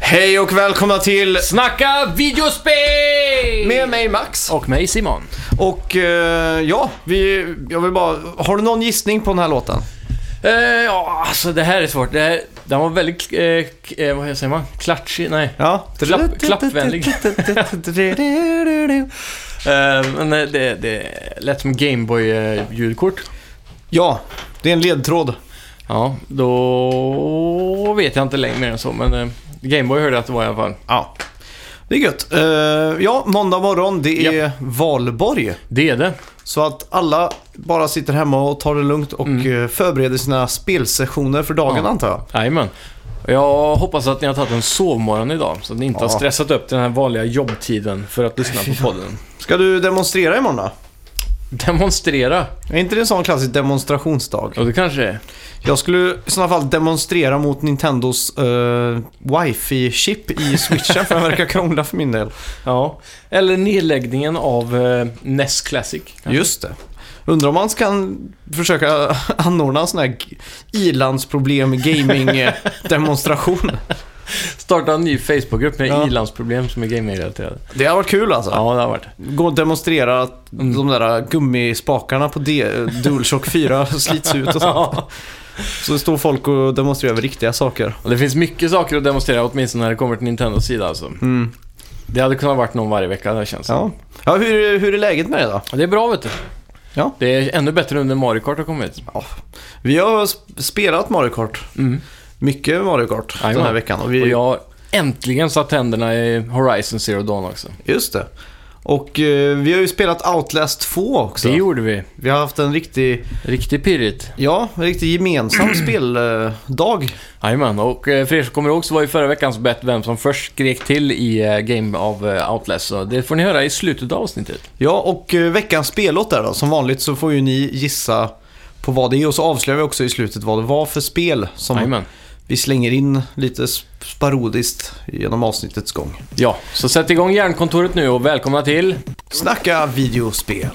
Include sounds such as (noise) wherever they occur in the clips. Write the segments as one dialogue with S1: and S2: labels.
S1: Hej och välkomna till
S2: Snacka videospel!
S1: med mig Max.
S2: Och mig Simon.
S1: Och eh, ja, vi, jag vill bara... Har du någon gissning på den här låten?
S2: Eh, ja, alltså det här är svårt. Det här, den var väldigt, eh, k- eh, vad säger man? Klatschig? Nej.
S1: Ja.
S2: Klapp- klappvänlig. Eh, men eh, det, det lät som eh, Gameboy-ljudkort.
S1: (laughs) ja, det är en ledtråd.
S2: Ja, då vet jag inte längre mer än så, men eh, Gameboy hörde jag att det var i alla fall.
S1: Ja. Det är gött. Eh, ja, måndag morgon. Det är valborg.
S2: Det är det.
S1: Så att alla bara sitter hemma och tar det lugnt och eh, förbereder sina spelsessioner för dagen
S2: Ja.
S1: antar jag.
S2: Jajamän. Jag hoppas att ni har tagit en sovmorgon idag, så att ni inte har
S1: Ja.
S2: stressat upp den här vanliga jobbtiden för att lyssna på podden.
S1: Ska du demonstrera imorgon då?
S2: Demonstrera!
S1: Är inte det en sån klassisk demonstrationsdag?
S2: Ja, det kanske är.
S1: Jag skulle i sådana fall demonstrera mot Nintendos eh, wifi-chip
S2: (laughs)
S1: i switchen för den verkar krångla för min del.
S2: Ja, eller nedläggningen av eh, NES Classic.
S1: Just det. Undrar om man kan försöka anordna en sån här g- ilandsproblem eh,
S2: (laughs)
S1: gaming-demonstration.
S2: Starta en ny Facebookgrupp med
S1: Ja.
S2: ilandsproblem som är gamingrelaterade.
S1: Det hade varit kul alltså.
S2: Ja, Mm. det har varit.
S1: Gå och demonstrera att de där gummispakarna på D- eh, DualShock
S2: (laughs)
S1: 4 slits ut och sånt.
S2: Ja.
S1: Så står folk och demonstrerar över riktiga saker.
S2: Och det finns mycket saker att demonstrera, åtminstone när det kommer till Nintendos sida alltså.
S1: Mm.
S2: Det hade kunnat varit någon varje vecka, det känns
S1: Ja. Ja, hur, hur är läget med det då?
S2: som. Det är bra, vet du.
S1: Ja.
S2: Det är ännu bättre under Mario Kart har kommit.
S1: Ja. Vi har sp- spelat Mario Kart.
S2: Mm.
S1: Mycket Mario Kart den
S2: Jajamän.
S1: här veckan. Och vi,
S2: Och jag har äntligen satt händerna i Horizon Zero Dawn också.
S1: Just det. Och eh, vi har ju spelat Outlast 2 också.
S2: Det gjorde vi.
S1: Vi har haft en riktig,
S2: Riktigt pirrigt.
S1: ja, en riktig
S2: (clears throat)
S1: gemensam speldag.
S2: Jajamän, och eh, för er som kommer ihåg så var ju förra veckans bett vem som först skrek till i eh, Game of eh, Outlast. Så det får ni höra i slutet av avsnittet.
S1: Ja, och eh, veckans spellåt där då. Som vanligt så får ju ni gissa på vad det är och så avslöjar vi också i slutet vad det var för spel som
S2: Jajamän.
S1: vi slänger in lite sp- parodiskt genom avsnittets gång.
S2: Ja, så sätt igång järnkontoret nu och välkomna till...
S1: Snacka videospel.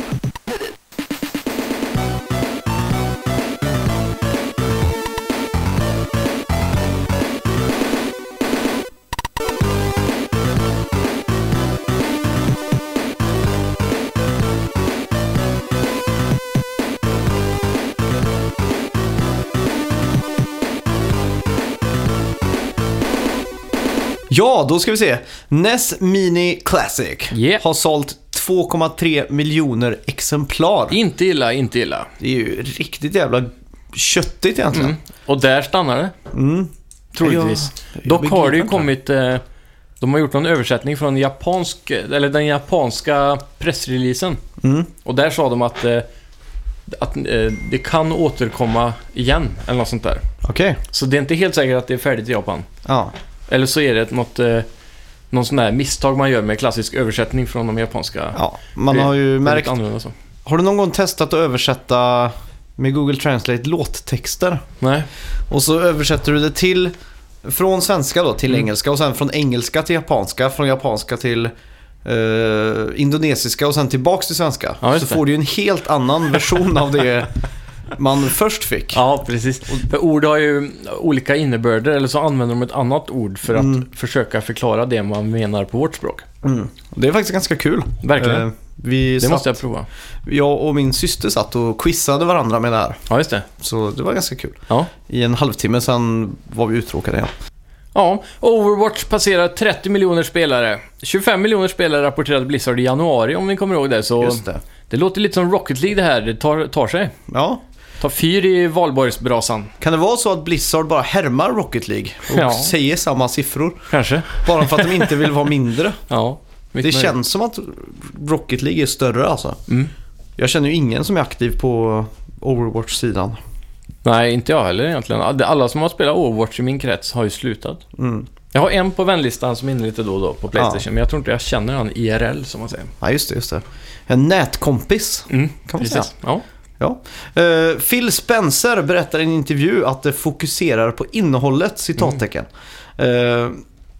S1: Ja, då ska vi se. NES Mini Classic
S2: Yeah.
S1: har sålt 2,3 miljoner exemplar.
S2: Inte illa, inte illa.
S1: Det är ju riktigt jävla köttigt egentligen.
S2: Mm. Och där stannar det.
S1: Mm.
S2: Troligtvis.
S1: Jag- jag
S2: Dock har det
S1: begriper
S2: ju
S1: inte.
S2: kommit... Eh, de har gjort någon översättning från japansk, eh, eller den japanska pressreleasen.
S1: Mm.
S2: Och där sa de att, eh, att eh, det kan återkomma igen, eller något sånt där.
S1: Okej.
S2: Så det är inte helt säkert att det är färdigt i Japan.
S1: Ja.
S2: Eller så är det något... Eh, någon sån där misstag man gör med klassisk översättning från de japanska.
S1: ja. Man
S2: Det-
S1: har ju
S2: Det är lite
S1: märkt...
S2: annorlunda så.
S1: Har du någon gång testat att översätta med Google Translate låttexter?
S2: Nej.
S1: Och så översätter du det till... Från svenska då till
S2: Mm.
S1: engelska och sen från engelska till japanska, från japanska till eh, indonesiska och sen tillbaks till svenska.
S2: Ja,
S1: så
S2: just det.
S1: får du ju en helt annan version av
S2: (laughs)
S1: det man först fick.
S2: Ja, precis. För ord har ju olika innebörder, eller så använder de ett annat ord för att försöka förklara det man menar på vårt språk.
S1: Mm. Det är faktiskt ganska kul.
S2: Verkligen.
S1: Eh, vi
S2: Det
S1: satt,
S2: måste jag prova.
S1: jag och min syster satt och quizade varandra med det här.
S2: Ja, just det.
S1: Så det var ganska kul.
S2: Ja.
S1: I en halvtimme sen var vi uttråkade igen.
S2: ja, Overwatch passerar 30 miljoner spelare. 25 miljoner spelare rapporterade Blizzard i januari, om ni kommer ihåg det. Så
S1: Just det.
S2: det låter lite som Rocket League det här. Det tar, tar sig.
S1: Ja.
S2: Tar fyr i valborgsbrasan.
S1: Kan det vara så att Blizzard bara härmar Rocket League och
S2: Ja.
S1: säger samma siffror?
S2: Kanske. (laughs)
S1: Bara för att de inte vill vara mindre.
S2: Ja.
S1: Det
S2: Mycket möjligt.
S1: känns som att Rocket League är större alltså.
S2: Mm.
S1: Jag känner ju ingen som är aktiv på Overwatch-sidan.
S2: Nej, inte jag heller egentligen. Alla som har spelat Overwatch i min krets har ju slutat.
S1: Mm.
S2: Jag har en på vänlistan som är inne lite då och då på Playstation, men jag tror inte jag känner han IRL som man säger.
S1: Ja, just det, just det. En nätkompis.
S2: Mm,
S1: Kan man
S2: precis. Ja.
S1: Ja. Eh, Phil Spencer berättar i en intervju att det fokuserar på innehållet, citattecken. Eh,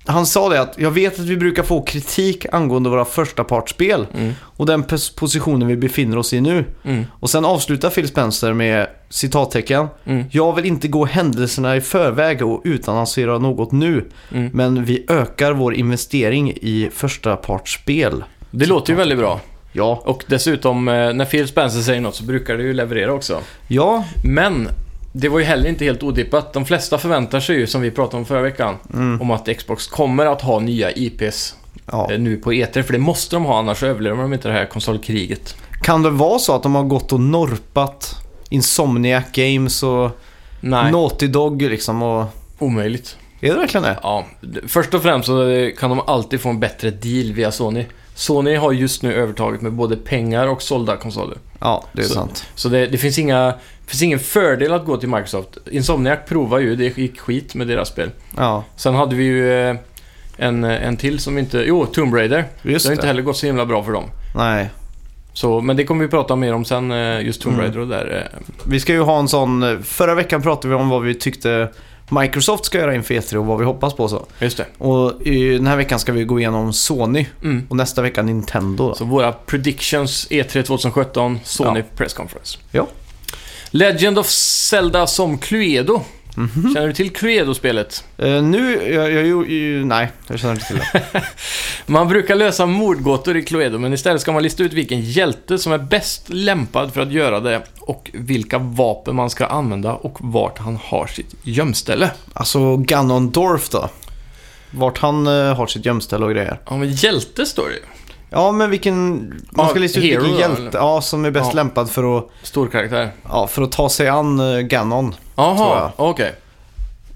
S1: han sa det att jag vet att vi brukar få kritik angående våra första partspel
S2: Mm.
S1: och den pos- positionen vi befinner oss i nu.
S2: Mm.
S1: Och sen avslutar Phil Spencer med citattecken.
S2: Mm.
S1: Jag vill inte gå händelserna i förväg och utannonsera något nu,
S2: Mm.
S1: men vi ökar vår investering i första partspel.
S2: Det låter ju väldigt bra.
S1: Ja,
S2: Och dessutom, eh, när Phil Spencer säger något så brukar det ju leverera också.
S1: ja,
S2: Men det var ju heller inte helt odippat. De flesta förväntar sig ju, som vi pratade om förra veckan, om att Xbox kommer att ha nya IPs
S1: Mm. ja.
S2: eh, nu på E3. För det måste de ha, annars överlever de inte det här konsolkriget.
S1: Kan det vara så att de har gått och norpat Insomniac Games och
S2: Nej,
S1: Naughty Dog liksom och...
S2: omöjligt.
S1: Är det verkligen det?
S2: Ja, först och främst så kan de alltid få en bättre deal via Sony. Sony har just nu övertaget med både pengar och sålda konsoler.
S1: Ja, det är
S2: Så-
S1: sant.
S2: Så det, det finns, inga, finns ingen fördel att gå till Microsoft. Insomniac provar ju, det gick skit med deras spel.
S1: Ja,
S2: Sen hade vi ju eh, en, en till som inte... Jo, Tomb Raider.
S1: just
S2: det har inte
S1: det.
S2: heller gått så himla bra för dem.
S1: Nej.
S2: Så, men det kommer vi prata mer om sen, eh, just Tomb
S1: Mm.
S2: Raider och där. eh,
S1: Vi ska ju ha en sån... Förra veckan pratade vi om vad vi tyckte Microsoft ska göra inför E3 och vad vi hoppas på och så.
S2: Just det.
S1: Och i, den här veckan ska vi gå igenom Sony
S2: Mm.
S1: och nästa vecka Nintendo. då.
S2: Så våra predictions E3 2017, Sony Press Conference.
S1: Ja.
S2: Legend of Zelda som Cluedo. Känner du till Cluedo-spelet?
S1: Eh, nu... Jag, jag, jag, jag, nej, jag känner inte till
S2: (laughs)
S1: det.
S2: Man brukar lösa mordgåtor i Cluedo, men istället ska man lista ut vilken hjälte som är bäst lämpad för att göra det och vilka vapen man ska använda och vart han har sitt gömställe.
S1: Alltså Ganondorf då? Vart han eh, har sitt gömställe och grejer.
S2: Ja, men hjälte står det ju.
S1: Ja, men vilken... Man ska
S2: Ja,
S1: lista ut
S2: hero
S1: vilken
S2: då,
S1: hjälte
S2: eller?
S1: ja, som är bäst
S2: Ja.
S1: lämpad för att,
S2: Stor karaktär.
S1: ja, för att ta sig an eh, Ganon. Tror jag.
S2: Jaha, okej.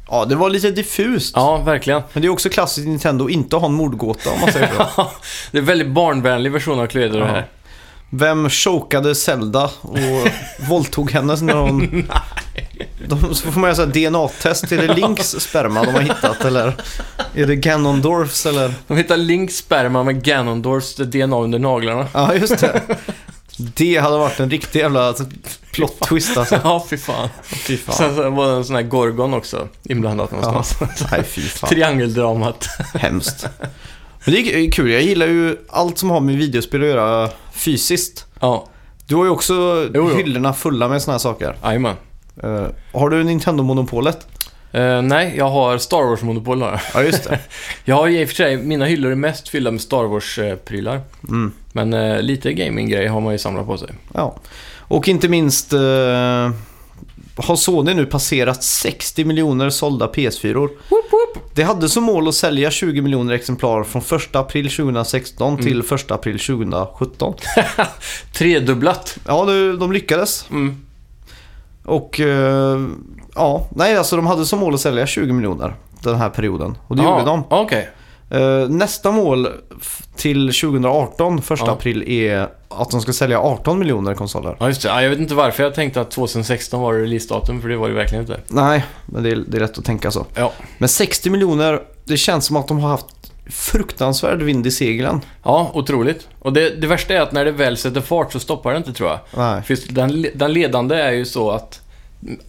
S1: Ja, det var lite diffust.
S2: Ja, verkligen. (laughs)
S1: Men det är också klassiskt Nintendo att inte ha en mordgåta om man säger så.
S2: det är en väldigt barnvänlig version av Cluedo det här.
S1: Vem chokade Zelda
S2: (laughs)
S1: och våldtog henne när hon... De, så får man göra så här DNA-test. Är det Links sperma de har hittat eller? Är det Ganondorfs eller?
S2: De hittar Links sperma med Ganondorfs DNA under naglarna.
S1: Ja, just det. Det hade varit en riktig jävla plot twist alltså.
S2: (laughs) Ja, fy fan.
S1: Fy fan.
S2: Sen så var det en sån här Gorgon också inblandat
S1: Ja.
S2: någonstans.
S1: Nej, fy fan.
S2: (laughs) Triangeldramat.
S1: Hemskt. Men det är kul, jag gillar ju allt som har med videospel att göra fysiskt.
S2: Ja,
S1: Du har ju också
S2: jo.
S1: hyllorna fulla med såna här saker.
S2: jajamän.
S1: Eh, har du Nintendo-monopolet?
S2: Eh, nej, jag har Star Wars-monopol har jag.
S1: Ja, just det.
S2: Jag har i och för sig, mina hyllor är mest fyllda med Star Wars-prylar.
S1: Mm.
S2: Men eh, lite gaming-grejer har man ju samlat på sig.
S1: (laughs) Ja. Och inte minst eh, har Sony nu passerat 60 miljoner sålda PS4. Det hade som mål att sälja 20 miljoner exemplar från 1 april 2016 till 1 april 2017.
S2: Tredubblat.
S1: Ja, det- de lyckades.
S2: Mm.
S1: Och eh, ja, nej alltså de hade som mål att sälja 20 miljoner den här perioden. Och det
S2: Ja,
S1: gjorde de.
S2: Okej.
S1: Eh, nästa mål f- till 2018, 1
S2: Ja.
S1: april, är att de ska sälja 18 miljoner konsoler.
S2: Ja, just det. Ja, jag vet inte varför jag tänkte att 2016 var releasedatum, för det var det verkligen inte.
S1: Nej, men det är, det är lätt att tänka så.
S2: Ja.
S1: Men 60 miljoner, det känns som att de har haft fruktansvärd vind i seglen.
S2: Ja, otroligt. Och det, det värsta är att när det väl sätter fart så stoppar det inte, tror jag.
S1: Nej.
S2: För just den, den ledande är ju så att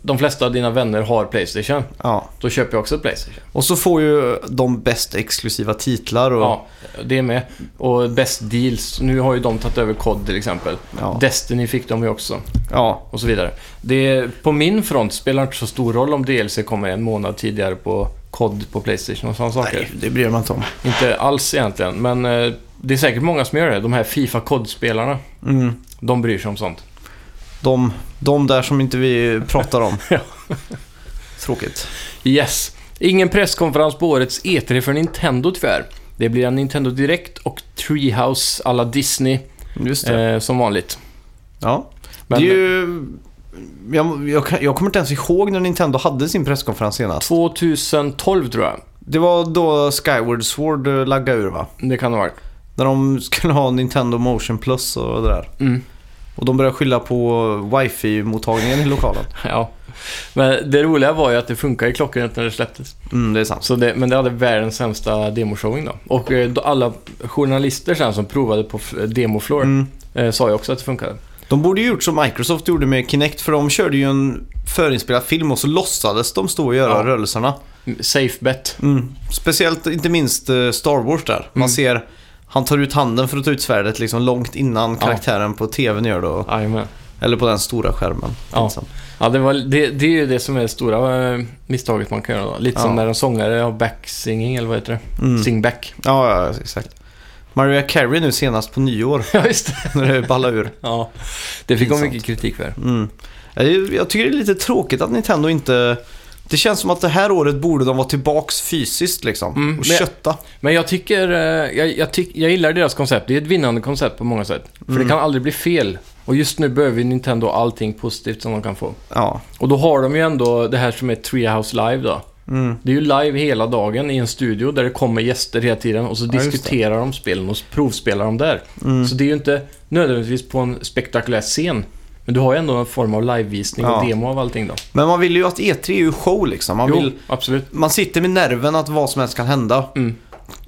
S2: de flesta av dina vänner har Playstation.
S1: Ja.
S2: Då köper jag också ett Playstation.
S1: Och så får ju de bäst exklusiva titlar och...
S2: Ja, det är med. Och best deals. Nu har ju de tagit över COD till exempel.
S1: Ja.
S2: Destiny fick de ju också.
S1: ja.
S2: Och så vidare. Det, på min front spelar det inte så stor roll om DLC kommer en månad tidigare på COD på Playstation och sådana saker.
S1: Nej, det bryr man inte om.
S2: Inte alls egentligen, men eh, det är säkert många som gör det. De här Fifa COD-spelarna,
S1: Mm.
S2: de bryr sig om sånt.
S1: De, de där som inte vi pratar om.
S2: (laughs) Ja.
S1: Tråkigt.
S2: Yes. Ingen presskonferens på årets E3 för Nintendo tyvärr. Det blir en Nintendo Direkt och Treehouse alla Disney
S1: Just det.
S2: eh, som vanligt.
S1: ja.
S2: Men
S1: det är ju... Jag, jag, kan- jag kommer inte ens ihåg när Nintendo hade sin presskonferens senast.
S2: 2012 tror jag
S1: Det var då Skyward Sword eh, laggade ur va?
S2: det kan ha varit. (laughs)
S1: När de (laughs) skulle ha Nintendo Motion Plus och det där.
S2: Mm.
S1: Och de började skylla på wifi-mottagningen i lokalen.
S2: Ja. Men det roliga var ju att det funkar ju klockrent när det släpptes.
S1: Mm, det är sant.
S2: Så det, men det hade världens sämsta demoshow då. Och eh, då alla journalister sen som provade på f- demofloor
S1: Mm.
S2: eh, sa ju också att det funkade.
S1: De borde ju gjort som Microsoft gjorde med Kinect för de körde ju en förinspelad film och så låtsades de stå och göra
S2: Ja.
S1: rörelserna.
S2: Mm, Safe bet.
S1: Mm. Speciellt inte minst eh, Star Wars där. Man
S2: Mm.
S1: ser han tar ut handen för att ta ut svärdet liksom långt innan
S2: Ja.
S1: karaktären på tvn gör det. Och,
S2: Jajamän.
S1: eller på den stora skärmen.
S2: Ja.
S1: Liksom.
S2: Ja, det, var, det, det är ju det som är det stora eh, misstaget man kan göra då. Lite
S1: Ja.
S2: som när en sångare har backsinging, eller vad heter det?
S1: Mm.
S2: Singback.
S1: Ja, ja, exakt. Maria Carey nu senast på nyår
S2: (laughs)
S1: (laughs)
S2: Ja, just det.
S1: när det ballar ur.
S2: Ja. Det fick hon
S1: Pinsamt.
S2: mycket kritik för.
S1: Mm. Eh, Jag tycker det är lite tråkigt att Nintendo inte... Det känns som att det här året borde de vara tillbaks fysiskt liksom.
S2: Mm,
S1: och
S2: men-
S1: kötta.
S2: Men jag tycker, eh, jag, jag, tyck, jag gillar deras koncept. Det är ett vinnande koncept på många sätt. För
S1: Mm.
S2: det kan aldrig bli fel. Och just nu behöver ju Nintendo allting positivt som de kan få.
S1: Ja.
S2: Och då har de ju ändå det här som är Treehouse Live då.
S1: Mm.
S2: Det är ju live hela dagen i en studio där det kommer gäster hela tiden och så
S1: Ja, just det.
S2: diskuterar de spelen och provspelar de där.
S1: Mm.
S2: Så det är ju inte nödvändigtvis på en spektakulär scen. Men du har ju ändå en form av livevisning och
S1: Ja.
S2: demo av allting då.
S1: Men man vill ju att E3 är ju show liksom. Man,
S2: jo,
S1: vill,
S2: absolut.
S1: man sitter med nerven att vad som helst kan hända.
S2: Mm.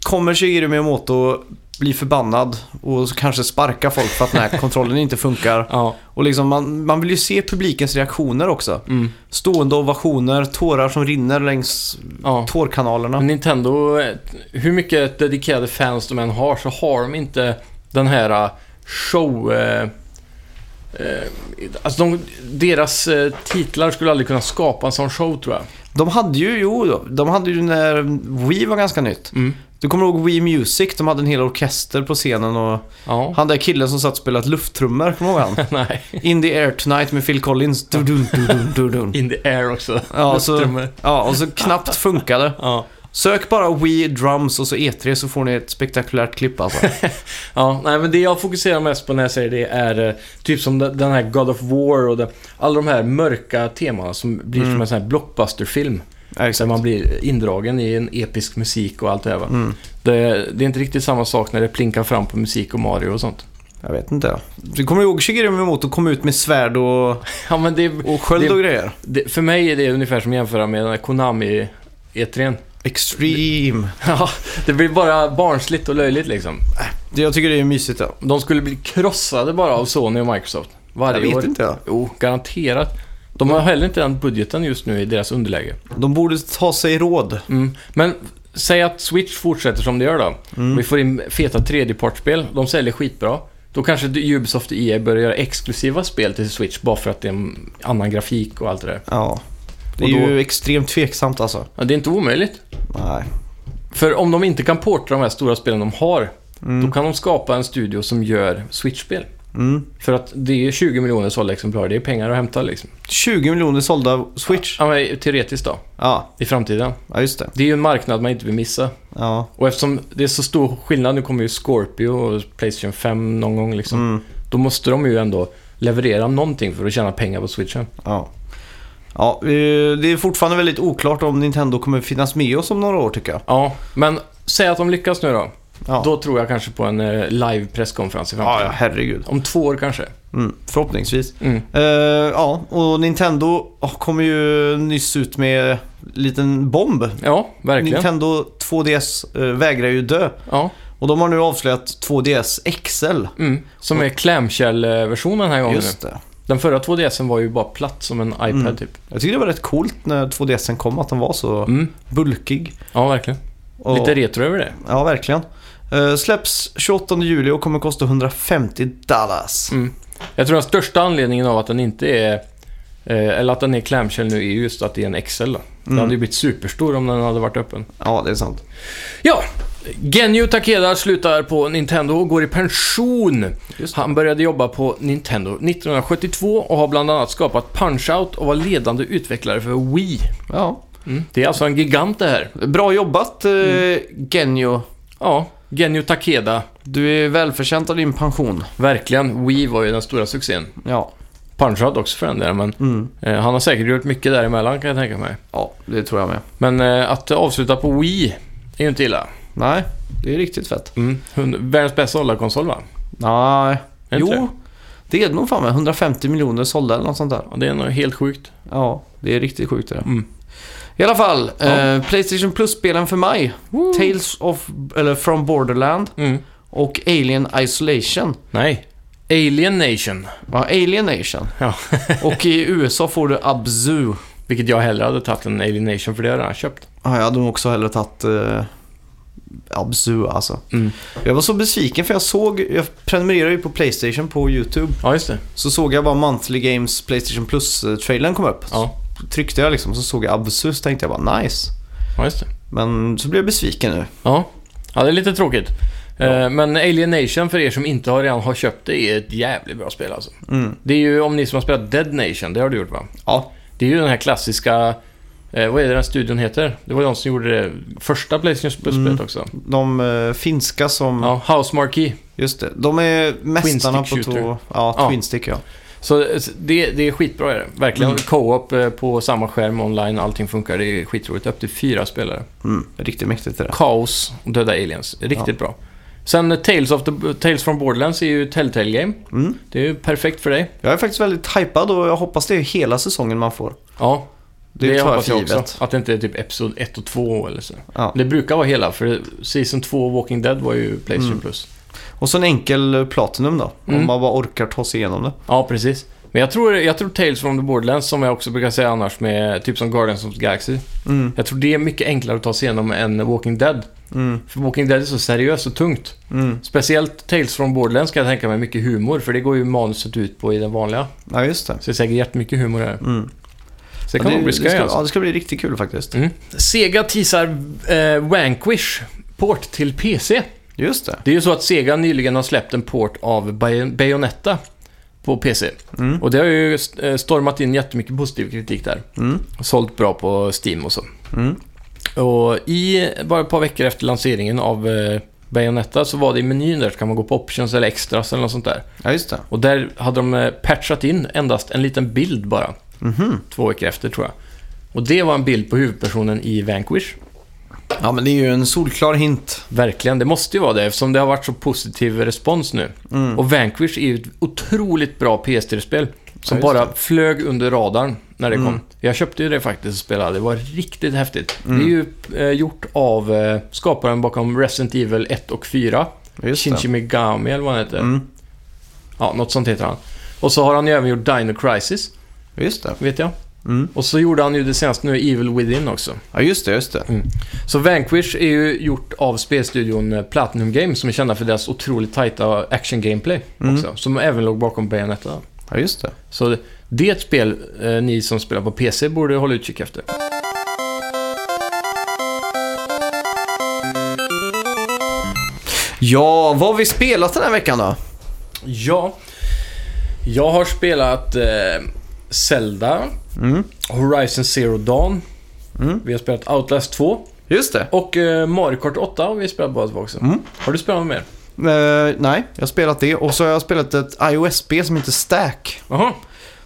S1: Kommer Shigeru Miyamoto bli förbannad och så kanske sparka folk för att
S2: (laughs)
S1: den här kontrollen inte funkar.
S2: Ja,
S1: Och liksom man, man vill ju se publikens reaktioner också.
S2: mm.
S1: Stående ovationer, tårar som rinner längs
S2: ja. Men
S1: tårkanalerna.
S2: Nintendo, eh, hur mycket dedikerade fans de än har så har de inte den här eh, show... Eh, eh, alltså de, deras eh, titlar skulle aldrig kunna skapa en sån show tror jag.
S1: De hade ju, jo, de hade ju när Wii var ganska nytt.
S2: Mm.
S1: Du kommer ihåg Wii Music? De hade en hel orkester på scenen och
S2: Ja.
S1: han där killen som satt och spelade lufttrummor, kommer du ihåg han?
S2: (laughs) Nej.
S1: In the air tonight med Phil Collins. Du -dun, du -dun, du -dun.
S2: (laughs) In the air också.
S1: Ja, så,
S2: Lufttrummor.
S1: ja, och så knappt funkade.
S2: (laughs) Ja.
S1: Sök bara We Drums och så E3 så får ni ett spektakulärt klipp alltså.
S2: ja, nej men det jag fokuserar mest på när jag säger det är eh, typ som de- den här God of War och det, alla de här mörka temana som blir
S1: Mm.
S2: som en sån här blockbusterfilm.
S1: Ja,
S2: Där
S1: exakt.
S2: man blir indragen i en episk musik och allt det här va.
S1: Mm,
S2: Det, det är inte riktigt samma sak när det plinkar fram på musik och Mario
S1: (laughs)
S2: och sånt.
S1: jag vet inte. Du kommer ihåg Shigeru Miyamoto kom ut med svärd och,
S2: Ja, men det,
S1: och sköld och grejer?
S2: det, för mig är det ungefär som att jämföra med den här Konami E3.
S1: Extreme.
S2: (laughs) Ja, det blir bara barnsligt och löjligt liksom.
S1: Det, jag tycker det är mysigt ja.
S2: De skulle bli krossade bara av Sony och Microsoft.
S1: Jag
S2: Varje år.
S1: vet inte. ja.
S2: Jo, garanterat. De har heller inte den budgeten just nu i deras underläge.
S1: De borde ta sig råd.
S2: Mm. Men säg att Switch fortsätter som det gör då. Vi får in feta tredjepartsspel. De säljer skitbra. Då kanske Ubisoft och EA börjar göra exklusiva spel till Switch bara för att det är en annan grafik och allt det där.
S1: Ja. Det är
S2: Och då-
S1: ju extremt tveksamt alltså.
S2: Ja, det är inte omöjligt.
S1: Nej.
S2: För om de inte kan porta de här stora spelen de har, då kan de skapa en studio som gör Switch-spel.
S1: Mm.
S2: För att det är ju 20 miljoner sålda exemplar, det är pengar att hämta liksom.
S1: 20 miljoner sålda Switch.
S2: Ja, men teoretiskt då,
S1: Ja,
S2: i framtiden.
S1: ja just det.
S2: Det är ju en marknad man inte vill missa.
S1: Ja.
S2: Och eftersom det är så stor skillnad, nu kommer ju Scorpio och Playstation 5 någon gång liksom.
S1: Mm.
S2: Då måste de ju ändå leverera någonting för att tjäna pengar på switchen.
S1: Ja. Ja, eh, det är fortfarande väldigt oklart om Nintendo kommer finnas med oss om några år tycker jag.
S2: Ja, men säg att de lyckas nu då.
S1: Ja,
S2: Då tror jag kanske på en eh, live presskonferens i
S1: ja,
S2: framtiden.
S1: ja herregud.
S2: Om två år kanske.
S1: Mm, förhoppningsvis.
S2: Mm.
S1: Eh, ja, och Nintendo oh, kom ju nyss ut med en liten bomb.
S2: Ja, verkligen.
S1: Nintendo 2DS eh, vägrar ju dö.
S2: Ja,
S1: Och de har nu avslöjat 2DS XL.
S2: mm. Som är clamshell-versionen den här gången
S1: Just det.
S2: nu. Den förra 2DSen var ju bara platt som en iPad
S1: Mm.
S2: typ.
S1: Jag tycker det var rätt coolt när 2DSen kom att den var så
S2: Mm.
S1: bulkig.
S2: Ja, verkligen.
S1: Och,
S2: Lite retro över det.
S1: Ja, verkligen. Eh, släpps 28 juli och kommer kosta 150 dollars.
S2: Mm. Jag tror den största anledningen av att den inte är eh, eller att den är clamshell nu är just att det är en XL. Då. Den
S1: Mm.
S2: hade ju blivit superstor om den hade varit öppen.
S1: Ja, det är sant.
S2: Ja, Genyu Takeda slutar på Nintendo och går i pension.
S1: Just
S2: Han började jobba på Nintendo 1972 och har bland annat skapat Punch-Out och var ledande utvecklare för Wii.
S1: Ja.
S2: Mm. Det är alltså en gigant det här.
S1: Bra jobbat eh, Genio.
S2: Ja, Genyu Takeda.
S1: Du är välförtjänt av din pension.
S2: Verkligen. Wii var ju den stora succén.
S1: Ja.
S2: Punch-Out också för den där, men
S1: Mm.
S2: eh, han har säkert gjort mycket däremellan kan jag tänka mig.
S1: Ja, det tror jag med.
S2: Men eh, att avsluta på Wii är ju inte illa.
S1: Nej. Det är riktigt fett.
S2: Mm. Hund- Världens bästa sålda konsol va?
S1: Nej.
S2: Är inte det?
S1: Jo, det är det nog fan med. 150 miljoner sålda eller något sånt där.
S2: Ja, det är nog helt sjukt.
S1: Ja, det är riktigt sjukt det där.
S2: Mm.
S1: I alla fall,
S2: Ja.
S1: eh, Playstation Plus-spelen för mig. Tales of, eller From Borderland
S2: Mm.
S1: och Alien Isolation.
S2: Nej. Alien Nation.
S1: Ja, Alien
S2: (laughs)
S1: Nation.
S2: Ja.
S1: och i USA får du Abzu.
S2: Vilket jag hellre hade tagit än Alien Nation för det har jag redan köpt.
S1: Ja, jag hade nog också hellre tagit eh, Abzu alltså.
S2: Mm.
S1: Jag var så besviken för jag såg, jag prenumererar ju på Playstation på YouTube.
S2: Ja, just det.
S1: Så såg jag bara Monthly Games Playstation Plus-trailern kom upp.
S2: Ja.
S1: Så tryckte jag liksom så såg jag Abzu så tänkte jag bara nice.
S2: Ja, just det.
S1: Men så blev jag besviken nu.
S2: Ja. ja, det är lite tråkigt. Eh, Men Alien Nation, för er som inte har redan har köpt det, är ett jävligt bra spel alltså.
S1: Mm.
S2: Det är ju, om ni som har spelat Dead Nation, det har du gjort va?
S1: Ja.
S2: Det är ju den här klassiska, eh, vad är det den studion heter? Det var de som gjorde det första Playstation Plus-spelet
S1: Mm.
S2: också.
S1: De eh, finska som...
S2: Ja, House Marquee.
S1: Just det. De är mästarna på...
S2: Twin stick shooter.
S1: Tå, ja,
S2: Ja.
S1: Twin Stick ja.
S2: Så eh, det, det är skitbra är det. Verkligen.
S1: Mm.
S2: Co-op eh, på samma skärm online, allting funkar. Det är skitroligt. Upp till fyra spelare.
S1: Mm, riktigt mäktigt det där.
S2: Kaos och döda aliens. Riktigt bra. Sen eh, Tales, of the, Tales from Borderlands är ju Telltale Game.
S1: Mm.
S2: Det är ju perfekt för dig.
S1: Jag är faktiskt väldigt hypad och jag hoppas det är hela säsongen man får.
S2: Ja,
S1: Det, tar jag
S2: hoppas
S1: för
S2: jag också.
S1: givet.
S2: Att det inte är typ Episod 1 och 2 eller så.
S1: Ja.
S2: Det brukar vara hela, för Season 2 och Walking Dead var ju Playstation
S1: Mm.
S2: Plus.
S1: Och så en enkel eh, Platinum då.
S2: Mm.
S1: Om man bara orkar ta sig igenom det.
S2: Ja, precis. Men jag tror, jag tror Tales from the Borderlands, som jag också brukar säga annars med typ som Guardians of the Galaxy.
S1: Mm,
S2: Jag tror det är mycket enklare att ta sig igenom än Walking Dead.
S1: mm,
S2: För Walking Dead är så seriöst och tungt.
S1: mm.
S2: Speciellt Tales from Borderlands kan jag tänka mig mycket humor, för det går ju manuset ut på i den vanliga.
S1: Ja, just det.
S2: Så det är säkert jättemycket humor här.
S1: Mm.
S2: Så det
S1: Ja,
S2: kan nog bli
S1: det,
S2: skoj
S1: ska, ja,
S2: alltså.
S1: det ska bli riktigt kul faktiskt.
S2: Mm. Sega teasar eh, Vanquish port till PC.
S1: Just det.
S2: Det är ju så att Sega nyligen har släppt en port av Bay- Bayonetta på PC.
S1: Mm.
S2: Och det har ju eh, stormat in jättemycket positiv kritik där.
S1: Mm.
S2: Sålt bra på Steam och så.
S1: Mm.
S2: Och i bara ett par veckor efter lanseringen av eh, Bayonetta så var det i menyn där så kan man gå på options eller extras eller något sånt där.
S1: Ja, just det.
S2: Och där hade de eh, patchat in endast en liten bild bara.
S1: Mhm.
S2: Två veckor efter tror jag. Och det var en bild på huvudpersonen i Vanquish.
S1: Ja, men det är ju en solklar hint.
S2: Verkligen, det måste ju vara det eftersom det har varit så positiv respons nu.
S1: Mm.
S2: Och Vanquish är ju ett otroligt bra PS3-spel som
S1: Ja, just
S2: bara flög under radarn när det
S1: Mm.
S2: kom. Jag köpte ju det faktiskt och spelade. Det var riktigt häftigt. Det är ju eh, gjort av eh, skaparen bakom Resident Evil 1 och 4.
S1: Just
S2: Shinji
S1: det.
S2: Megami eller vad han heter.
S1: Mm.
S2: Ja, något sånt heter han. Och så har han ju även gjort Dino Crisis,
S1: Just det.
S2: vet jag.
S1: Mm.
S2: Och så gjorde han ju det senaste nu, Evil Within också.
S1: Ja, just det. Just det.
S2: Så Vanquish är ju gjort av spelstudion eh, Platinum Games som är kända för deras otroligt tajta action-gameplay
S1: Mm.
S2: också. Som även låg bakom Bayonetta.
S1: Ja, just det.
S2: Så det- det är ett spel eh, ni som spelar på PC borde hålla utkik efter.
S1: Ja, vad har vi spelat den här veckan då?
S2: Ja, jag har spelat eh, Zelda,
S1: Mm.
S2: Horizon Zero Dawn,
S1: Mm.
S2: vi har spelat Outlast 2
S1: Just det.
S2: och eh, Mario Kart 8 har vi spelat båda två också.
S1: Mm.
S2: Har du spelat något mer?
S1: Eh, nej, jag har spelat det och så har jag spelat ett iOS-spel som heter Stack.
S2: Jaha,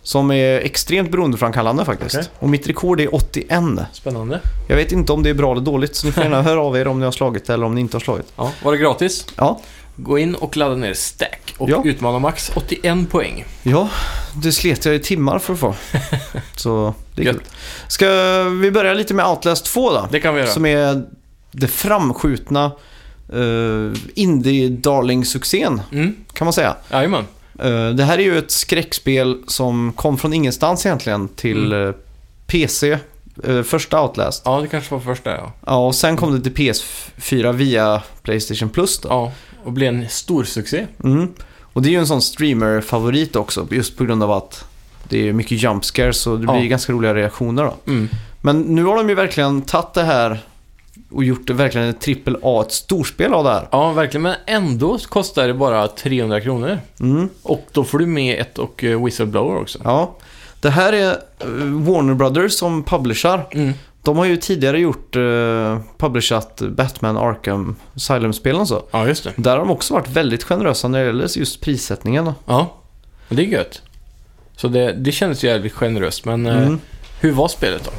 S1: Som är extremt beroendeframkallande faktiskt.
S2: Okej.
S1: Och mitt rekord är 81.
S2: spännande.
S1: Jag vet inte om det är bra eller dåligt så ni får (laughs) gärna höra av er om ni har slagit det eller om ni inte har slagit.
S2: Ja, var det gratis?
S1: Ja,
S2: Gå in och ladda ner Stack och
S1: Ja.
S2: utmana max 81 poäng.
S1: ja det slet jag i timmar för att (laughs) få. så det är
S2: Gött.
S1: kul. Ska vi börja lite med Outlast 2 då?
S2: Det kan vi göra.
S1: Som är det framskjutna eh, indie-darling-succén
S2: Mm,
S1: kan man säga.
S2: jajamän.
S1: Eh, Det här är ju ett skräckspel som kom från ingenstans egentligen till
S2: Mm.
S1: eh, PC, eh, första Outlast.
S2: Ja, det kanske var första ja.
S1: Ja, och sen kom det till PS4 via Playstation Plus då.
S2: Ja, och blev en stor succé.
S1: Mm. Och det är ju en sån streamer-favorit också, just på grund av att det är mycket jump scares och det blir
S2: Ja.
S1: ganska roliga reaktioner då.
S2: Mm.
S1: Men nu har de ju verkligen tagit det här och gjort det verkligen ett trippel A, ett storspel av det här.
S2: Ja, verkligen. Men ändå kostar det bara 300 kronor.
S1: Mm.
S2: Och då får du med ett och eh, Whistleblower också.
S1: Ja. Det här är eh, Warner Brothers som publicerar.
S2: Mm.
S1: De har ju tidigare gjort, eh, publicerat Batman Arkham Asylum-spelen och så.
S2: Ja, just det.
S1: Där har de också varit väldigt generösa när det gäller just prissättningen. då.
S2: Ja, och det är gött. Så det, det kändes ju jävligt generöst, men eh,
S1: Mm.
S2: hur var spelet då?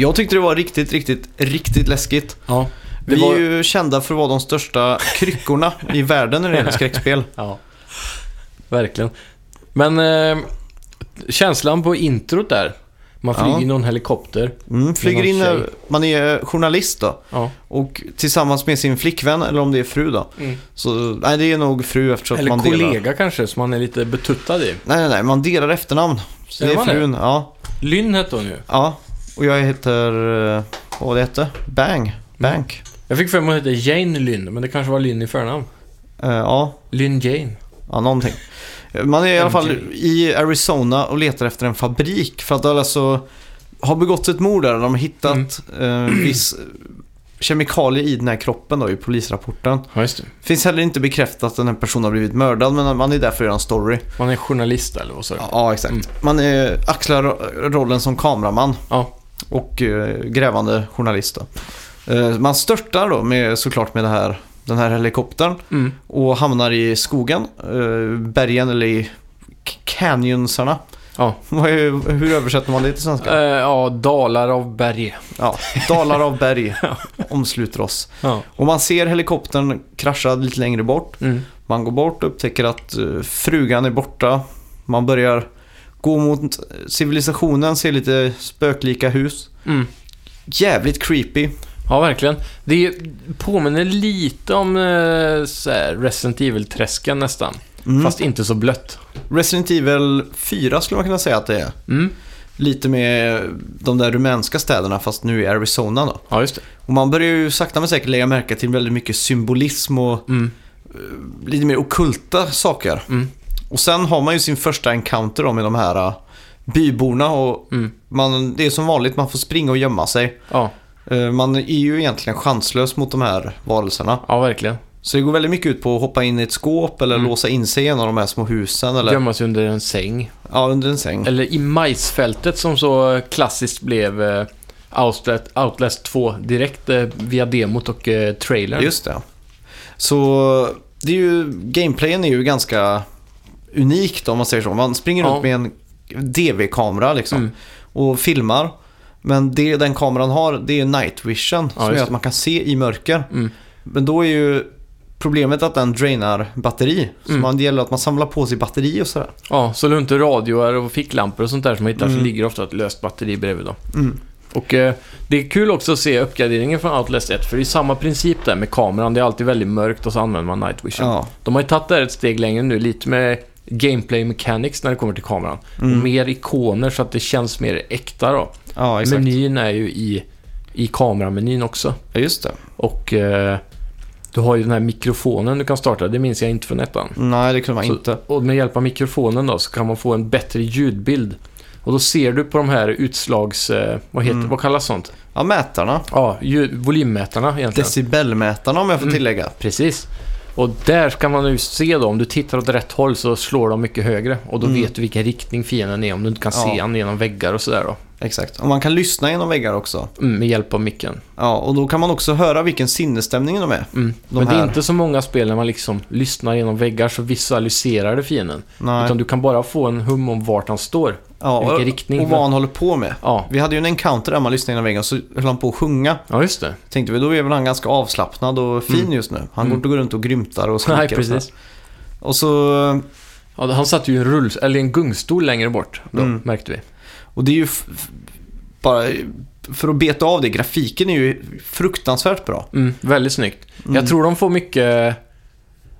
S1: Jag tyckte det var riktigt, riktigt, riktigt läskigt.
S2: Ja.
S1: Vi
S2: var-
S1: är ju kända för att vara de största kryckorna i världen när det gäller skräckspel.
S2: Ja, verkligen. Men eh, känslan på introt där. Man flyger
S1: Ja.
S2: i någon helikopter.
S1: Mm, flyger
S2: någon
S1: in,
S2: tjej.
S1: man är journalist då.
S2: Ja.
S1: Och tillsammans med sin flickvän, eller om det är fru då. Så, nej det är nog fru eftersom
S2: Mm. Eller
S1: man
S2: kollega
S1: delar.
S2: kanske, som man är lite betuttad i.
S1: Nej, nej, nej, man delar efternamn. Så
S2: Är
S1: det
S2: man
S1: är
S2: det?
S1: frun, ja.
S2: Lynn hette hon ju.
S1: Ja, och jag heter, eh, vad var det hette?
S2: Mm.
S1: Bang. Bank.
S2: Jag fick för mig att hon hette Jane Lynn, men det kanske var Lynn i förnamn.
S1: Eh, ja,
S2: Lynn Jane.
S1: ja, någonting. Man är i alla fall
S2: MJ.
S1: i Arizona och letar efter en fabrik för att det alltså har begått ett mord där. De har hittat
S2: Mm.
S1: eh, viss kemikalie i den här kroppen då i polisrapporten.
S2: Ja, just det.
S1: Finns heller inte bekräftat att den här personen har blivit mördad men man är där för att göra en story.
S2: Man är journalist eller vad sa du?
S1: Ja, exakt.
S2: Mm.
S1: Man eh, axlar ro- rollen som kameraman
S2: Ja.
S1: och eh, grävande journalist. Då. Eh, man störtar då med, såklart med det här, den här helikoptern
S2: Mm.
S1: och hamnar i skogen, eh, bergen eller i k- canyonsarna. (laughs)
S2: Ja.
S1: Vad är- Hur översätter man det till svenska?
S2: Eh, ja, dalar av berg.
S1: Ja, dalar av berg omsluter oss.
S2: Ja.
S1: Och man ser helikoptern krascha lite längre bort.
S2: Mm.
S1: Man går bort och upptäcker att eh, frugan är borta. Man börjar gå mot eh, civilisationen, ser lite spöklika hus.
S2: Mm.
S1: Jävligt creepy.
S2: Ja, verkligen. Det påminner lite om eh, så här Resident Evil-träsken nästan.
S1: Mm.
S2: Fast inte så blött.
S1: Resident Evil 4 skulle man kunna säga att det är.
S2: Mm.
S1: Lite med de där rumänska städerna fast nu i Arizona då.
S2: Ja, just det.
S1: Och man börjar ju sakta men säkert lägga märke till väldigt mycket symbolism och eh,
S2: Mm.
S1: lite mer okulta saker.
S2: Mm.
S1: Och sen har man ju sin första encounter då med de här eh, byborna och
S2: Mm.
S1: man, det är som vanligt, man får springa och gömma sig.
S2: Ja,
S1: Eh, Man är ju egentligen chanslös mot de här varelserna.
S2: ja verkligen.
S1: Så det går väldigt mycket ut på att hoppa in i ett skåp eller
S2: Mm.
S1: låsa in sig i en av de här små husen eller
S2: Gömma sig under en säng.
S1: ja, under en säng.
S2: Eller i majsfältet som så klassiskt blev eh, Outlet, Outlast 2 direkt eh, via demot och eh, trailern.
S1: Just det. Så det är ju, gameplayen är ju ganska unik då, om man säger så. Man springer
S2: Ja.
S1: runt med en DV-kamera liksom
S2: Mm.
S1: och filmar. Men det den kameran har, det är night vision
S2: Ja,
S1: som
S2: just
S1: gör att
S2: det.
S1: man kan se i mörker.
S2: Mm.
S1: Men då är ju problemet att den drainar batteri. Så
S2: Mm.
S1: man, det gäller att man samlar på sig batteri och sådär.
S2: Ja, så runt radioer och ficklampor och sånt där som man hittar
S1: Mm.
S2: så ligger ofta ett löst batteri bredvid dem.
S1: Mm.
S2: Och eh, det är kul också att se uppgraderingen från Outlast 1 för det är samma princip där med kameran. Det är alltid väldigt mörkt och så använder man night vision.
S1: Ja.
S2: De har ju tagit det här ett steg längre nu, lite med gameplay mechanics när det kommer till kameran.
S1: Mm.
S2: Och mer ikoner så att det känns mer äkta då.
S1: ja, exakt.
S2: Menyn är ju i, i kameramenyn också.
S1: Ja, just det.
S2: Och eh, du har ju den här mikrofonen du kan starta, det minns jag inte från ettan.
S1: Nej, det kunde man
S2: Så-
S1: inte.
S2: Och med hjälp av mikrofonen då så kan man få en bättre ljudbild. Och då ser du på de här utslags... Eh, vad, heter,
S1: Mm.
S2: vad kallas sånt?
S1: Ja, mätarna.
S2: Ja, ljud, volymmätarna egentligen.
S1: Decibelmätarna om jag får
S2: Mm.
S1: tillägga.
S2: Precis. Och där kan man ju se då, om du tittar åt rätt håll så slår de mycket högre. Och då
S1: Mm.
S2: vet du vilken riktning fienden är, om du inte kan
S1: Ja.
S2: se han genom väggar och sådär då.
S1: Exakt. Och man kan lyssna genom väggar också.
S2: Mm, med hjälp av micken.
S1: Ja, och då kan man också höra vilken sinnesstämning de är.
S2: Mm.
S1: De
S2: Men det är
S1: här-
S2: inte så många spel när man liksom lyssnar genom väggar så visualiserar du fienden.
S1: Nej.
S2: Utan du kan bara få en hum om vart han står.
S1: ja,
S2: vilken
S1: och,
S2: riktning
S1: och vad han håller på med.
S2: Ja,
S1: Vi hade ju en encounter där man lyssnade genom väggen och så höll han på att sjunga.
S2: ja just det.
S1: Tänkte vi, då är väl han ganska avslappnad och fin
S2: Mm.
S1: just nu. Han
S2: Mm.
S1: går inte gå runt och grymtar och skriker.
S2: Nej,
S1: och sådär.
S2: precis.
S1: Och så,
S2: Ja, han satt ju i en, rulls eller i en gungstol längre bort, då,
S1: Mm.
S2: märkte vi.
S1: och det är ju f- f- bara för att beta av det, grafiken är ju fruktansvärt bra.
S2: Mm, väldigt snyggt.
S1: Mm.
S2: Jag tror de får mycket...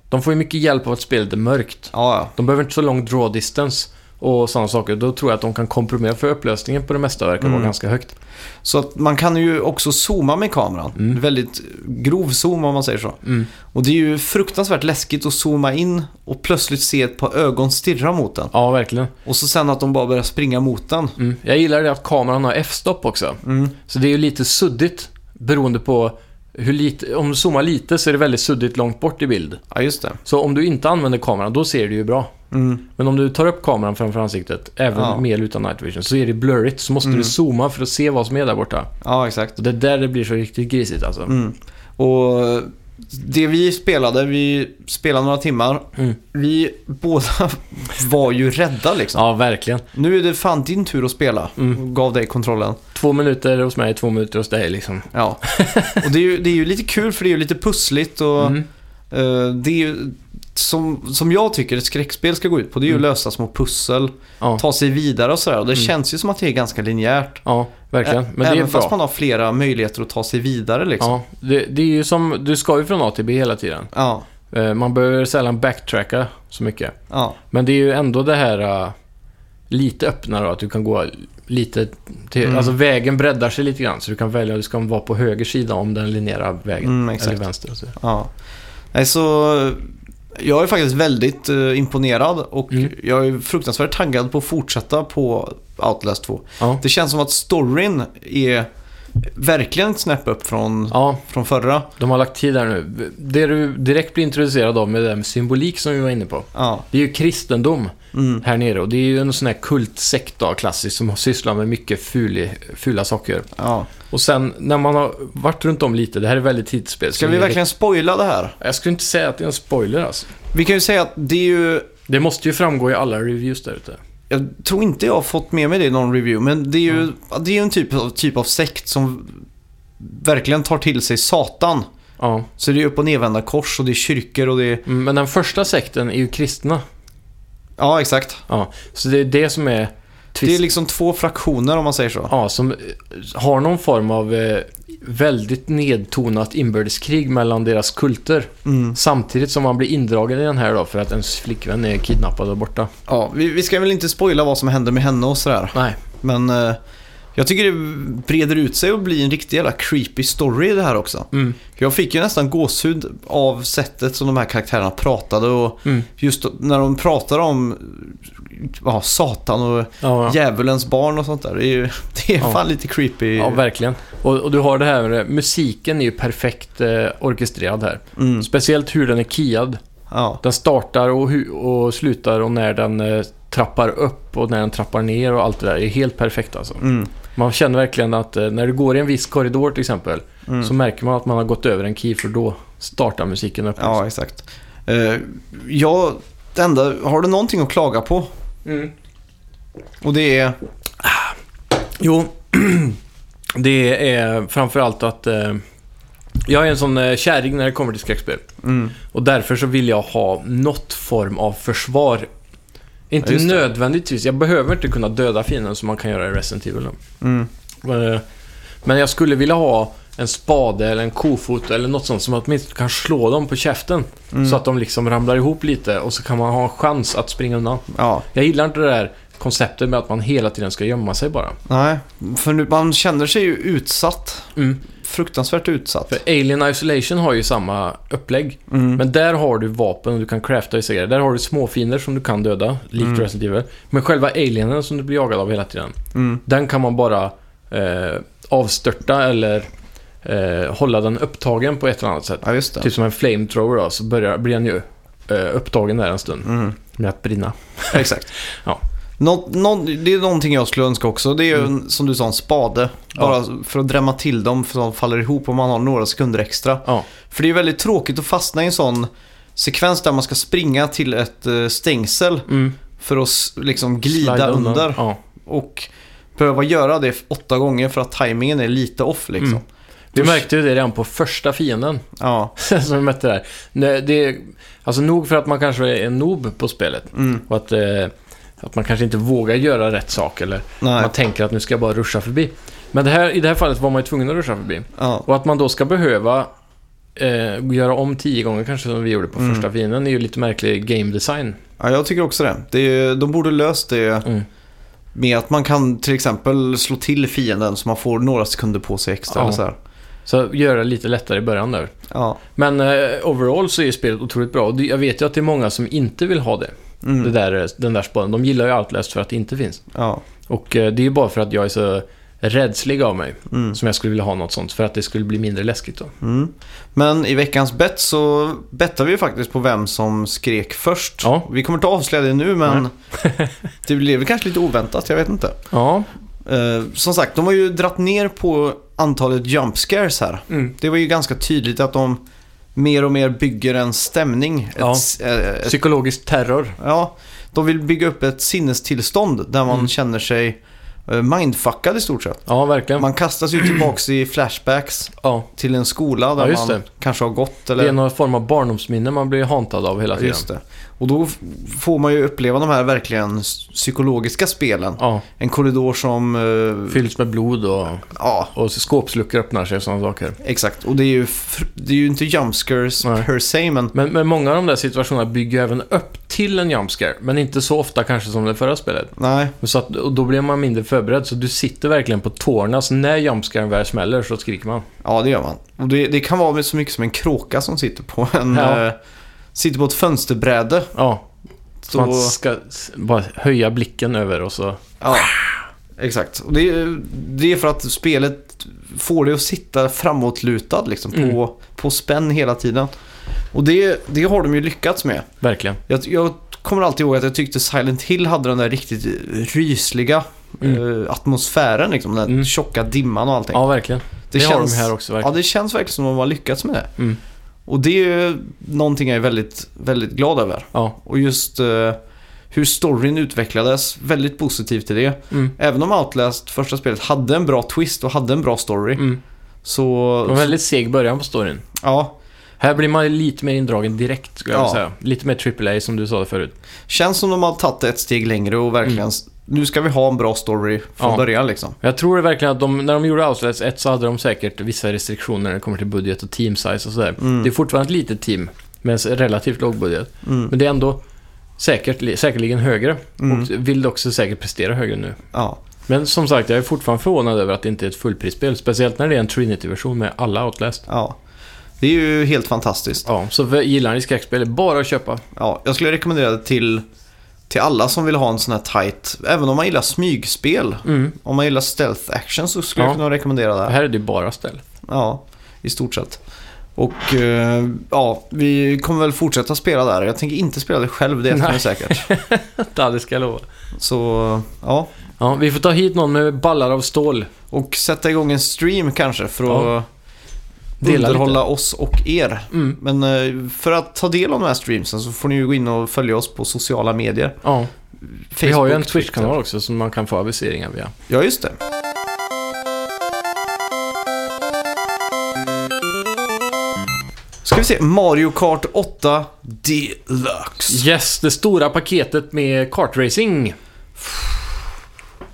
S2: De får ju mycket hjälp av att spelet är mörkt.
S1: Ja, ja.
S2: De behöver inte så lång draw distance och sådana saker. Då tror jag att de kan kompromissa för upplösningen på det mesta verkar vara
S1: Mm.
S2: ganska högt.
S1: Så att man kan ju också zooma med kameran.
S2: Mm.
S1: Väldigt grov zoom om man säger så.
S2: Mm.
S1: Och det är ju fruktansvärt läskigt att zooma in och plötsligt se ett par ögon stirra mot den.
S2: Ja, verkligen.
S1: Och så sen att de bara börjar springa mot den.
S2: Mm. Jag gillar det att kameran har f-stopp också.
S1: Mm.
S2: Så det är ju lite suddigt beroende på hur lite... Om du zoomar lite så är det väldigt suddigt långt bort i bild.
S1: Ja, just det.
S2: Så om du inte använder kameran, då ser du ju bra.
S1: Mm.
S2: Men om du tar upp kameran framför ansiktet, även
S1: Ja. Mm.
S2: med eller utan night vision, så är det blurrigt. Så måste du zooma för att se vad som är där borta.
S1: Ja, exakt.
S2: Och det är där det blir så riktigt grisigt alltså.
S1: Mm. Och Det vi spelade, vi spelade några timmar.
S2: Mm.
S1: Vi (laughs) båda var ju rädda liksom.
S2: Ja, verkligen.
S1: Nu är det fan din tur att spela.
S2: Mm.
S1: Gav dig kontrollen.
S2: Två minuter hos mig, två minuter hos dig liksom. (laughs)
S1: Ja. Och det är, ju, det är ju lite kul för det är ju lite pussligt och
S2: Mm.
S1: eh, det är ju som, som jag tycker ett skräckspel ska gå ut på. Det är ju att
S2: Mm.
S1: lösa små pussel,
S2: Ja,
S1: ta sig vidare och sådär. Och det
S2: Mm.
S1: känns ju som att det är ganska linjärt.
S2: ja, verkligen.
S1: Ä-
S2: Men det är
S1: Även fast
S2: bra.
S1: man har flera möjligheter att ta sig vidare liksom.
S2: Ja, det, det är ju som, du ska ju från A till B hela tiden.
S1: Ja.
S2: Eh, Man behöver sällan backtracka så mycket.
S1: ja.
S2: Men det är ju ändå det här eh, lite öppnare då, att du kan gå lite till,
S1: Mm.
S2: alltså vägen breddar sig lite grann så du kan välja, du ska vara på höger sida om den linjära vägen.
S1: Mm, exakt.
S2: Eller vänster. och Så.
S1: Ja. Nej, så eh, jag är faktiskt väldigt eh, imponerad och
S2: Mm.
S1: jag är fruktansvärt taggad på att fortsätta på Outlast 2.
S2: Ja.
S1: Det känns som att storyn är verkligen ett snäpp upp från,
S2: ja,
S1: från förra.
S2: de har lagt tid där nu. Det du direkt blir introducerad av med det där med symbolik som vi var inne på.
S1: Ja.
S2: Det är ju kristendom
S1: Mm.
S2: här nere och det är ju en sån här kultsekt då, klassiskt, som sysslar med mycket ful, fula saker.
S1: Ja.
S2: Och sen när man har varit runt om lite, det här är väldigt tidsspel.
S1: Ska vi verkligen spoila det här?
S2: Jag skulle inte säga att det är en spoiler alltså.
S1: Vi kan ju säga att det är ju...
S2: Det måste ju framgå i alla reviews där ute.
S1: Jag tror inte jag har fått med mig det i någon review, men det är ju det är ju en typ av, typ av sekt som verkligen tar till sig Satan.
S2: Ja,
S1: Så det är upp och nedvända kors och det är kyrkor och det är...
S2: mm, men den första sekten är ju kristna.
S1: Ja, exakt.
S2: Ja, så det är det som är twist.
S1: Det är liksom två fraktioner om man säger så.
S2: Ja, som eh, har någon form av eh, väldigt nedtonat inbördeskrig mellan deras kulter.
S1: Mm.
S2: Samtidigt som man blir indragen i den här då för att ens flickvän är kidnappad och borta.
S1: Ja, vi, vi ska väl inte spoila vad som händer med henne och sådär.
S2: Nej.
S1: Men eh, jag tycker det breder ut sig och blir en riktig jävla creepy story det här också.
S2: Mm.
S1: Jag fick ju nästan gåshud av sättet som de här karaktärerna pratade och
S2: Mm.
S1: just då- när de pratar om ja, Satan och
S2: Ja, ja.
S1: djävulens barn och sånt där. Det är, ju, (laughs) det är
S2: Ja.
S1: fan lite creepy.
S2: ja, verkligen. Och, och du har det här med det. musiken är ju perfekt eh, orkestrerad här.
S1: mm,
S2: Speciellt hur den är kiad.
S1: ja.
S2: Den startar och, hu- och slutar och när den eh, trappar upp och när den trappar ner och allt det där är helt perfekt alltså.
S1: Mm,
S2: Man känner verkligen att eh, när du går i en viss korridor till exempel
S1: mm.
S2: så märker man att man har gått över en key för då startar musiken upp.
S1: Ja, exakt. Eh, jag, det enda, har du någonting att klaga på?
S2: Mm.
S1: Och det är...
S2: Jo, (clears throat) det är framförallt att eh, jag är en sån eh, kärring när det kommer till skräckspel.
S1: Mm,
S2: Och därför så vill jag ha något form av försvar. Inte
S1: Ja, just det.
S2: nödvändigtvis, jag behöver inte kunna döda fienden som man kan göra i Resident Evil.
S1: mm,
S2: Eh, Men jag skulle vilja ha en spade eller en kofot eller något sånt som åtminstone kan slå dem på käften.
S1: mm.
S2: Så att de liksom ramlar ihop lite och så kan man ha en chans att springa undan.
S1: Ja,
S2: Jag gillar inte det där konceptet med att man hela tiden ska gömma sig bara.
S1: nej. För nu, man känner sig ju utsatt.
S2: Mm.
S1: Fruktansvärt utsatt.
S2: För Alien Isolation har ju samma upplägg.
S1: Mm,
S2: Men där har du vapen och du kan crafta i serier. Där har du småfiender som du kan döda, likt
S1: Mm.
S2: Resident Evil. Men själva alienen som du blir jagad av hela tiden,
S1: mm,
S2: den kan man bara eh, avstörta eller eh, hålla den upptagen på ett eller annat sätt.
S1: ja, just det.
S2: Typ som en flamethrower då, så börjar, blir den ju eh, upptagen där en stund (laughs)
S1: Mm.
S2: med att brinna.
S1: Exakt.
S2: Ja. Mm.
S1: Nå, nå, det är någonting jag skulle önska också. Det är ju, en- som du sa, en spade.
S2: Ja.
S1: Bara för att drämma till dem för att de faller ihop om man har några sekunder extra.
S2: Ja.
S1: För det är väldigt tråkigt att fastna i en sån sekvens där man ska springa till ett eh, stängsel
S2: Mm.
S1: för att s- liksom glida
S2: Slida undan.
S1: under.
S2: Ja.
S1: Och behöva göra det åtta gånger för att tajmingen är lite off liksom.
S2: Mm. Vi märkte ju det redan på första fienden
S1: Ja.
S2: (laughs) som vi mötte där. Nej, Det är, alltså nog för att man kanske är en noob på spelet
S1: Mm.
S2: och att, eh, att man kanske inte vågar göra rätt sak eller
S1: Nej.
S2: man tänker att nu ska jag bara ruscha förbi. Men det här, i det här fallet var man ju tvungen att ruscha förbi.
S1: Ja.
S2: Och att man då ska behöva eh, göra om tio gånger kanske som vi gjorde på
S1: Mm.
S2: första fienden är ju lite märklig game design.
S1: ja, jag tycker också det. det är, de borde löst det
S2: Mm.
S1: med att man kan till exempel slå till fienden så man får några sekunder på sig extra.
S2: Ja.
S1: Eller så här.
S2: Så göra det lite lättare i början där.
S1: Ja.
S2: Men eh, overall så är ju spelet otroligt bra. Och det- jag vet ju att det är många som inte vill ha det.
S1: Mm.
S2: det där, eh, den där spaden. De gillar ju Outlast för att det inte finns.
S1: ja.
S2: Och eh, det är ju bara för att jag är så rädslig av mig
S1: Mm.
S2: som jag skulle vilja ha något sånt. För att det skulle bli mindre läskigt då.
S1: Mm. Men i veckans bett så bettar vi ju faktiskt på vem som skrek först.
S2: Ja.
S1: Vi kommer inte avslöja det nu men (laughs) det blev väl kanske lite oväntat, jag vet inte.
S2: Ja.
S1: Eh, som sagt, de har ju dratt ner på antalet jump scares här.
S2: Mm.
S1: Det var ju ganska tydligt att de mer och mer bygger en stämning.
S2: Ja.
S1: Ett, eh, ett,
S2: Psykologisk terror.
S1: ja, de vill bygga upp ett sinnestillstånd där man
S2: Mm.
S1: känner sig eh, mindfuckad i stort sett.
S2: Ja, verkligen.
S1: Man kastas ju tillbaks i flashbacks
S2: Ja.
S1: till en skola där
S2: Ja, just
S1: man
S2: det.
S1: kanske har gått eller...
S2: Det är någon form av barndomsminne man blir hantad av hela tiden.
S1: Just det. Och då f- får man ju uppleva de här verkligen s- psykologiska spelen.
S2: Ja,
S1: En korridor som... eh,
S2: fylls med blod och,
S1: ja,
S2: och skåpsluckor öppnar sig och sådana saker.
S1: exakt. Och det är ju, fr- det är ju inte jumpscares
S2: Nej.
S1: per se, men
S2: Men, men många av de där situationerna bygger även upp till en jumpscare, men inte så ofta kanske som det förra spelet.
S1: nej.
S2: Så att, och då blir man mindre förberedd, så du sitter verkligen på tårna. Så när jumpscaren väl smäller så skriker man.
S1: Ja, det gör man. Och det, det kan vara så mycket som en kråka som sitter på en...
S2: Ja.
S1: eh, sitter på ett fönsterbräde.
S2: Ja, så
S1: Så,
S2: man ska s- bara höja blicken över och så...
S1: ja, exakt. Och det, är- det är för att spelet får dig att sitta framåtlutad liksom, på,
S2: Mm.
S1: på spänn hela tiden. Och det, det har de ju lyckats med.
S2: Verkligen.
S1: Jag, jag kommer alltid ihåg att jag tyckte Silent Hill hade den där riktigt rysliga eh, atmosfären. Liksom, den där
S2: Mm.
S1: tjocka dimman och allting.
S2: Ja, verkligen. Det, har de här också.
S1: Ja,
S2: Verkligen.
S1: det känns verkligen som att de har lyckats med det.
S2: Mm.
S1: Och det är ju någonting jag är väldigt, väldigt glad över.
S2: Ja.
S1: Och just eh, hur storyn utvecklades, väldigt positivt till det.
S2: Mm.
S1: Även om Outlast, första spelet, hade en bra twist och hade en bra story.
S2: Mm.
S1: Så,
S2: Det var en väldigt seg början på storyn.
S1: ja.
S2: Här blir man ju lite mer indragen direkt, skulle jag
S1: Ja.
S2: vilja säga. Lite mer AAA, som du sa det förut.
S1: Känns som de har tagit det ett steg längre och verkligen, nu ska vi ha en bra story från
S2: Mm. Ja.
S1: början liksom.
S2: Jag tror verkligen att de, när de gjorde Outlets 1 så hade de säkert vissa restriktioner när det kommer till budget och team size och sådär.
S1: Mm.
S2: Det är fortfarande ett litet team med en s- relativt låg budget.
S1: Mm.
S2: Men det är ändå säkert, säkerligen högre
S1: Mm.
S2: och vill också säkert prestera högre nu.
S1: Ja.
S2: Men som sagt, jag är fortfarande förvånad över att det inte är ett fullprisspel. Speciellt när det är en Trinity-version med alla Outlast.
S1: ja. Det är ju helt fantastiskt.
S2: Ja, så för, gillar ni skräckspel, det är bara att köpa.
S1: Ja, jag skulle rekommendera det till, till alla som vill ha en sån här tight, även om man gillar smygspel.
S2: Mm.
S1: Om man gillar stealth action så skulle
S2: Ja.
S1: jag kunna rekommendera det. Här.
S2: Här är det bara ställ.
S1: Ja, i stort sett. Och eh, ja, vi kommer väl fortsätta spela där. Jag tänker inte spela det själv,
S2: (laughs)
S1: det är
S2: Nej.
S1: jag säkert.
S2: (laughs) Ja, det ska jag lova.
S1: Så ja,
S2: Ja, vi får ta hit någon med ballar av stål.
S1: och sätta igång en stream kanske för att
S2: Dela
S1: underhålla oss och er.
S2: Mm.
S1: Men eh, för att ta del av de här streamsen så får ni ju gå in och följa oss på sociala medier.
S2: Ja.
S1: Facebook,
S2: Vi har ju en
S1: Twitter.
S2: Twitch-kanal också som man kan få aviseringar via.
S1: Ja, just det. Ska vi se, Mario Kart 8 Deluxe.
S2: Yes, det stora paketet med kartracing.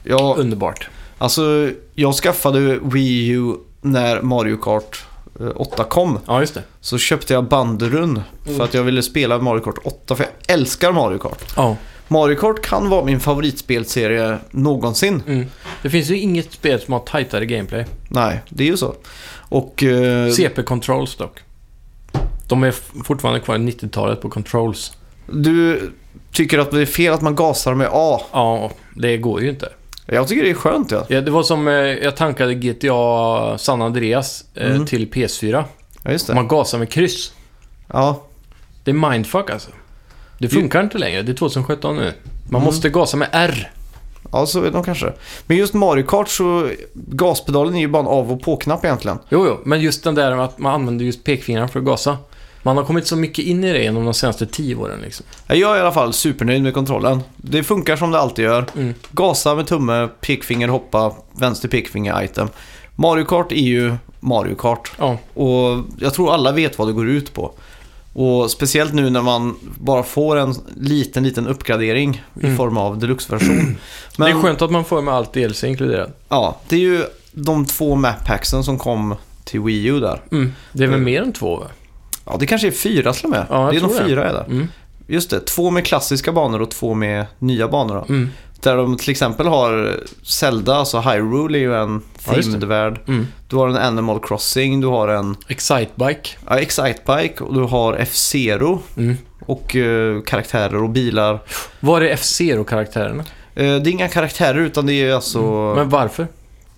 S1: Ja,
S2: Underbart.
S1: alltså jag skaffade Wii U när Mario Kart eh, 8 kom.
S2: Ja, just det.
S1: Så köpte jag bandrun
S2: Mm.
S1: för att jag ville spela Mario Kart 8 för jag älskar Mario Kart.
S2: Ja.
S1: Mario Kart kan vara min favoritspelserie någonsin.
S2: Mm. Det finns ju inget spel som har tajtare gameplay.
S1: Nej, det är ju så. Och... eh,
S2: CP Controls dock. De är f- fortfarande kvar i 90-talet på Controls.
S1: Du tycker att det är fel att man gasar med A.
S2: Ja, det går ju inte.
S1: Jag tycker det är skönt ja.
S2: Ja, det var som eh, jag tankade GTA San Andreas eh,
S1: Mm.
S2: till PS4.
S1: Ja, just det.
S2: Man gasar med kryss.
S1: Ja,
S2: Det är mindfuck alltså. Det funkar inte längre. Det är 2017 nu. Man
S1: Mm.
S2: måste gasa med R.
S1: ja, så är de kanske. Men just Mario Kart så gaspedalen är ju bara en av och på-knapp egentligen.
S2: Jo, jo, men just den där med att man använder just pekfingrarna för att gasa. Man har kommit så mycket in i det genom de senaste tio åren liksom.
S1: Jag är i alla fall supernöjd med kontrollen. Det funkar som det alltid gör.
S2: Mm.
S1: Gasa med tumme, pekfinger, hoppa, vänster pekfinger, item. Mario Kart är ju Mario Kart.
S2: Ja,
S1: Och jag tror alla vet vad det går ut på. Och speciellt nu när man bara får en liten, liten uppgradering i
S2: Mm.
S1: form av deluxe-version. Men-
S2: (clears throat) det är skönt att man får med allt DLC inkluderat.
S1: Ja, det är ju de två map-packsen som kom till Wii U där.
S2: Mm. Det är väl
S1: Mm.
S2: mer än två? va?
S1: Ja, det kanske är fyra till och med.
S2: Ja, jag
S1: det är
S2: tror
S1: nog
S2: det.
S1: fyra är det.
S2: Mm.
S1: Just det, två med klassiska banor och två med nya banor. Då.
S2: Mm.
S1: Där de till exempel har Zelda, alltså Hyrule är ju en
S2: Ja, just det.
S1: themed värld.
S2: Mm.
S1: Du har en Animal Crossing, du har en
S2: Excitebike.
S1: ja, Excitebike och du har F-Zero
S2: Mm.
S1: och eh, karaktärer och bilar.
S2: Var är FC då karaktärerna?
S1: Eh, det är inga karaktärer utan det är alltså...
S2: Mm. Men varför?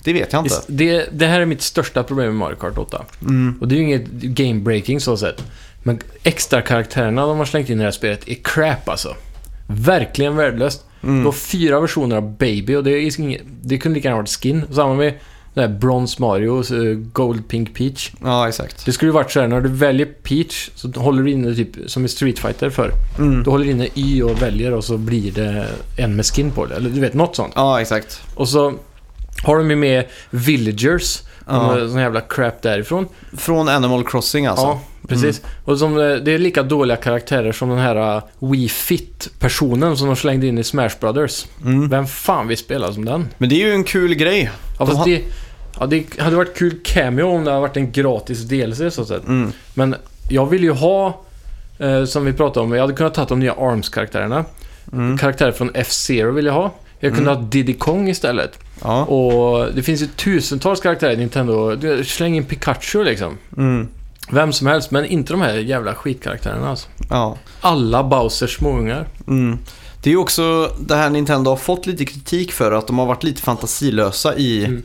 S1: Det vet jag inte.
S2: Is- Det, det här är mitt största problem med Mario Kart 8.
S1: Mm.
S2: Och det är ju inget game-breaking så sett. Men extra karaktärerna de har slängt in i det här spelet är crap alltså. Verkligen
S1: Mm.
S2: värdelöst. Det var fyra versioner av Baby och det, är inget, det kunde lika gärna varit skin. Samma med Det här Bronze Mario och så eh, Gold Pink Peach.
S1: Ja, exakt.
S2: Det skulle ju varit så här, när du väljer Peach så håller du inne typ som i Street Fighter för.
S1: Mm.
S2: Du håller inne Y och väljer och så blir det en med skin på det. Eller du vet, något sånt.
S1: Ja, exakt.
S2: Och så har de ju med Villagers.
S1: Ja.
S2: Sån jävla crap därifrån.
S1: Från Animal Crossing alltså.
S2: Ja, precis. Och som, eh, det är lika dåliga karaktärer som den här eh, Wii Fit-personen som de slängde in i Smash Brothers.
S1: Mm.
S2: Vem fan vill spela som den?
S1: Men det är ju en kul grej.
S2: Ja,
S1: De
S2: fast
S1: ha-
S2: det, ja, det hade varit kul cameo om det hade varit en gratis DLC så att säga.
S1: Mm.
S2: Men jag vill ju ha, eh, som vi pratade om, jag hade kunnat ta de nya ARMS-karaktärerna.
S1: Mm.
S2: Karaktärer från F-Zero vill jag ha. Jag kunde ha Diddy Kong istället.
S1: Ja.
S2: Och det finns ju tusentals karaktärer i Nintendo. Du, Släng in Pikachu liksom.
S1: Mm.
S2: Vem som helst, men inte de här jävla skitkaraktärerna alltså.
S1: ja.
S2: Alla Bowsers småungar.
S1: Mm. Det är ju också det här Nintendo har fått lite kritik för att de har varit lite fantasilösa i
S2: Mm.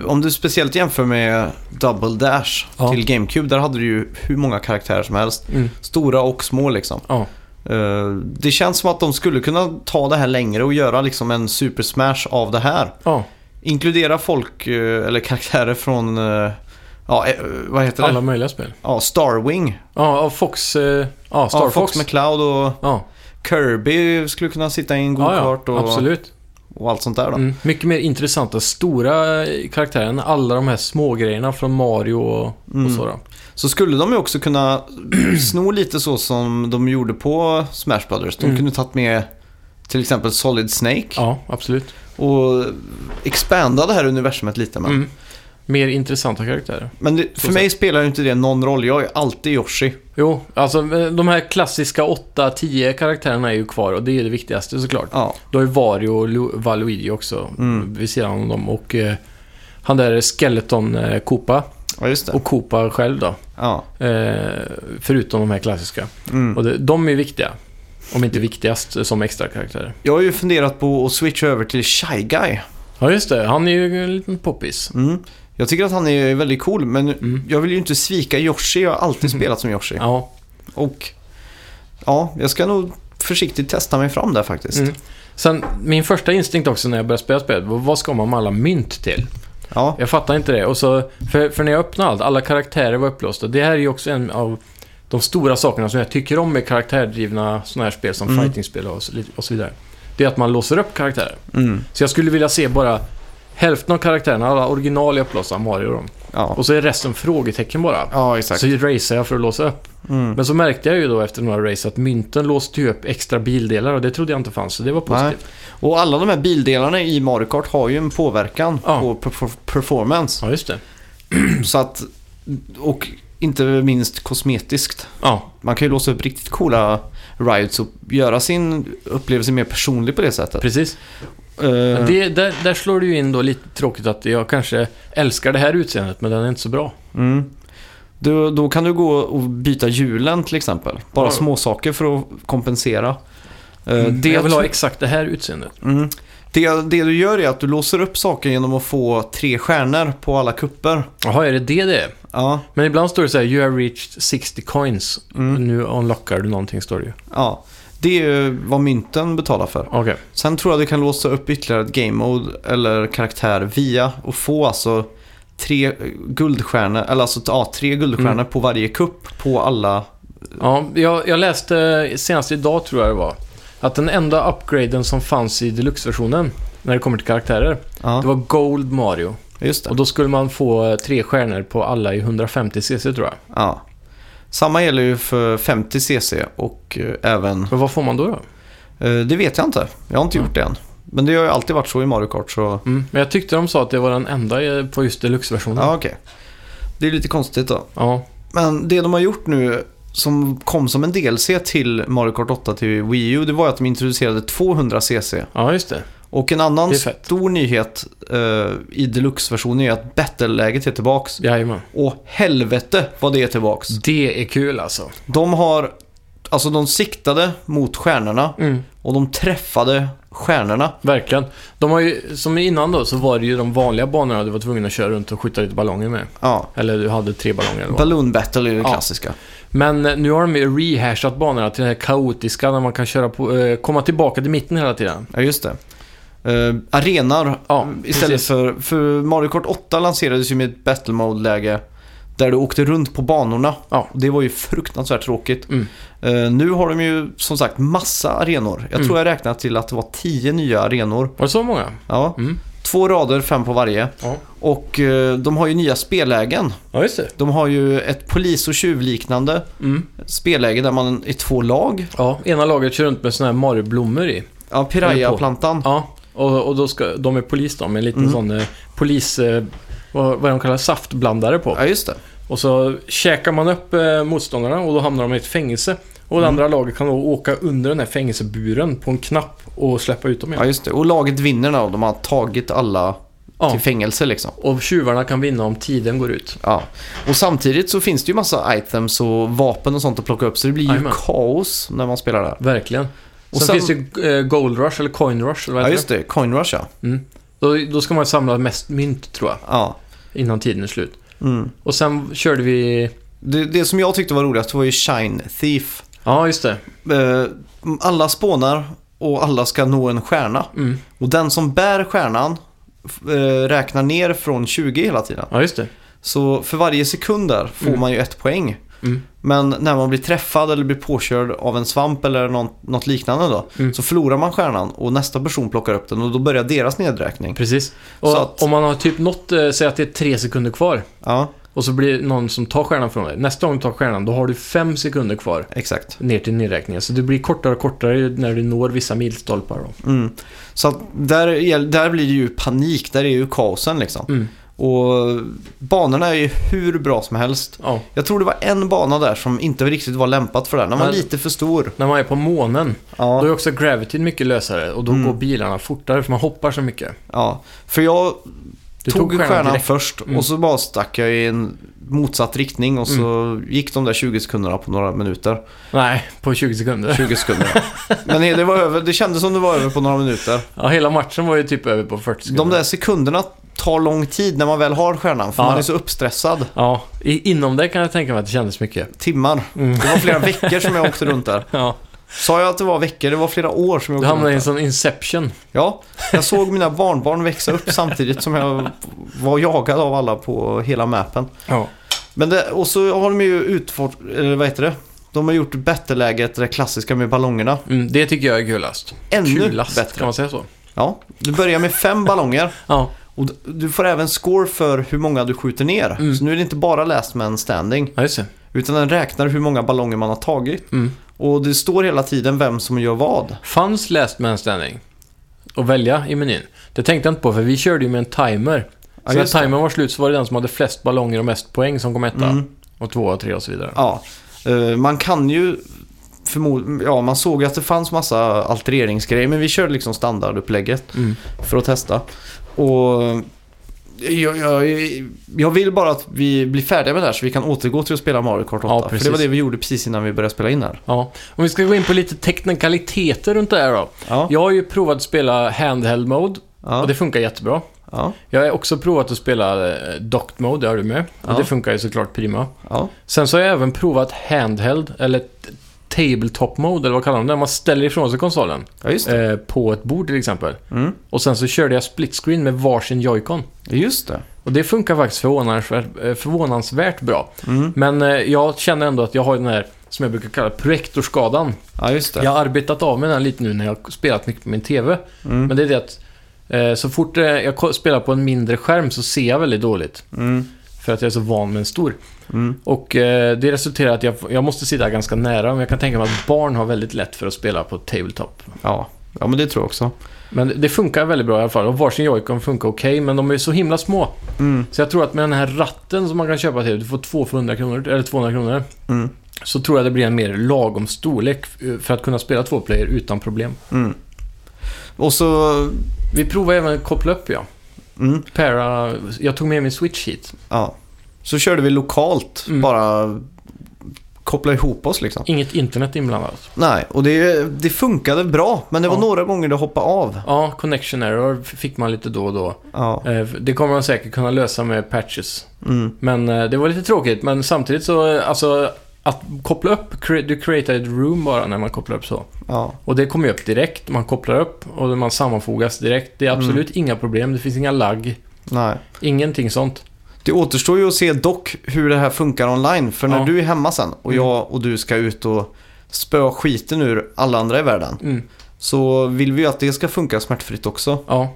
S1: eh, om du speciellt jämför med Double Dash
S2: Ja.
S1: till GameCube, där hade du ju hur många karaktärer som helst.
S2: Mm.
S1: Stora och små liksom.
S2: Ja.
S1: Eh, det känns som att de skulle kunna ta det här längre och göra liksom en Super Smash av det här.
S2: ja,
S1: Inkludera folk, eh, eller karaktärer från, eh, ja, eh, vad heter det?
S2: alla möjliga spel.
S1: Ja, Starwing.
S2: Ja, och Fox... eh, Ja, Star
S1: ja, Fox,
S2: Fox.
S1: McCloud och
S2: Ja,
S1: Kirby skulle kunna sitta i en
S2: ja, ja
S1: go-kart och,
S2: absolut.
S1: och allt sånt där då.
S2: Mm. Mycket mer intressanta, stora eh, karaktärer än alla de här små grejerna från Mario och, och
S1: Mm.
S2: så. Då.
S1: Så skulle de ju också kunna (clears throat) sno lite så som de gjorde på Smash Brothers. De
S2: Mm.
S1: kunde tagit med till exempel Solid Snake
S2: Ja, absolut.
S1: och expanda det här universumet lite. Men,
S2: Mm. Mer intressanta karaktärer.
S1: men det, för
S2: Så
S1: mig spelar ju inte det någon roll. Jag är alltid Yoshi.
S2: Jo, alltså eh, de här klassiska 8-10 karaktärerna är ju kvar och det är det viktigaste såklart.
S1: Ja,
S2: Du har ju Wario och Lu- Waluigi också
S1: Mm.
S2: vid sidan om dem och eh, han där Skeleton eh, Koopa
S1: ja just det.
S2: och Koopa själv då.
S1: Ja.
S2: Eh, förutom de här klassiska.
S1: Mm.
S2: Och det, de är viktiga. Om inte viktigast eh, som extra karaktärer.
S1: Jag har ju funderat på att switcha över till Shy Guy.
S2: Ja, just det. Han är ju en liten poppis.
S1: Mm. Jag tycker att han är väldigt cool, men
S2: Mm.
S1: jag vill ju inte svika Yoshi. Jag har alltid spelat som Yoshi.
S2: Ja.
S1: Och ja, jag ska nog försiktigt testa mig fram där faktiskt.
S2: Mm. Sen, min första instinkt också när jag började spela spel var vad ska man med alla mynt till?
S1: Ja.
S2: Jag fattar inte det. Och så, för, för när jag öppnade allt, alla karaktärer var upplåsta. Det här är ju också en av de stora sakerna som jag tycker om med karaktärdrivna sådana här spel som
S1: Mm.
S2: fightingspel och så, och så vidare. Det är att man låser upp karaktärer.
S1: Mm.
S2: Så jag skulle vilja se bara hälften av karaktärerna, alla original är upplåsta, Mario och dem.
S1: Ja.
S2: Och så är resten frågetecken bara.
S1: ja, exakt.
S2: Så racear jag för att låsa upp.
S1: Mm.
S2: Men så märkte jag ju då efter några race att mynten låste ju upp extra bildelar och det trodde jag inte fanns, så det var positivt.
S1: Och alla de här bildelarna i Mario Kart har ju en påverkan
S2: Ja. Mm.
S1: på perf- performance.
S2: Ja, just det.
S1: Så att, och inte minst kosmetiskt.
S2: Ja,
S1: Man kan ju låsa upp riktigt coola rides och göra sin upplevelse mer personlig på det sättet.
S2: precis.
S1: Eh,
S2: Men det, där, där slår du ju in då lite tråkigt att jag kanske älskar det här utseendet, men den är inte så bra.
S1: Mm. Då, då kan du gå och byta hjulen till exempel. Bara
S2: Ja.
S1: små saker för att kompensera. Eh,
S2: Det jag vill ha
S1: tror-
S2: exakt det här utseendet.
S1: mm. det, det du gör är att du låser upp saker genom att få tre stjärnor på alla kupper.
S2: Jaha, är det det det är?
S1: Ja,
S2: Men ibland står det så här, you have reached 60 coins.
S1: Mm.
S2: Nu unlockar du någonting, står det ju.
S1: ja. Det är ju vad mynten betalar för.
S2: Okej.
S1: Sen tror jag du kan låsa upp ytterligare ett game mode eller karaktär via och få alltså tre eh, guldstjärnor, eller alltså ja, tre guldstjärnor
S2: Mm.
S1: på varje kupp på alla.
S2: Ja, jag, jag läste senast idag, tror jag det var, att den enda upgraden som fanns i deluxe-versionen, när det kommer till karaktärer,
S1: Ja,
S2: det var Gold Mario.
S1: just det.
S2: Och då skulle man få eh, tre stjärnor på alla i 150 cc, tror jag.
S1: Ja. Samma gäller ju för 50 cc och eh, även...
S2: Men vad får man då? då?
S1: Eh, det vet jag inte. Jag har inte gjort det än. Men det har ju alltid varit så i Mario Kart så...
S2: Mm. Men jag tyckte de sa att det var den enda eh, på just deluxe-versionen.
S1: Ja, okej. Det är lite konstigt då.
S2: Ja.
S1: Men det de har gjort nu som kom som en DLC till Mario Kart 8 till Wii U, det var ju att de introducerade 200 cc.
S2: ja, just det.
S1: Och en annan
S2: Det är fett.
S1: stor nyhet eh, i deluxe-versionen är att battle-läget är tillbaks.
S2: Jajamän.
S1: Och helvete vad det är tillbaks.
S2: Det är kul alltså.
S1: De har... Alltså de siktade mot stjärnorna
S2: Mm.
S1: och de träffade stjärnorna.
S2: Verkligen. De har ju, som innan då, så var det ju de vanliga banorna du var tvungen att köra runt och skjuta lite ballonger med.
S1: Ja.
S2: Eller du hade tre ballonger eller vad.
S1: Balloon Battle är det
S2: Ja.
S1: klassiska.
S2: Men eh, nu har de ju rehashat banorna till den här kaotiska, när man kan köra på, eh, komma tillbaka till mitten hela tiden.
S1: Ja, just det. eh, arenor.
S2: Ja,
S1: Istället
S2: precis.
S1: för, för Mario Kart 8 lanserades ju med ett battle mode-läge där du åkte runt på banorna.
S2: Ja.
S1: Och Det var ju fruktansvärt tråkigt.
S2: Mm.
S1: Eh, nu har de ju som sagt massa arenor. Jag
S2: Mm.
S1: tror jag räknat till att det var tio nya arenor.
S2: Var det så många?
S1: Ja.
S2: Mm.
S1: Två rader, fem på varje.
S2: Ja.
S1: Och eh, de har ju nya spellägen.
S2: Ja, just det.
S1: De har ju ett polis och tjuvliknande
S2: Mm.
S1: spelläge där man är två lag.
S2: Ja, ena laget kör runt med såna här Mario-blommor i.
S1: Ja, Piraya-plantan.
S2: Ja, och, och då ska, de är polis då, med en liten
S1: Mm.
S2: sån eh, polis... Eh, vad, vad de kallar saftblandare på.
S1: Ja, just det.
S2: Och så käkar man upp eh, motståndarna och då hamnar de i ett fängelse. Och
S1: Mm.
S2: det andra laget kan då åka under den här fängelseburen på en knapp och släppa ut dem
S1: Ja,
S2: igen.
S1: just det. Och laget vinner då. De har tagit alla
S2: Ja,
S1: till fängelse liksom.
S2: och tjuvarna kan vinna om tiden går ut.
S1: Ja. Och samtidigt så finns det ju massa items och vapen och sånt att plocka upp. Så det blir ju
S2: Jajamän.
S1: kaos när man spelar där.
S2: Verkligen.
S1: Och
S2: Och
S1: sen-
S2: sen, finns det eh, Gold Rush eller Coin Rush. Eller vad
S1: Ja,
S2: heter
S1: just det. Coin Rush, ja.
S2: det? Mm. Då, då ska man samla mest mynt tror jag,
S1: ja.
S2: innan tiden är slut.
S1: Mm.
S2: Och sen körde vi...
S1: Det, det som jag tyckte var roligast var ju Shine Thief.
S2: Ja, just det.
S1: Eh, Alla spånar och alla ska nå en stjärna.
S2: Mm.
S1: Och den som bär stjärnan f- eh, räknar ner från 20 hela tiden.
S2: Ja, just det.
S1: Så för varje sekund där får
S2: Mm.
S1: man ju ett poäng.
S2: Mm.
S1: Men när man blir träffad eller blir påkörd av en svamp eller något, något liknande då,
S2: Mm.
S1: så förlorar man stjärnan och nästa person plockar upp den och då börjar deras nedräkning.
S2: Precis. Och
S1: Så att-
S2: om man har typ nått, eh, säg att det är tre sekunder kvar.
S1: Ja,
S2: Och så blir det någon som tar stjärnan från dig. Nästa gång du tar stjärnan, då har du fem sekunder kvar
S1: exakt.
S2: ner till nedräkningen. Så det blir kortare och kortare när du når vissa milstolpar. Då.
S1: Mm. Så att där, gäll- där blir det ju panik, där är ju kaosen liksom.
S2: Mm.
S1: Och banorna är ju hur bra som helst.
S2: Ja.
S1: Jag tror det var en bana där som inte riktigt var lämpat för det här. Den var
S2: Men-
S1: lite för stor.
S2: När man är på månen, då
S1: Ja,
S2: är också gravityn mycket lösare och då går bilarna fortare för man hoppar så mycket.
S1: ja. För jag
S2: Du
S1: tog, stjärnan,
S2: direkt.
S1: först
S2: Mm.
S1: och så bara stack jag i en motsatt riktning och så
S2: Mm.
S1: gick de där 20 sekunderna på några minuter.
S2: Nej, på 20 sekunder.
S1: 20 sekunder. Men det, var över, det kändes som det var över på några minuter.
S2: (laughs) Ja, hela matchen var ju typ över på 40 sekunder.
S1: De där sekunderna tar lång tid när man väl har stjärnan för
S2: Ja.
S1: man är så uppstressad.
S2: Ja, i, inom det kan jag tänka mig att det kändes mycket.
S1: Timmar.
S2: Mm.
S1: Det var flera veckor som jag åkte runt där.
S2: Ja,
S1: Sa jag att det var veckor? Det var flera år som jag
S2: du
S1: åkte
S2: hamnade i en
S1: runt där.
S2: sån inception.
S1: Ja, jag såg mina barnbarn växa upp samtidigt som jag var jagad av alla på hela mappen.
S2: Ja.
S1: Men det, och så har de ju utfört, eller vad heter det? De har gjort bättre-läget, det klassiska med ballongerna.
S2: Mm, det tycker jag är kulast.
S1: Ännu
S2: Kulast, kan
S1: bättre.
S2: man säga så?
S1: Ja, du börjar med fem ballonger
S2: Ja,
S1: och d- du får även score för hur många du skjuter ner.
S2: Mm.
S1: Så nu är det inte bara last man standing,
S2: ja just det.
S1: utan den räknar hur många ballonger man har tagit.
S2: Mm.
S1: Och det står hela tiden vem som gör vad.
S2: Fanns last man standing att välja i menyn? Det tänkte jag inte på, för vi körde ju med en timer.
S1: Ja,
S2: så när
S1: just det.
S2: timern var slut så var det den som hade flest ballonger och mest poäng som kom etta.
S1: Mm.
S2: Och tvåa, trea och så vidare.
S1: Ja, eh, man kan ju förmod- ja, man såg ju att det fanns massa altereringsgrejer, men vi körde liksom standardupplägget.
S2: Mm.
S1: för att testa. Och jag, jag, jag vill bara att vi blir färdiga med det här så vi kan återgå till att spela Mario Kart 8.
S2: Ja,
S1: för
S2: precis.
S1: det var det vi gjorde precis innan vi började spela in här.
S2: Ja. Om vi ska gå in på lite teknikaliteter runt det här då.
S1: Ja,
S2: Jag har ju provat att spela handheld mode
S1: ja,
S2: och det funkar jättebra.
S1: ja,
S2: Jag har också provat att spela eh, docked mode, det har du med.
S1: Ja.
S2: Och det funkar ju såklart prima.
S1: ja,
S2: Sen så har jag även provat handheld, eller t- tabletop mode, eller vad kallar de det? När man ställer ifrån sig konsolen.
S1: ja, just det.
S2: Eh, på ett bord till exempel.
S1: Mm,
S2: Och sen så körde jag split screen med varsin joycon.
S1: just det.
S2: Och det funkar faktiskt förvånansvärt, eh, förvånansvärt bra.
S1: Mm,
S2: Men eh, jag känner ändå att jag har den här, som jag brukar kalla projektorskadan.
S1: ja, just det.
S2: Jag har arbetat av med den lite nu när jag har spelat mycket på min TV.
S1: Mm,
S2: Men det är det att eh, så fort eh, jag ko- spelar på en mindre skärm så ser jag väldigt dåligt.
S1: mm,
S2: För att jag är så van med en stor.
S1: mm.
S2: Och eh, det resulterar i att jag, jag måste sitta ganska nära. Men jag kan tänka mig att barn har väldigt lätt för att spela på tabletop.
S1: Ja. ja, men det tror jag också.
S2: Men det- det funkar väldigt bra i alla fall. Och varsin joycon funkar okej, men de är så himla små.
S1: Mm,
S2: Så jag tror att med den här ratten som man kan köpa till, du får 2 för 100 kronor, eller 200 kronor.
S1: mm,
S2: Så tror jag det blir en mer lagom storlek eh, för att kunna spela två player utan problem.
S1: mm. Och så...
S2: Vi provar även att koppla upp ja.
S1: Mm,
S2: Para, jag tog med min switch hit.
S1: ja. Så körde vi lokalt,
S2: Mm.
S1: bara koppla ihop oss liksom.
S2: Inget internet inblandat.
S1: Nej, och det, det funkade bra, men det var
S2: Ja.
S1: några gånger det hoppade av.
S2: Ja, connection error f- fick man lite då och då.
S1: Ja,
S2: Eh, Det kommer man säkert kunna lösa med patches.
S1: mm.
S2: Men eh, det var lite tråkigt, men samtidigt så, eh, alltså, att koppla upp, cre- du creatar ett room bara när man kopplar upp så.
S1: Ja.
S2: Och det kommer ju upp direkt, man kopplar upp och man sammanfogas direkt. Det är
S1: Mm.
S2: absolut inga problem, det finns inga lagg,
S1: Nej.
S2: ingenting sånt.
S1: Det återstår ju att se dock hur det här funkar online. För när
S2: Ja.
S1: du är hemma sen och
S2: Mm.
S1: jag och du ska ut och spöa skiten ur alla andra i världen.
S2: Mm.
S1: Så vill vi ju att det ska funka smärtfritt också.
S2: Ja,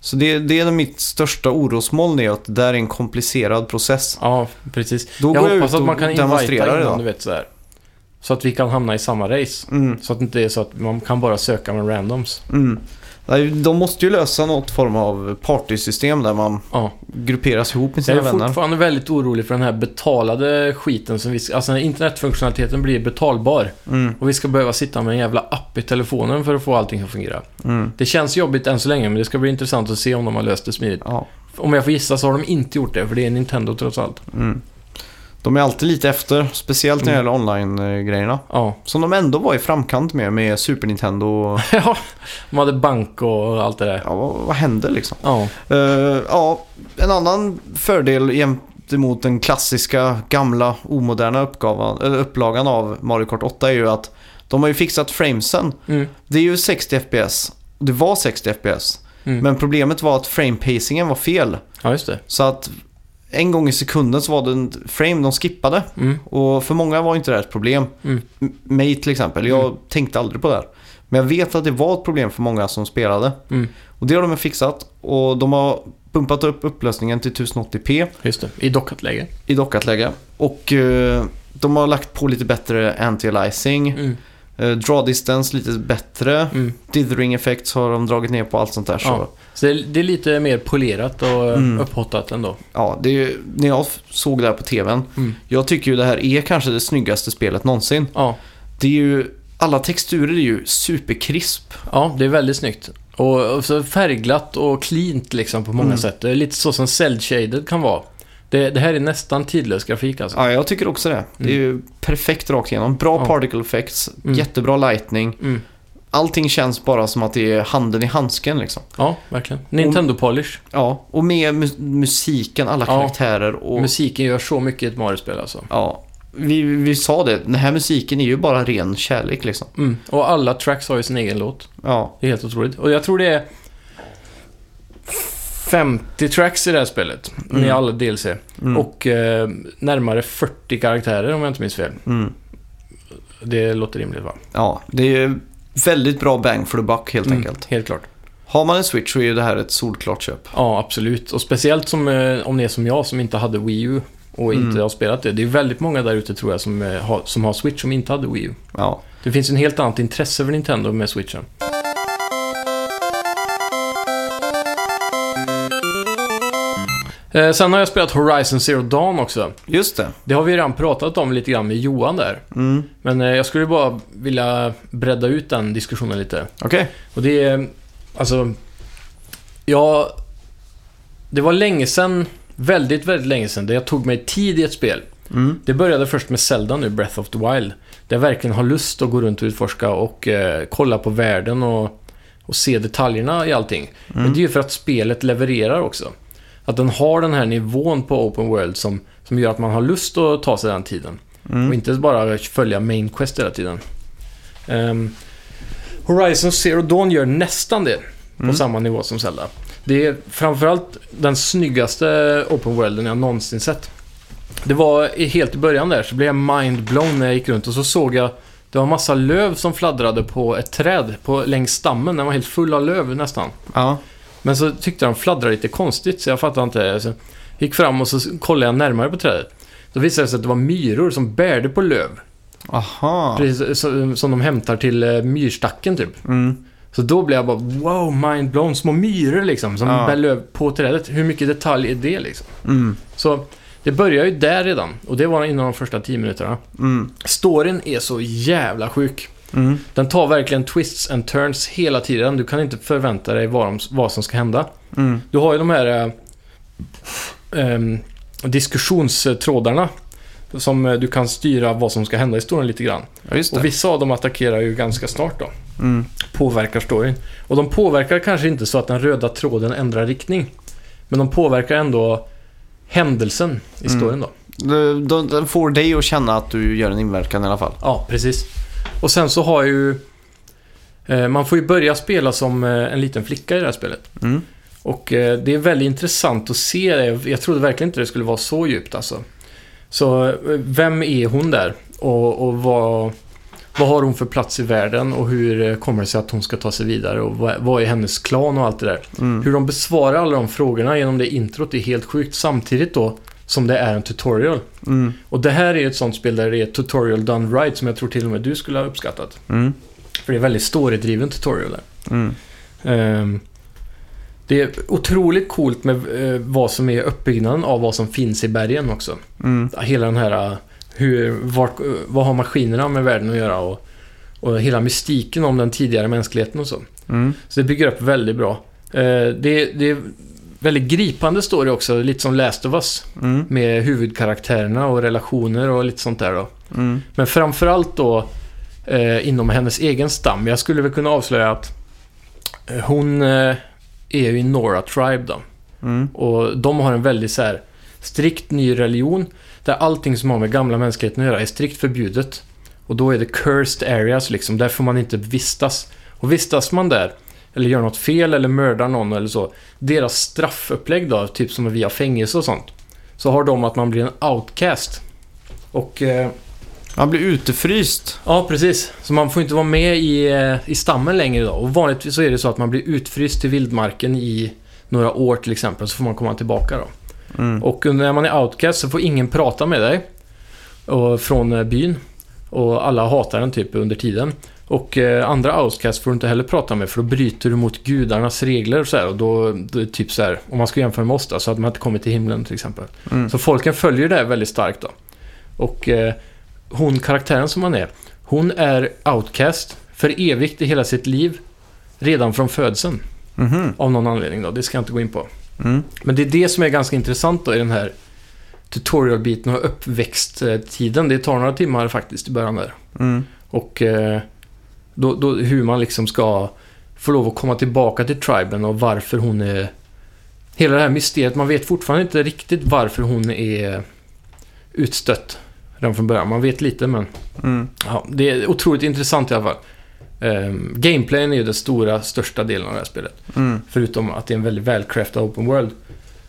S1: Så det, det är mitt största orosmoln är att det där är en komplicerad process.
S2: ja precis.
S1: Då
S2: jag
S1: går jag
S2: hoppas
S1: ut
S2: att man
S1: och
S2: kan
S1: demonstrerar
S2: invita innan,
S1: idag.
S2: du vet sådär. Så att vi kan hamna i samma race.
S1: Mm,
S2: Så att det inte är så att man kan bara söka med randoms.
S1: mm. Nej, De måste ju lösa något form av partysystem där man
S2: Ja.
S1: grupperas ihop med
S2: Jag
S1: sina
S2: är
S1: vänner.
S2: fortfarande väldigt orolig för den här betalade skiten som vi ska, Alltså när internetfunktionaliteten blir betalbar.
S1: Mm,
S2: Och vi ska behöva sitta med en jävla app i telefonen för att få allting att fungera.
S1: mm.
S2: Det känns jobbigt än så länge, men det ska bli intressant att se om de har löst det smidigt.
S1: Ja,
S2: Om jag får gissa så har de inte gjort det, för det är Nintendo trots allt.
S1: mm. De är alltid lite efter, speciellt när det gäller online-grejerna.
S2: Ja, (laughs)
S1: Som de ändå var i framkant med, med Super Nintendo och...
S2: Ja, de hade bank och allt det där.
S1: Ja, vad, vad hände liksom?
S2: Ja,
S1: Eh, ja, en annan fördel gentemot den klassiska, gamla, omoderna uppgavan, eller upplagan av Mario Kart 8 är ju att de har ju fixat framesen.
S2: mm,
S1: Det är ju 60 FPS. och Det var 60 FPS.
S2: Mm.
S1: Men problemet var att frame-pacingen var fel.
S2: ja just det.
S1: Så att en gång i sekunden så var det en frame de skippade.
S2: Mm,
S1: Och för många var inte det här ett problem.
S2: Mm.
S1: M- Mig till exempel, jag tänkte aldrig på det här. Men jag vet att det var ett problem för många som spelade.
S2: mm,
S1: Och det har de fixat och de har pumpat upp upplösningen till 1080p
S2: just det. I dockat läge.
S1: i dockat läge. Och eh, de har lagt på lite bättre anti-aliasing,
S2: Mm,
S1: eh, draw distance lite bättre,
S2: mm.
S1: dithering effects har de dragit ner på allt sånt där.
S2: Ja.
S1: Så,
S2: Så det är- det är lite mer polerat och eh,
S1: Mm.
S2: upphottat ändå.
S1: ja, det är, ju- när jag f- såg det här på tvn,
S2: Mm.
S1: jag tycker ju det här är kanske det snyggaste spelet någonsin.
S2: Ja.
S1: Det är ju, alla texturer är ju superkrisp.
S2: ja, det är väldigt snyggt. Och och så färgglatt och cleant liksom på många
S1: Mm.
S2: sätt. Det är lite så som cell-shaded kan vara. Det, det här är nästan tidlös grafik alltså.
S1: Ja, jag tycker också det. Det är ju perfekt rakt igenom. Bra
S2: Mm. Ja.
S1: particle effects,
S2: Mm.
S1: jättebra lightning.
S2: Mm.
S1: Allting känns bara som att det är handen i handsken liksom.
S2: Ja, verkligen. Nintendo Polish.
S1: Ja, och med mu- musiken, alla
S2: Ja.
S1: karaktärer och...
S2: Musiken gör så mycket i ett Mario-spel alltså.
S1: ja. Vi, vi sa det, den här musiken är ju bara ren kärlek liksom.
S2: Mm. Och alla tracks har ju sin egen låt.
S1: Ja,
S2: Det är helt otroligt. Och jag tror det är 50 tracks i det här spelet.
S1: Mm.
S2: Med alla DLC.
S1: Mm.
S2: Och eh, närmare 40 karaktärer om jag inte minns fel.
S1: mm.
S2: Det låter rimligt va?
S1: ja det är ju väldigt bra bang for the buck helt
S2: Mm,
S1: enkelt.
S2: Helt klart.
S1: Har man en Switch så är ju det här ett solklart köp.
S2: Ja, absolut. Och speciellt som, eh, om ni är som jag som inte hade Wii U och inte
S1: Mm.
S2: har spelat det. Det är väldigt många där ute tror jag som, eh, har, som har Switch som inte hade Wii U.
S1: Ja.
S2: Det finns en helt annat intresse för Nintendo med Switchen. Eh, Sen har jag spelat Horizon Zero Dawn också.
S1: Just det.
S2: Det har vi redan pratat om lite grann med Johan där.
S1: Mm.
S2: Men eh, jag skulle bara vilja bredda ut den diskussionen lite.
S1: Okej.
S2: Och det är, alltså, jag... Det var länge sedan, väldigt, väldigt länge sedan, där jag tog mig tid i ett spel.
S1: Mm.
S2: Det började först med Zelda nu, Breath of the Wild. Där jag verkligen har lust att gå runt och utforska och eh, kolla på världen och, och se detaljerna i allting. Men
S1: Mm.
S2: det är ju för att spelet levererar också. Att den har den här nivån på Open World som, som gör att man har lust att ta sig den tiden.
S1: Mm.
S2: Och inte bara följa Main Quest hela tiden. Ehm, Horizon Zero Dawn gör nästan det. På samma nivå som Zelda. Det är framförallt den snyggaste Open Worlden jag någonsin sett. Det var i- helt i början där så blev jag mindblown när jag gick runt och så såg jag det var massa löv som fladdrade på ett träd på, längs stammen. Den var helt full av löv nästan.
S1: Ja.
S2: Men så tyckte jag de fladdrade lite konstigt så jag fattade inte. Så gick fram och så kollade jag närmare på trädet. Då visade det sig att det var myror som bärde på löv.
S1: Aha.
S2: Precis så- som de hämtar till eh, myrstacken typ.
S1: Mm.
S2: Så då blev jag bara wow, mindblown. Små myror liksom som
S1: Ja.
S2: bär löv på trädet. Hur mycket detalj är det liksom?
S1: Mm.
S2: Så det börjar ju där redan och det var innan de första 10 minuterna.
S1: Mm.
S2: Storyn är så jävla sjuk.
S1: Mm.
S2: Den tar verkligen twists and turns hela tiden. Du kan inte förvänta dig vad, de, vad som ska hända.
S1: Mm.
S2: Du har ju de här eh, ehm, diskussionstrådarna som eh, du kan styra vad som ska hända i storyn lite grann.
S1: Ja, just
S2: Och
S1: det.
S2: vissa av dem attackerar ju ganska snart då.
S1: Mm.
S2: Påverkar storyn. Och de påverkar kanske inte så att den röda tråden ändrar riktning. Men de påverkar ändå händelsen i
S1: Mm.
S2: storyn då.
S1: Den de, de får dig att känna att du gör en inverkan i alla fall.
S2: Ja, precis. Och sen så har ju... eh, Man får ju börja spela som eh, en liten flicka i det här spelet.
S1: Mm.
S2: Och eh, det är väldigt intressant att se det. Jag trodde verkligen inte det skulle vara så djupt alltså. Så eh, vem är hon där? Och, och vad, vad har hon för plats i världen? Och hur eh, kommer det sig att hon ska ta sig vidare? Och vad, vad är hennes klan och allt det där?
S1: Mm.
S2: Hur de besvarar alla de frågorna genom det introt är helt sjukt. Samtidigt då som det är en tutorial.
S1: Mm.
S2: Och det här är ett sånt spel där det är tutorial done right som jag tror till och med du skulle ha uppskattat.
S1: Mm.
S2: För det är väldigt storydriven tutorial där.
S1: Mm.
S2: Ehm, det är otroligt coolt med eh, vad som är uppbyggnaden av vad som finns i bergen också.
S1: Mm.
S2: Hela den här, eh, hur, vart, eh, vad har maskinerna med världen att göra och, och hela mystiken om den tidigare mänskligheten och så.
S1: Mm.
S2: Så det bygger upp väldigt bra. Eh, det, det är väldigt gripande story också, lite som Last of Us.
S1: Mm.
S2: Med huvudkaraktärerna och relationer och lite sånt där då.
S1: Mm.
S2: Men framförallt då eh, inom hennes egen stam. Jag skulle väl kunna avslöja att eh, hon eh, är ju i Nora Tribe då.
S1: Mm.
S2: Och de har en väldigt så här strikt ny religion där allting som har med gamla mänskligheten att göra är strikt förbjudet. Och då är det cursed areas liksom, där får man inte vistas. Och vistas man där, eller gör något fel eller mördar någon eller så, deras straffupplägg då, typ som via fängelse och sånt, så har de att man blir en outcast. Och eh,
S1: Han blir utefryst.
S2: Ja, precis. Så man får inte vara med i, eh, i stammen längre då. Och vanligtvis så är det så att man blir utfryst till vildmarken i några år till exempel, så får man komma tillbaka då.
S1: Mm.
S2: Och när man är outcast så får ingen prata med dig och, från eh, byn. Och alla hatar den typ under tiden. Och eh, andra outcast får du inte heller prata med för då bryter du mot gudarnas regler och så här. Och då, det är typ så här, om man ska jämföra med oss då, så hade man inte kommit till himlen till exempel.
S1: Mm.
S2: Så folken följer det här väldigt starkt då. Och eh, hon, karaktären som hon är, hon är outcast för evigt i hela sitt liv. Redan från födseln,
S1: Mhm.
S2: av någon anledning då. Det ska jag inte gå in på.
S1: Mm.
S2: Men det är det som är ganska intressant då i den här tutorial-biten och uppväxttiden. Det tar några timmar faktiskt i början där.
S1: Mm.
S2: Och eh, då, då, hur man liksom ska få lov att komma tillbaka till triben och varför hon är... Hela det här mysteriet, man vet fortfarande inte riktigt varför hon är utstött redan från början. Man vet lite men...
S1: Mm.
S2: Ja, det är otroligt intressant i alla fall. Ehm, gameplayen är ju den stora, största delen av det här spelet.
S1: Mm.
S2: Förutom att det är en väldigt välcraftad open world.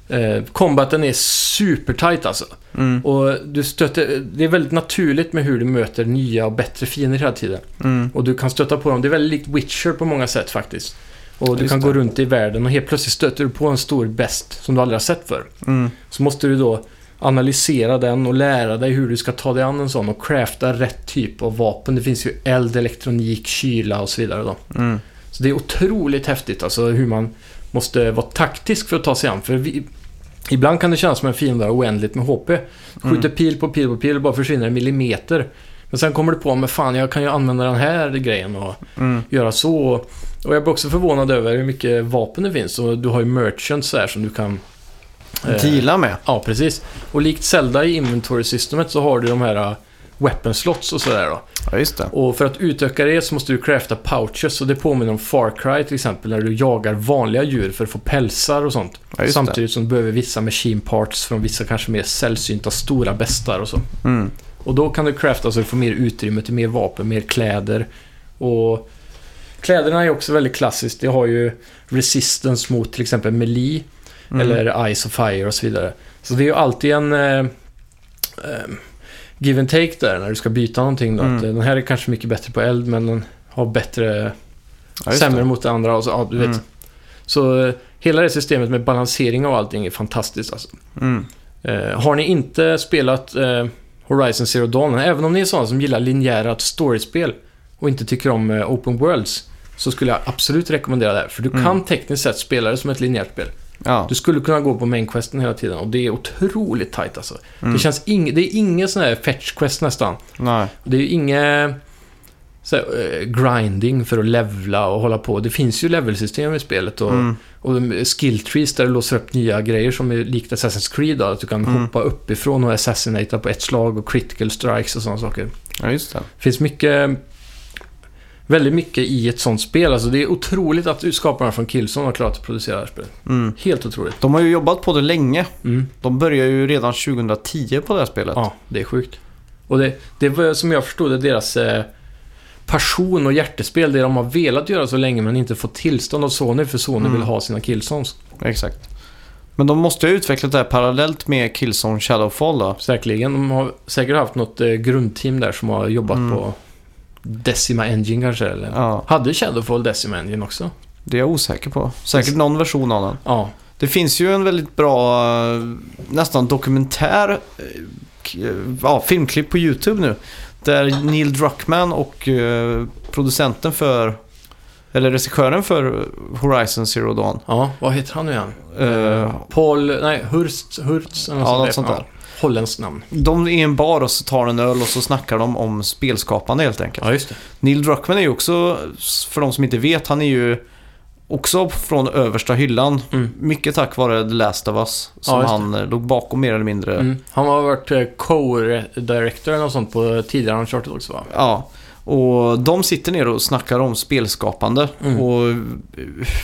S2: Eh, combaten är supertight alltså.
S1: Mm.
S2: Och du stöter, det är väldigt naturligt med hur du möter nya och bättre fiender hela tiden.
S1: Mm.
S2: Och du kan stöta på dem. Det är väldigt likt Witcher på många sätt faktiskt. Och du
S1: Just
S2: kan
S1: det.
S2: gå runt i världen och helt plötsligt stöter du på en stor best som du aldrig har sett förr.
S1: Mm.
S2: Så måste du då analysera den och lära dig hur du ska ta dig an en sån och crafta rätt typ av vapen. Det finns ju eld, elektronik, kyla och så vidare då.
S1: Mm.
S2: Så det är otroligt häftigt alltså hur man måste vara taktisk för att ta sig an. För vi, ibland kan det kännas som en fiende har oändligt med HP. Skjuter pil på pil på pil och bara försvinner en millimeter. Men sen kommer du på, men fan jag kan ju använda den här grejen och
S1: Mm.
S2: göra så. Och jag blir också förvånad över hur mycket vapen det finns. Och du har ju merchants här som du kan... eh,
S1: Deala med.
S2: Ja, precis. Och likt Zelda i inventory-systemet så har du de här eh, weapon slots och sådär då.
S1: Ja, just det.
S2: Och för att utöka det så måste du crafta pouches och det påminner om Far Cry till exempel när du jagar vanliga djur för att få pälsar och sånt.
S1: Ja, just
S2: Samtidigt som du behöver vissa machine parts från vissa kanske mer sällsynta stora bestar och så.
S1: det. Mm.
S2: Och då kan du crafta så du får mer utrymme till mer vapen, mer kläder. Och kläderna är också väldigt klassiskt. Det har ju resistance mot till exempel melee
S1: Mm.
S2: eller Ice och Fire och så vidare. Så det är ju alltid en eh, eh, give and take där när du ska byta någonting. Då.
S1: Mm.
S2: Att, eh, den här är kanske mycket bättre på eld men den har bättre,
S1: Ja, just
S2: sämre
S1: det.
S2: mot det andra. Och så, ja, du vet.
S1: Mm.
S2: så eh, hela det systemet med balansering och allting är fantastiskt. Alltså.
S1: Mm.
S2: Eh, har ni inte spelat eh, Horizon Zero Dawn, även om ni är sådana som gillar linjära storiespel och inte tycker om eh, Open Worlds, så skulle jag absolut rekommendera det här. För du
S1: Mm.
S2: kan tekniskt sett spela det som ett linjärt spel.
S1: Ja.
S2: Du skulle kunna gå på main questen hela tiden och det är otroligt tight alltså.
S1: Mm.
S2: Det känns ing- det är ingen sån här fetch quest nästan.
S1: Nej.
S2: Det är ju inget så här, eh, grinding för att levla och hålla på. Det finns ju levelsystem i spelet och,
S1: Mm.
S2: och de- skill trees där du låser upp nya grejer som är likt Assassin's Creed. Då, att du kan
S1: Mm.
S2: hoppa uppifrån och assassinata på ett slag och critical strikes och sådana saker.
S1: Ja, just det.
S2: Det finns mycket väldigt mycket i ett sånt spel. Alltså, det är otroligt att skaparna från Killzone har klarat att producera det här spelet.
S1: Mm.
S2: Helt otroligt.
S1: De har ju jobbat på det länge.
S2: Mm.
S1: De började ju redan 2010 på det här spelet.
S2: Ja, det är sjukt. Och det, det var som jag förstod det deras eh, passion och hjärtespel, det de har velat göra så länge men inte fått tillstånd av Sony för Sony
S1: Mm.
S2: vill ha sina Killzones.
S1: Exakt. Men de måste ju ha utvecklat det här parallellt med Killzone Shadowfall då.
S2: Säkerligen. De har säkert haft något eh, grundteam där som har jobbat
S1: Mm.
S2: på Decima Engine kanske eller?
S1: Ja,
S2: Hade Shadowfall Decima Engine också?
S1: det är jag osäker på. Säkert någon version av den.
S2: Ja.
S1: Det finns ju en väldigt bra, eh, nästan dokumentär, eh, k- eh, ja, filmklipp på YouTube nu. Där Neil Druckmann och eh, producenten för, eller regissören för Horizon Zero Dawn.
S2: Ja, vad heter han nu igen? Mm.
S1: eh,
S2: Paul... Nej, Hurst... Hurst eller
S1: Ja, något sånt där.
S2: Ja, holländskt namn.
S1: De är i en bar och så tar en öl och så snackar de om spelskapande helt enkelt.
S2: Ja, just det.
S1: Neil Druckmann är ju också, för de som inte vet, han är ju också från översta hyllan.
S2: Mm.
S1: Mycket tack vare The Last of Us som
S2: Ja, just det.
S1: han eh, låg bakom mer eller mindre.
S2: Mm. Han har varit eh, co-director eller något sånt på tidigare Uncharted också va?
S1: Ja. Och de sitter ner och snackar om spelskapande
S2: Mm.
S1: och eh,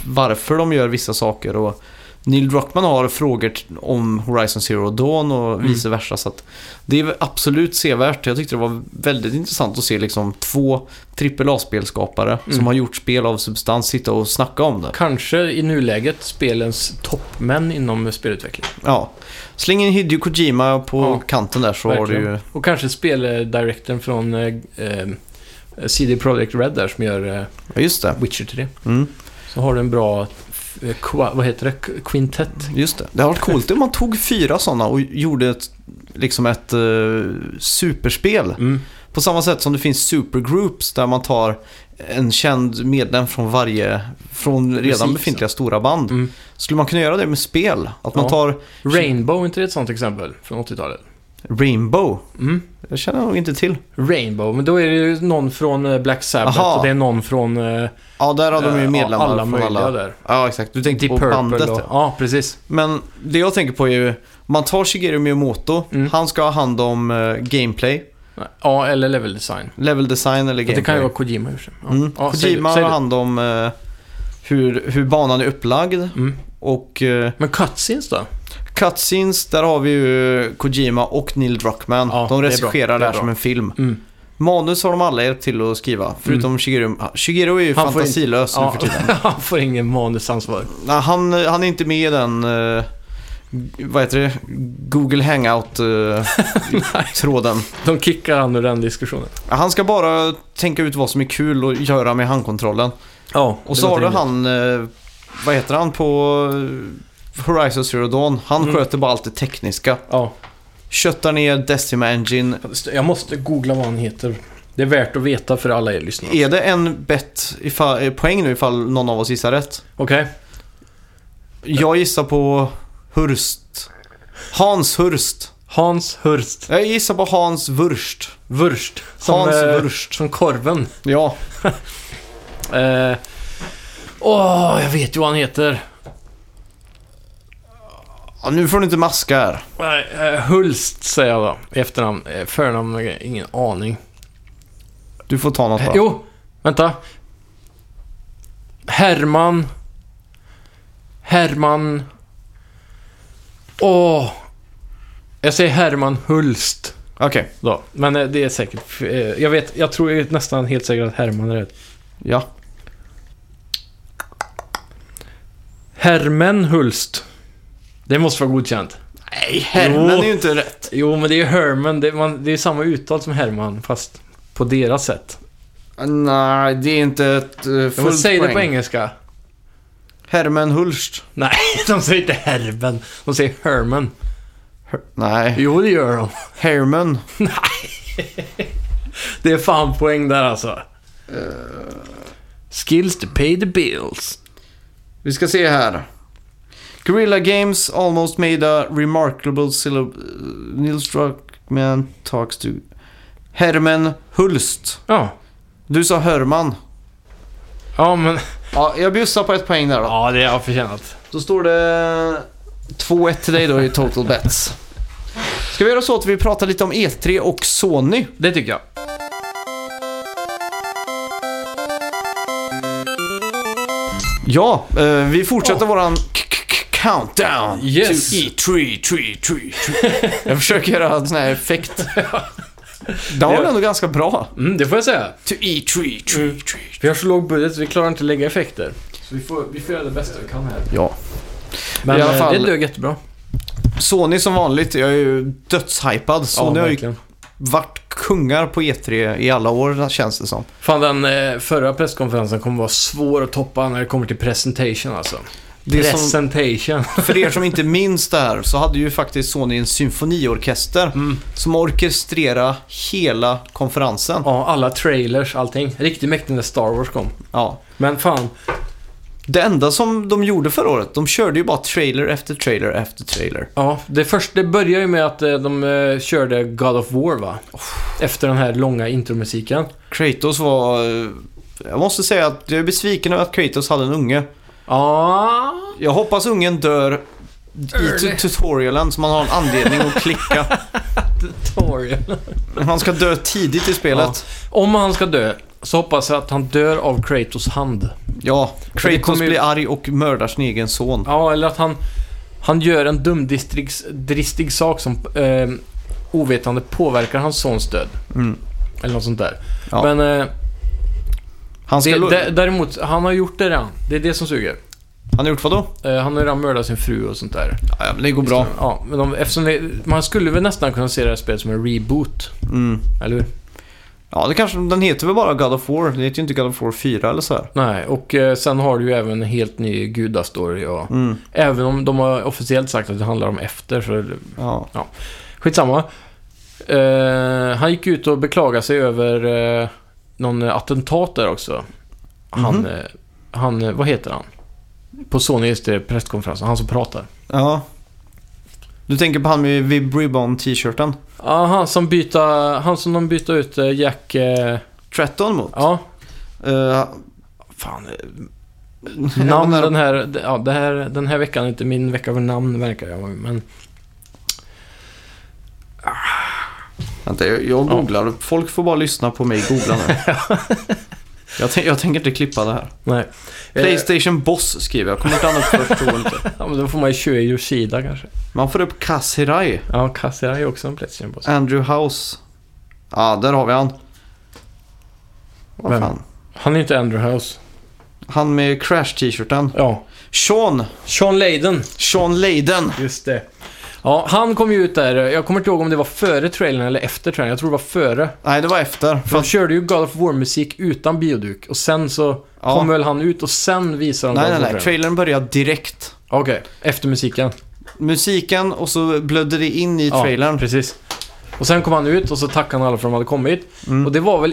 S1: varför de gör vissa saker. Och Neil Druckmann har frågor t- om Horizon Zero Dawn och
S2: Mm.
S1: vice versa. Så att det är absolut sevärt. Jag tyckte det var väldigt intressant att se liksom två AAA-spelskapare
S2: Mm.
S1: som har gjort spel av substans sitta och snacka om det.
S2: Kanske i nuläget spelens toppmän inom spelutveckling.
S1: Ja. Släng in Hideo Kojima på
S2: Ja,
S1: kanten där så har du
S2: verkligen.
S1: ju...
S2: Och kanske speldirektorn från eh, eh, CD Projekt Red där som gör eh,
S1: Ja, just det.
S2: Witcher 3.
S1: Mm,
S2: Så har du en bra... Eh, qua, vad heter det? Qu- Quintett?
S1: just det. Det har varit coolt om man tog fyra sådana och gjorde ett, liksom ett eh, superspel.
S2: Mm.
S1: På samma sätt som det finns supergroups där man tar en känd medlem från varje, från redan
S2: Precis, ja.
S1: befintliga stora band.
S2: Mm.
S1: Skulle man kunna göra det med spel? Att man
S2: Ja.
S1: tar
S2: Rainbow, är inte det ett sånt exempel från 80-talet?
S1: Rainbow.
S2: Mm.
S1: Det känner jag nog inte till.
S2: Rainbow, men då är det ju någon från eh, Black Sabbath
S1: Aha.
S2: och det är någon från... eh,
S1: Ja, där har de ju
S2: eh,
S1: medlemmar
S2: alla
S1: från
S2: möjliga
S1: alla.
S2: där.
S1: Ja, exakt. Du typ tänkte
S2: Deep
S1: på
S2: Purple
S1: bandet.
S2: och,
S1: ja.
S2: Ja, precis.
S1: Men det jag tänker på är ju, man tar Shigeru Miyamoto,
S2: Mm.
S1: han ska ha hand om eh, gameplay,
S2: Ja, eller level design.
S1: level design eller
S2: Och
S1: gameplay.
S2: det kan ju vara Kojima i och för sig. Ja.
S1: mm.
S2: Ja, säg
S1: Kojima
S2: du, säg
S1: har
S2: du.
S1: hand om eh, hur, hur banan är upplagd
S2: Mm.
S1: och eh,
S2: Men cutscenes då?
S1: cutscenes, där har vi ju Kojima och Neil Druckmann.
S2: Ja,
S1: de
S2: det är bra.
S1: regisserar det
S2: Det är
S1: här
S2: bra.
S1: som en film.
S2: Mm.
S1: Manus har de alla hjälpt till att skriva, förutom Shigeru. Shigeru är ju
S2: Han får in-
S1: fantasilös nu
S2: Ja, (laughs)
S1: för tiden.
S2: han får ingen manusansvar.
S1: Nej, han, han är inte med i den, eh, vad heter det, Google eh,
S2: (laughs)
S1: Hangout-tråden.
S2: De kickar han ur den diskussionen.
S1: Han ska bara tänka ut vad som är kul att göra med handkontrollen.
S2: Ja,
S1: Och så har du han, eh, vad heter han på eh, Horizon Zero Dawn? Han
S2: Mm.
S1: sköter bara allt det tekniska.
S2: Ja.
S1: Köttar ner Decima Engine.
S2: Jag måste googla vad han heter. Det är värt att veta för alla er lyssnare.
S1: Är det en bet, ifall, eh, poäng nu ifall någon av oss gissar rätt?
S2: Okej?
S1: Jag gissar på Hurst. Hans Hurst.
S2: Hans Hurst.
S1: Jag gissar på Hans Wurst.
S2: Wurst.
S1: Hans
S2: eh,
S1: Wurst.
S2: Som korven.
S1: Ja,
S2: Eh, Åh, jag vet ju vad han heter.
S1: Ja, nu får du inte maska här.
S2: Nej, eh, Hulst säger jag då. I efternamn. Eh, Förnamn, eh, ingen aning.
S1: Du får ta något
S2: Eh,
S1: bara.
S2: Jo, vänta. Herman. Herman. Åh. Jag säger Herman Hulst
S1: Okej,
S2: då. Men eh, det är säkert... eh, Jag vet, jag tror jag är nästan helt säker att Herman är rätt.
S1: ja.
S2: Hermen Hulst. Det måste vara godkänt.
S1: Nej, Hermen
S2: Jo.
S1: är ju inte rätt.
S2: Jo, men det är ju Herman. Det, man, det är samma uttal som Herman, fast på deras sätt.
S1: Nej, det är inte ett uh,
S2: Jag måste
S1: fullt
S2: säga det
S1: poäng.
S2: på engelska.
S1: Herman Hulst.
S2: Nej, (laughs) de säger inte Herben. De säger Herman.
S1: Nej.
S2: Jo, det gör de.
S1: Herman.
S2: Det är fan poäng där alltså. Eh. Skills to pay the bills.
S1: Vi ska se här. Guerrilla Games almost made a remarkable syllable... Nils Druckmann talks to... Herman Hulst.
S2: Ja.
S1: Du sa Herman.
S2: Ja, men...
S1: Ja, jag bjussar på ett poäng där då.
S2: Ja, det har jag förtjänat.
S1: Då står det 2-1 till dig då i total bets. Ska vi göra så att vi pratar lite E om E3 och Sony?
S2: Det tycker jag.
S1: Ja, eh, vi fortsätter våran k- k- k- countdown
S2: Yes.
S1: to E E3, 3, 3, 3. Jag försöker göra en sån här effekt. Den var väl ändå ganska bra. Mm.
S2: Mm, det får jag säga.
S1: To E3, 3, 3.
S2: Vi har så låg budget så vi klarar inte att lägga effekter. Så vi får, vi får göra det bästa vi kan här.
S1: Ja.
S2: Men
S1: I alla
S2: eh,
S1: fall-
S2: det dög jättebra.
S1: Sony som vanligt, jag är ju dödshypad. Sony har ju
S2: verkligen.
S1: varit kungar på E3 i alla år känns det som.
S2: Fan, den eh, förra presskonferensen kommer vara svår att toppa när det kommer till presentation alltså.
S1: Det som-
S2: presentation.
S1: För er som inte minns det här så hade ju faktiskt Sony en symfoniorkester som orkestrerade hela konferensen.
S2: (laughs) ja, alla trailers, allting. Riktigt mäktigt när Star Wars kom.
S1: Ja.
S2: Men fan,
S1: Det enda som de gjorde förra året, de körde ju bara trailer efter trailer efter trailer.
S2: ja, det, först, det börjar ju med att eh, de eh, körde God of War va? Efter den här långa intromusiken.
S1: Kratos var... eh, Jag måste säga att jag är besviken över att Kratos hade en unge.
S2: Ja,
S1: Jag hoppas ungen dör i
S2: Early.
S1: tu- tutorialen så man har en anledning att klicka.
S2: tutorial.
S1: Han ska dö tidigt i spelet.
S2: Om han ska dö, så hoppas jag att han dör av Kratos hand.
S1: Ja,
S2: det
S1: Kratos
S2: kommer ju-
S1: blir arg och mördar sin egen son.
S2: Ja, eller att han, han gör en dumdristig sak som eh, ovetande påverkar hans sons död.
S1: Mm.
S2: Eller något sånt där.
S1: Ja.
S2: Men eh,
S1: Han, ska...
S2: det, dä- däremot, han har gjort det redan. Det är det som suger.
S1: Han har gjort vadå?
S2: Eh, han har redan mördat sin fru och sånt där.
S1: Ja, ja, men det går bra.
S2: Ja, men de, eftersom det, man skulle väl nästan kunna se det här spelet som en reboot.
S1: Mm.
S2: Eller hur?
S1: Ja, det kanske... Den heter väl bara God of War? Det heter ju inte God of War 4 eller så här.
S2: Nej, och eh, sen har du ju även en helt ny gudastory. Och,
S1: Mm.
S2: Även om de har officiellt sagt att det handlar om efter, så
S1: Ja.
S2: Skitsamma. Eh, han gick ut och beklagade sig över eh, någon attentat där också. Han,
S1: Mhm.
S2: eh, han, eh, vad heter han? På Sony just det, presskonferensen, han som pratar.
S1: Ja. Du tänker på han med Vibribon t-shirten?
S2: Ja, han som byta, han som de bytte ut eh, Jack, eh,
S1: Tretton mot?
S2: ja.
S1: Eh,
S2: Fan. eh, (laughs) Namn den här, d- ja, det här, den här veckan är inte min vecka för namn verkar jag, men
S1: Vänta, jag, jag googlar. Folk får bara lyssna på mig googla
S2: (laughs)
S1: nu. jag, tän- jag tänker inte klippa det här.
S2: nej. Eh,
S1: Playstation Boss skriver jag. Kommer inte annat först, tror jag inte.
S2: ja, men då får man ju köra Yoshida kanske.
S1: Man får upp Kaz Hirai,
S2: Ja, Kassera är ju också en Playstation boss.
S1: Andrew House. Ja, där har vi han. Vad
S2: Vem?
S1: fan?
S2: Han är inte Andrew House.
S1: Han med Crash t-shirten.
S2: Ja.
S1: Sean!
S2: Sean Layden.
S1: Sean Leiden.
S2: Just det. Ja, han kom ju ut där. Jag kommer inte ihåg om det var före trailern eller efter trailern. Jag tror det var före.
S1: Nej, det var efter.
S2: För de körde ju God of War-musik utan bioduk. Och sen så
S1: Ja.
S2: kom väl han ut och sen visade de
S1: Nej,
S2: God
S1: nej,
S2: of
S1: nej.
S2: War-trailern.
S1: Trailern börjar direkt.
S2: Okej, efter musiken.
S1: Musiken och så blödde det in i trailern.
S2: Ja, precis. Och sen kom han ut och så tackade han alla för att de hade kommit.
S1: Mm.
S2: Och det var väl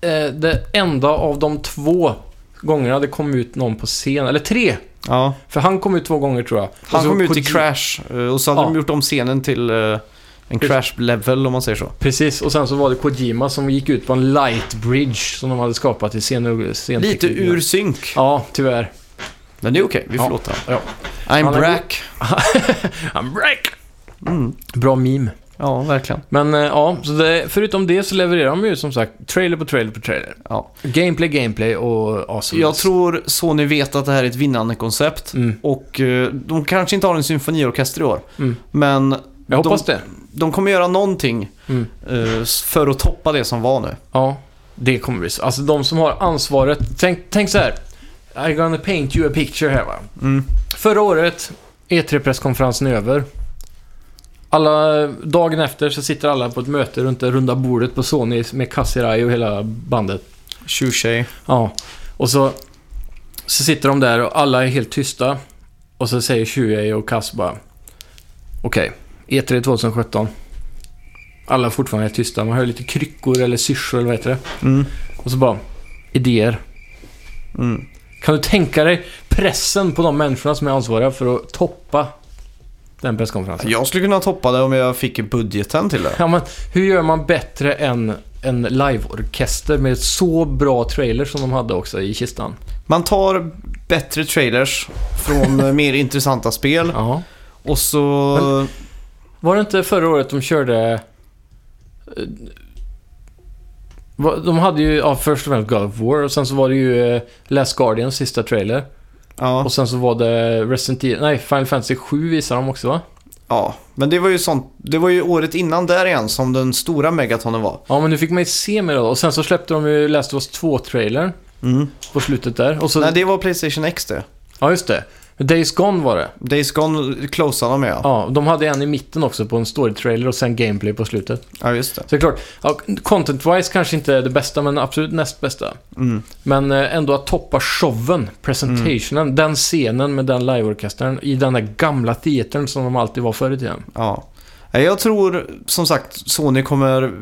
S2: eh, det enda av de två gångerna det kom ut någon på scen. Eller tre!
S1: Ja.
S2: För han kom ut två gånger tror jag. Och
S1: Han
S2: så
S1: kom ut i
S2: Koji-
S1: Crash eh, och så hade
S2: Ja.
S1: de gjort om scenen till eh, en Crash level om man säger så.
S2: Precis, och sen så var det Kojima som gick ut på en light bridge som de hade skapat i scen... scen
S1: Lite ur synk.
S2: Ja, tyvärr.
S1: Men det är okej, vi
S2: Ja.
S1: förlåter
S2: Ja.
S1: I'm
S2: Han är-
S1: Brack.
S2: I'm break!
S1: Mm.
S2: Bra meme.
S1: Ja, verkligen.
S2: Men eh, ja, så det, förutom det så levererar de ju som sagt trailer på trailer på trailer.
S1: Ja.
S2: Gameplay, gameplay och awesome.
S1: Jag tror Sony vet att det här är ett vinnande koncept.
S2: Mm.
S1: Och eh, de kanske inte har en symfoniorkester i år.
S2: Mm.
S1: Men
S2: Jag hoppas det.
S1: de kommer göra någonting
S2: Mm.
S1: eh, för att toppa det som var nu.
S2: Ja, det kommer bli så. Alltså de som har ansvaret. Tänk, tänk så här. I'm gonna paint you a picture här va.
S1: Mm.
S2: Förra året, E3-presskonferensen är över. Alla, dagen efter så sitter alla på ett möte runt det runda bordet på Sony med Kassirai och hela bandet.
S1: Tjurtjej.
S2: Ja. Och så, så sitter de där och alla är helt tysta. Och så säger Shuei och Kass bara Okej, E E3 2017. Alla är fortfarande helt tysta. Man hör lite kryckor eller syrsor eller vad heter det?
S1: Mm.
S2: Och så bara Idéer.
S1: Mm.
S2: Kan du tänka dig pressen på de människorna som är ansvariga för att toppa den presskonferensen?
S1: Jag skulle kunna toppa det om jag fick budgeten till det.
S2: Ja, men hur gör man bättre än en liveorkester med så bra trailer som de hade också i kistan?
S1: Man tar bättre trailers
S2: (laughs)
S1: från eh, mer intressanta spel.
S2: Ja.
S1: Och så...
S2: Var det inte förra året de körde... eh, Va- De hade ju, ja, först och främst God of War och sen så var det ju eh, Last Guardians sista trailer.
S1: Ja.
S2: Och sen så var det Resident Evil, nej, Final Fantasy 7 visade de också va?
S1: ja, men det var ju sånt. Det var ju året innan där igen som den stora megatonen var.
S2: Ja, men nu fick man ju se mer då. Och sen så släppte de ju Last of Us 2-trailern
S1: Mm.
S2: på slutet där. Och så,
S1: Nej, det var Playstation X det.
S2: Ja, just det. Days Gone var det.
S1: Days Gone closade de med ja.
S2: Ja, de hade en i mitten också på en story-trailer och sen gameplay på slutet.
S1: Ja, just det.
S2: Så det är klart, ja, content-wise kanske inte det bästa, men absolut näst bästa.
S1: Mm.
S2: Men eh, ändå att toppa showen, presentationen,
S1: Mm.
S2: den scenen med den liveorkestern i den där gamla teatern som de alltid var förr i tiden.
S1: Ja. Nej, Jag tror som sagt Sony kommer...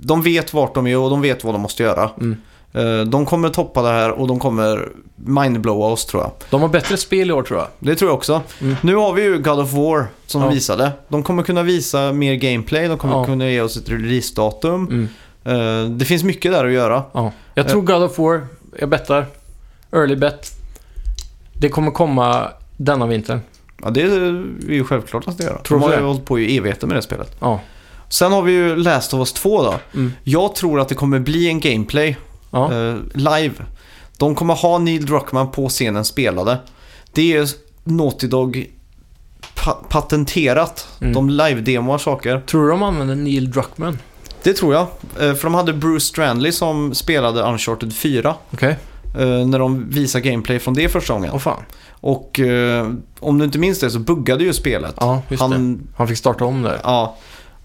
S1: De vet vart de är och de vet vad de måste göra.
S2: Mm.
S1: Eh, De kommer toppa det här och de kommer mindblowa oss tror jag.
S2: De har bättre spel i år tror jag.
S1: Det tror jag också.
S2: Mm.
S1: Nu har vi ju God of War som
S2: Ja.
S1: de visade. De kommer kunna visa mer gameplay, de kommer
S2: Ja.
S1: kunna ge oss ett releasedatum.
S2: Mm.
S1: Eh, Det finns mycket där att göra.
S2: Ja. Jag tror God of War, jag bettar, early bet. Det kommer komma denna vintern.
S1: Ja, det är ju självklart att det gör.
S2: Tror
S1: De
S2: du
S1: har
S2: det?
S1: ju hållit på i evigheter med det spelet.
S2: Ja.
S1: Sen har vi ju Last of Us 2 då.
S2: Mm.
S1: Jag tror att det kommer bli en gameplay
S2: Ja.
S1: eh, live. De kommer ha Neil Druckmann på scenen spelade. Det är Naughty Dog pa- patenterat.
S2: Mm.
S1: De live-demoar saker.
S2: Tror du de använder Neil Druckmann?
S1: Det tror jag. Eh, För de hade Bruce Strandley som spelade Uncharted 4.
S2: Okej.
S1: eh, När de visade gameplay från det första
S2: Åh
S1: gången.
S2: fan.
S1: Och eh, om du inte minns det så buggade ju spelet.
S2: Ja, just det.
S1: Han
S2: Han fick starta om där.
S1: Ja,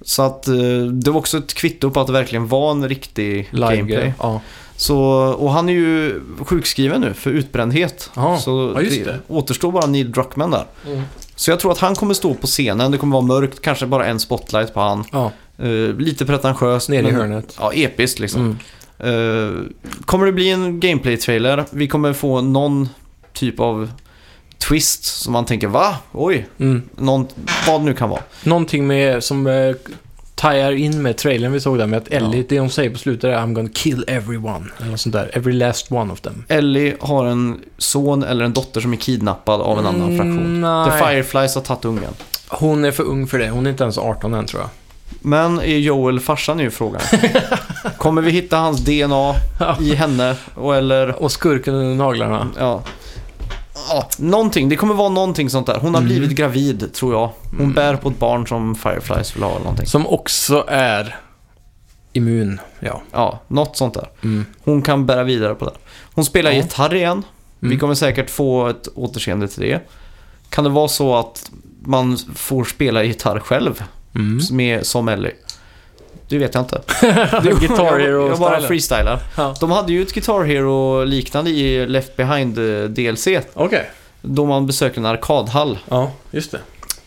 S1: så att eh, det var också ett kvitto på att det verkligen var en riktig
S2: Live-grej.
S1: gameplay.
S2: Ja.
S1: Så, och han är ju sjukskriven nu för utbrändhet.
S2: Ja,
S1: så
S2: ja, just det.
S1: det återstår bara Neil Druckmann där.
S2: Mm.
S1: Så jag tror att han kommer stå på scenen. Det kommer vara mörkt, kanske bara en spotlight på han.
S2: ja.
S1: Eh, lite pretentiöst.
S2: Nere i
S1: men-
S2: hörnet.
S1: Ja, episkt liksom.
S2: Mm.
S1: Eh, kommer det bli en gameplay-trailer? Vi kommer få någon typ av twist som man tänker va? Oj,
S2: Mm.
S1: någon, vad det nu kan vara.
S2: Någonting med, som eh, tajar in med trailern vi såg där med att Ellie, det hon säger på slutet är I'm gonna kill everyone. Eller något sånt där. Every last one of them.
S1: Ellie har en son eller en dotter som är kidnappad av en annan fraktion.
S2: Mm, nej.
S1: The Fireflies har tagit ungen.
S2: Hon är för ung för det. Hon är inte ens 18 än tror jag.
S1: Men är Joel farsan är ju
S2: (laughs)
S1: frågan. Kommer vi hitta hans DNA i henne? Och eller,
S2: Och skurken under naglarna.
S1: ja. Ja, någonting. Det kommer vara någonting sånt där. Hon har
S2: Mm.
S1: blivit gravid, tror jag. Hon bär på ett barn som Fireflies vill ha eller någonting.
S2: Som också är immun. Ja.
S1: Ja, något sånt där.
S2: Mm.
S1: Hon kan bära vidare på det. Hon spelar
S2: Ja.
S1: gitarr igen. Vi
S2: Mm.
S1: kommer säkert få ett återseende till det. Kan det vara så att man får spela gitarr själv?
S2: Mm.
S1: med, som Ellie. (laughs) Det vet jag inte.
S2: (laughs) Guitar Hero
S1: jag, jag bara
S2: stylen.
S1: freestylar.
S2: Ja.
S1: De hade ju ett Guitar Hero-liknande i Left Behind eh, DLC.
S2: Okej.
S1: Då man besöker en arkadhall.
S2: Ja, just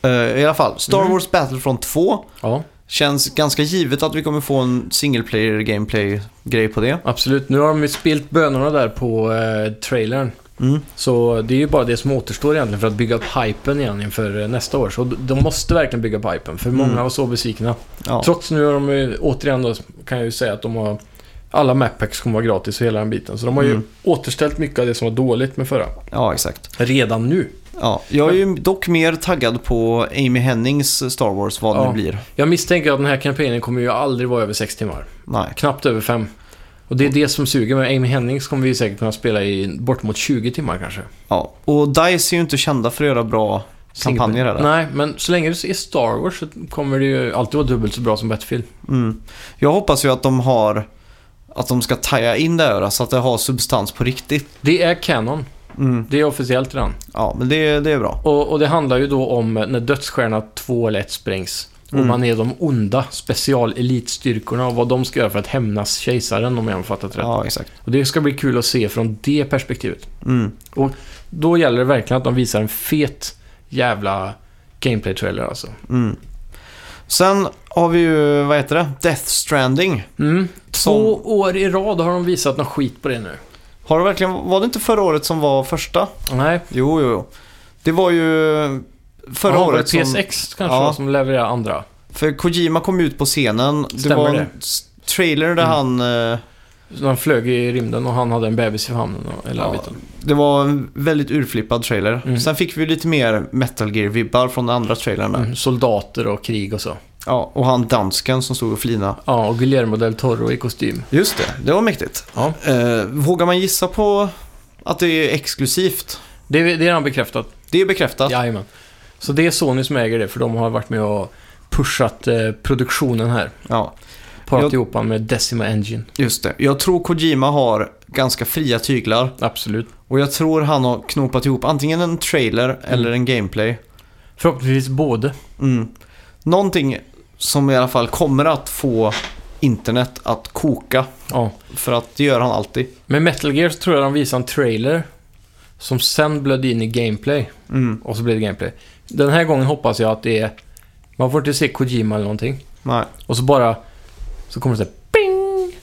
S2: det.
S1: Eh, I alla fall, Star
S2: Mm.
S1: Wars Battlefront 2.
S2: Ja,
S1: Känns ganska givet att vi kommer få en single player gameplay-grej på det.
S2: absolut. Nu har de ju spilt bönorna där på eh, trailern.
S1: Mm.
S2: Så det är ju bara det som återstår egentligen för att bygga upp hypen igen inför eh, nästa år. Så d- de måste verkligen bygga upp hypen, för många
S1: Mm.
S2: var så besvikna.
S1: Ja.
S2: Trots nu har de ju, återigen då, kan jag ju säga att de har... Alla mappacks kommer vara gratis och hela den biten. Så de har ju
S1: Mm.
S2: återställt mycket av det som var dåligt med förra.
S1: ja, exakt.
S2: Redan nu.
S1: Ja. Jag är ju dock mer taggad på Amy Hennings Star Wars, vad det
S2: Ja.
S1: nu blir.
S2: Jag misstänker att den här kampanjen kommer ju aldrig vara över sex timmar.
S1: Nej.
S2: Knappt över fem. Och det är det som suger med Amy Hennings kommer vi säkert kunna spela i bortemot 20 timmar kanske.
S1: Ja. Och DICE är ju inte kända för att göra bra kampanjer. Eller?
S2: Nej, men så länge det är Star Wars så kommer det ju alltid vara dubbelt så bra som Battlefield.
S1: Mm. Jag hoppas ju att de har att de ska taja in det här så att det har substans på riktigt.
S2: Det är Canon.
S1: Mm.
S2: Det är officiellt redan.
S1: Ja, men det, det är bra.
S2: Och, och det handlar ju då om när Dödsstjärna 2 eller 1 sprängs. Och
S1: Mm.
S2: man är de onda specialelitstyrkorna och vad de ska göra för att hämnas kejsaren om jag har fattat rätt.
S1: Ja, exakt.
S2: Och det ska bli kul att se från det perspektivet.
S1: Mm.
S2: Då gäller det verkligen att de visar en fet jävla gameplay-trailer alltså.
S1: Mm. Sen har vi ju, vad heter det? Death Stranding.
S2: Mm.
S1: Som-
S2: Två år i rad har de visat något skit på det nu.
S1: Har det verkligen, var det inte förra året som var första?
S2: Nej.
S1: Jo, jo, jo. Det var ju förra
S2: ja,
S1: året
S2: var det
S1: som...
S2: PSX kanske
S1: Ja.
S2: var som levererar andra.
S1: För Kojima kom ut på scenen. Det
S2: Stämmer
S1: var en
S2: det.
S1: s- trailer där
S2: Mm.
S1: han... eh,
S2: Så De flög i rymden och han hade en bebis i famnen och hela
S1: Ja.
S2: biten.
S1: Det var en väldigt urflippad trailer.
S2: Mm.
S1: Sen fick vi lite mer Metal Gear-vibbar från den andra trailern där.
S2: Mm. Soldater och krig och så.
S1: Ja, och han dansken som stod och flina.
S2: Ja, och Guillermo del Toro i kostym.
S1: Just det, det var mäktigt.
S2: Ja.
S1: Eh, vågar man gissa på att det är exklusivt?
S2: Det, är- det är redan bekräftat.
S1: Det är bekräftat.
S2: Jajamän. Så det är Sony som äger det, för de har varit med och pushat eh, produktionen här.
S1: Ja,
S2: Parat
S1: Jag-
S2: ihop med Decima Engine.
S1: just det. Jag tror Kojima har ganska fria tyglar.
S2: Absolut.
S1: Och jag tror han har knopat ihop antingen en trailer
S2: Mm.
S1: eller en gameplay.
S2: Förhoppningsvis både.
S1: Mm. Någonting som i alla fall kommer att få internet att koka.
S2: Ja.
S1: För att det gör han alltid.
S2: Med Metal Gear så tror jag de visade en trailer som sen blödde in i gameplay.
S1: Mm.
S2: Och så blev det gameplay. Den här gången hoppas jag att det är... Man får inte se Kojima eller någonting.
S1: Nej.
S2: Och så bara... Så kommer det så här, ping!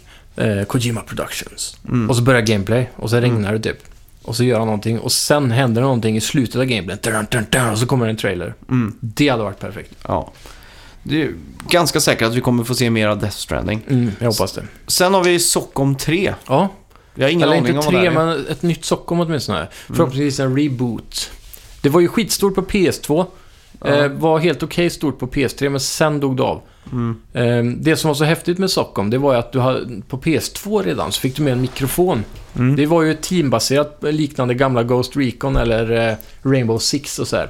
S2: Eh, Kojima Productions.
S1: Mm.
S2: Och så börjar gameplay och så regnar det typ. Och så gör han någonting och sen händer det någonting i slutet av gameplayen. Dun, dun, dun, och så kommer det en trailer.
S1: Mm.
S2: Det hade varit perfekt.
S1: Ja. Det är ju ganska säkert att vi kommer få se mer av Death Stranding.
S2: jag hoppas det.
S1: Sen har vi Sockom 3.
S2: Ja,
S1: Jag har ingen
S2: eller
S1: aning
S2: inte
S1: om vad det
S2: tre,
S1: är. Mm.
S2: men ett nytt Stockholm åtminstone. Förhoppningsvis en reboot. Det var ju skitstort på PS2. Eh, var helt okej stort på PS3, men sen dog det av.
S1: Mm.
S2: Eh, det som var så häftigt med Stockholm, det var ju att du hade, på PS2 redan så fick du med en mikrofon.
S1: Mm.
S2: Det var ju teambaserat, eh, liknande gamla Ghost Recon eller eh, Rainbow Six och så här.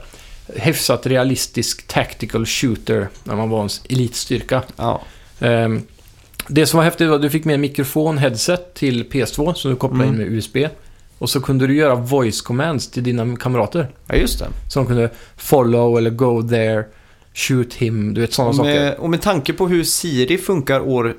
S2: Hyfsat realistisk tactical shooter när man var en s- elitstyrka.
S1: Ja.
S2: Ehm, Det som var häftigt var att du fick med en mikrofon, headset till PS2 som du kopplade in
S1: Mm.
S2: med USB. Och så kunde du göra voice commands till dina kamrater.
S1: ja, just det.
S2: Som kunde follow eller go there, shoot him, du vet sådana
S1: Och
S2: saker.
S1: med, och med tanke på hur Siri funkar år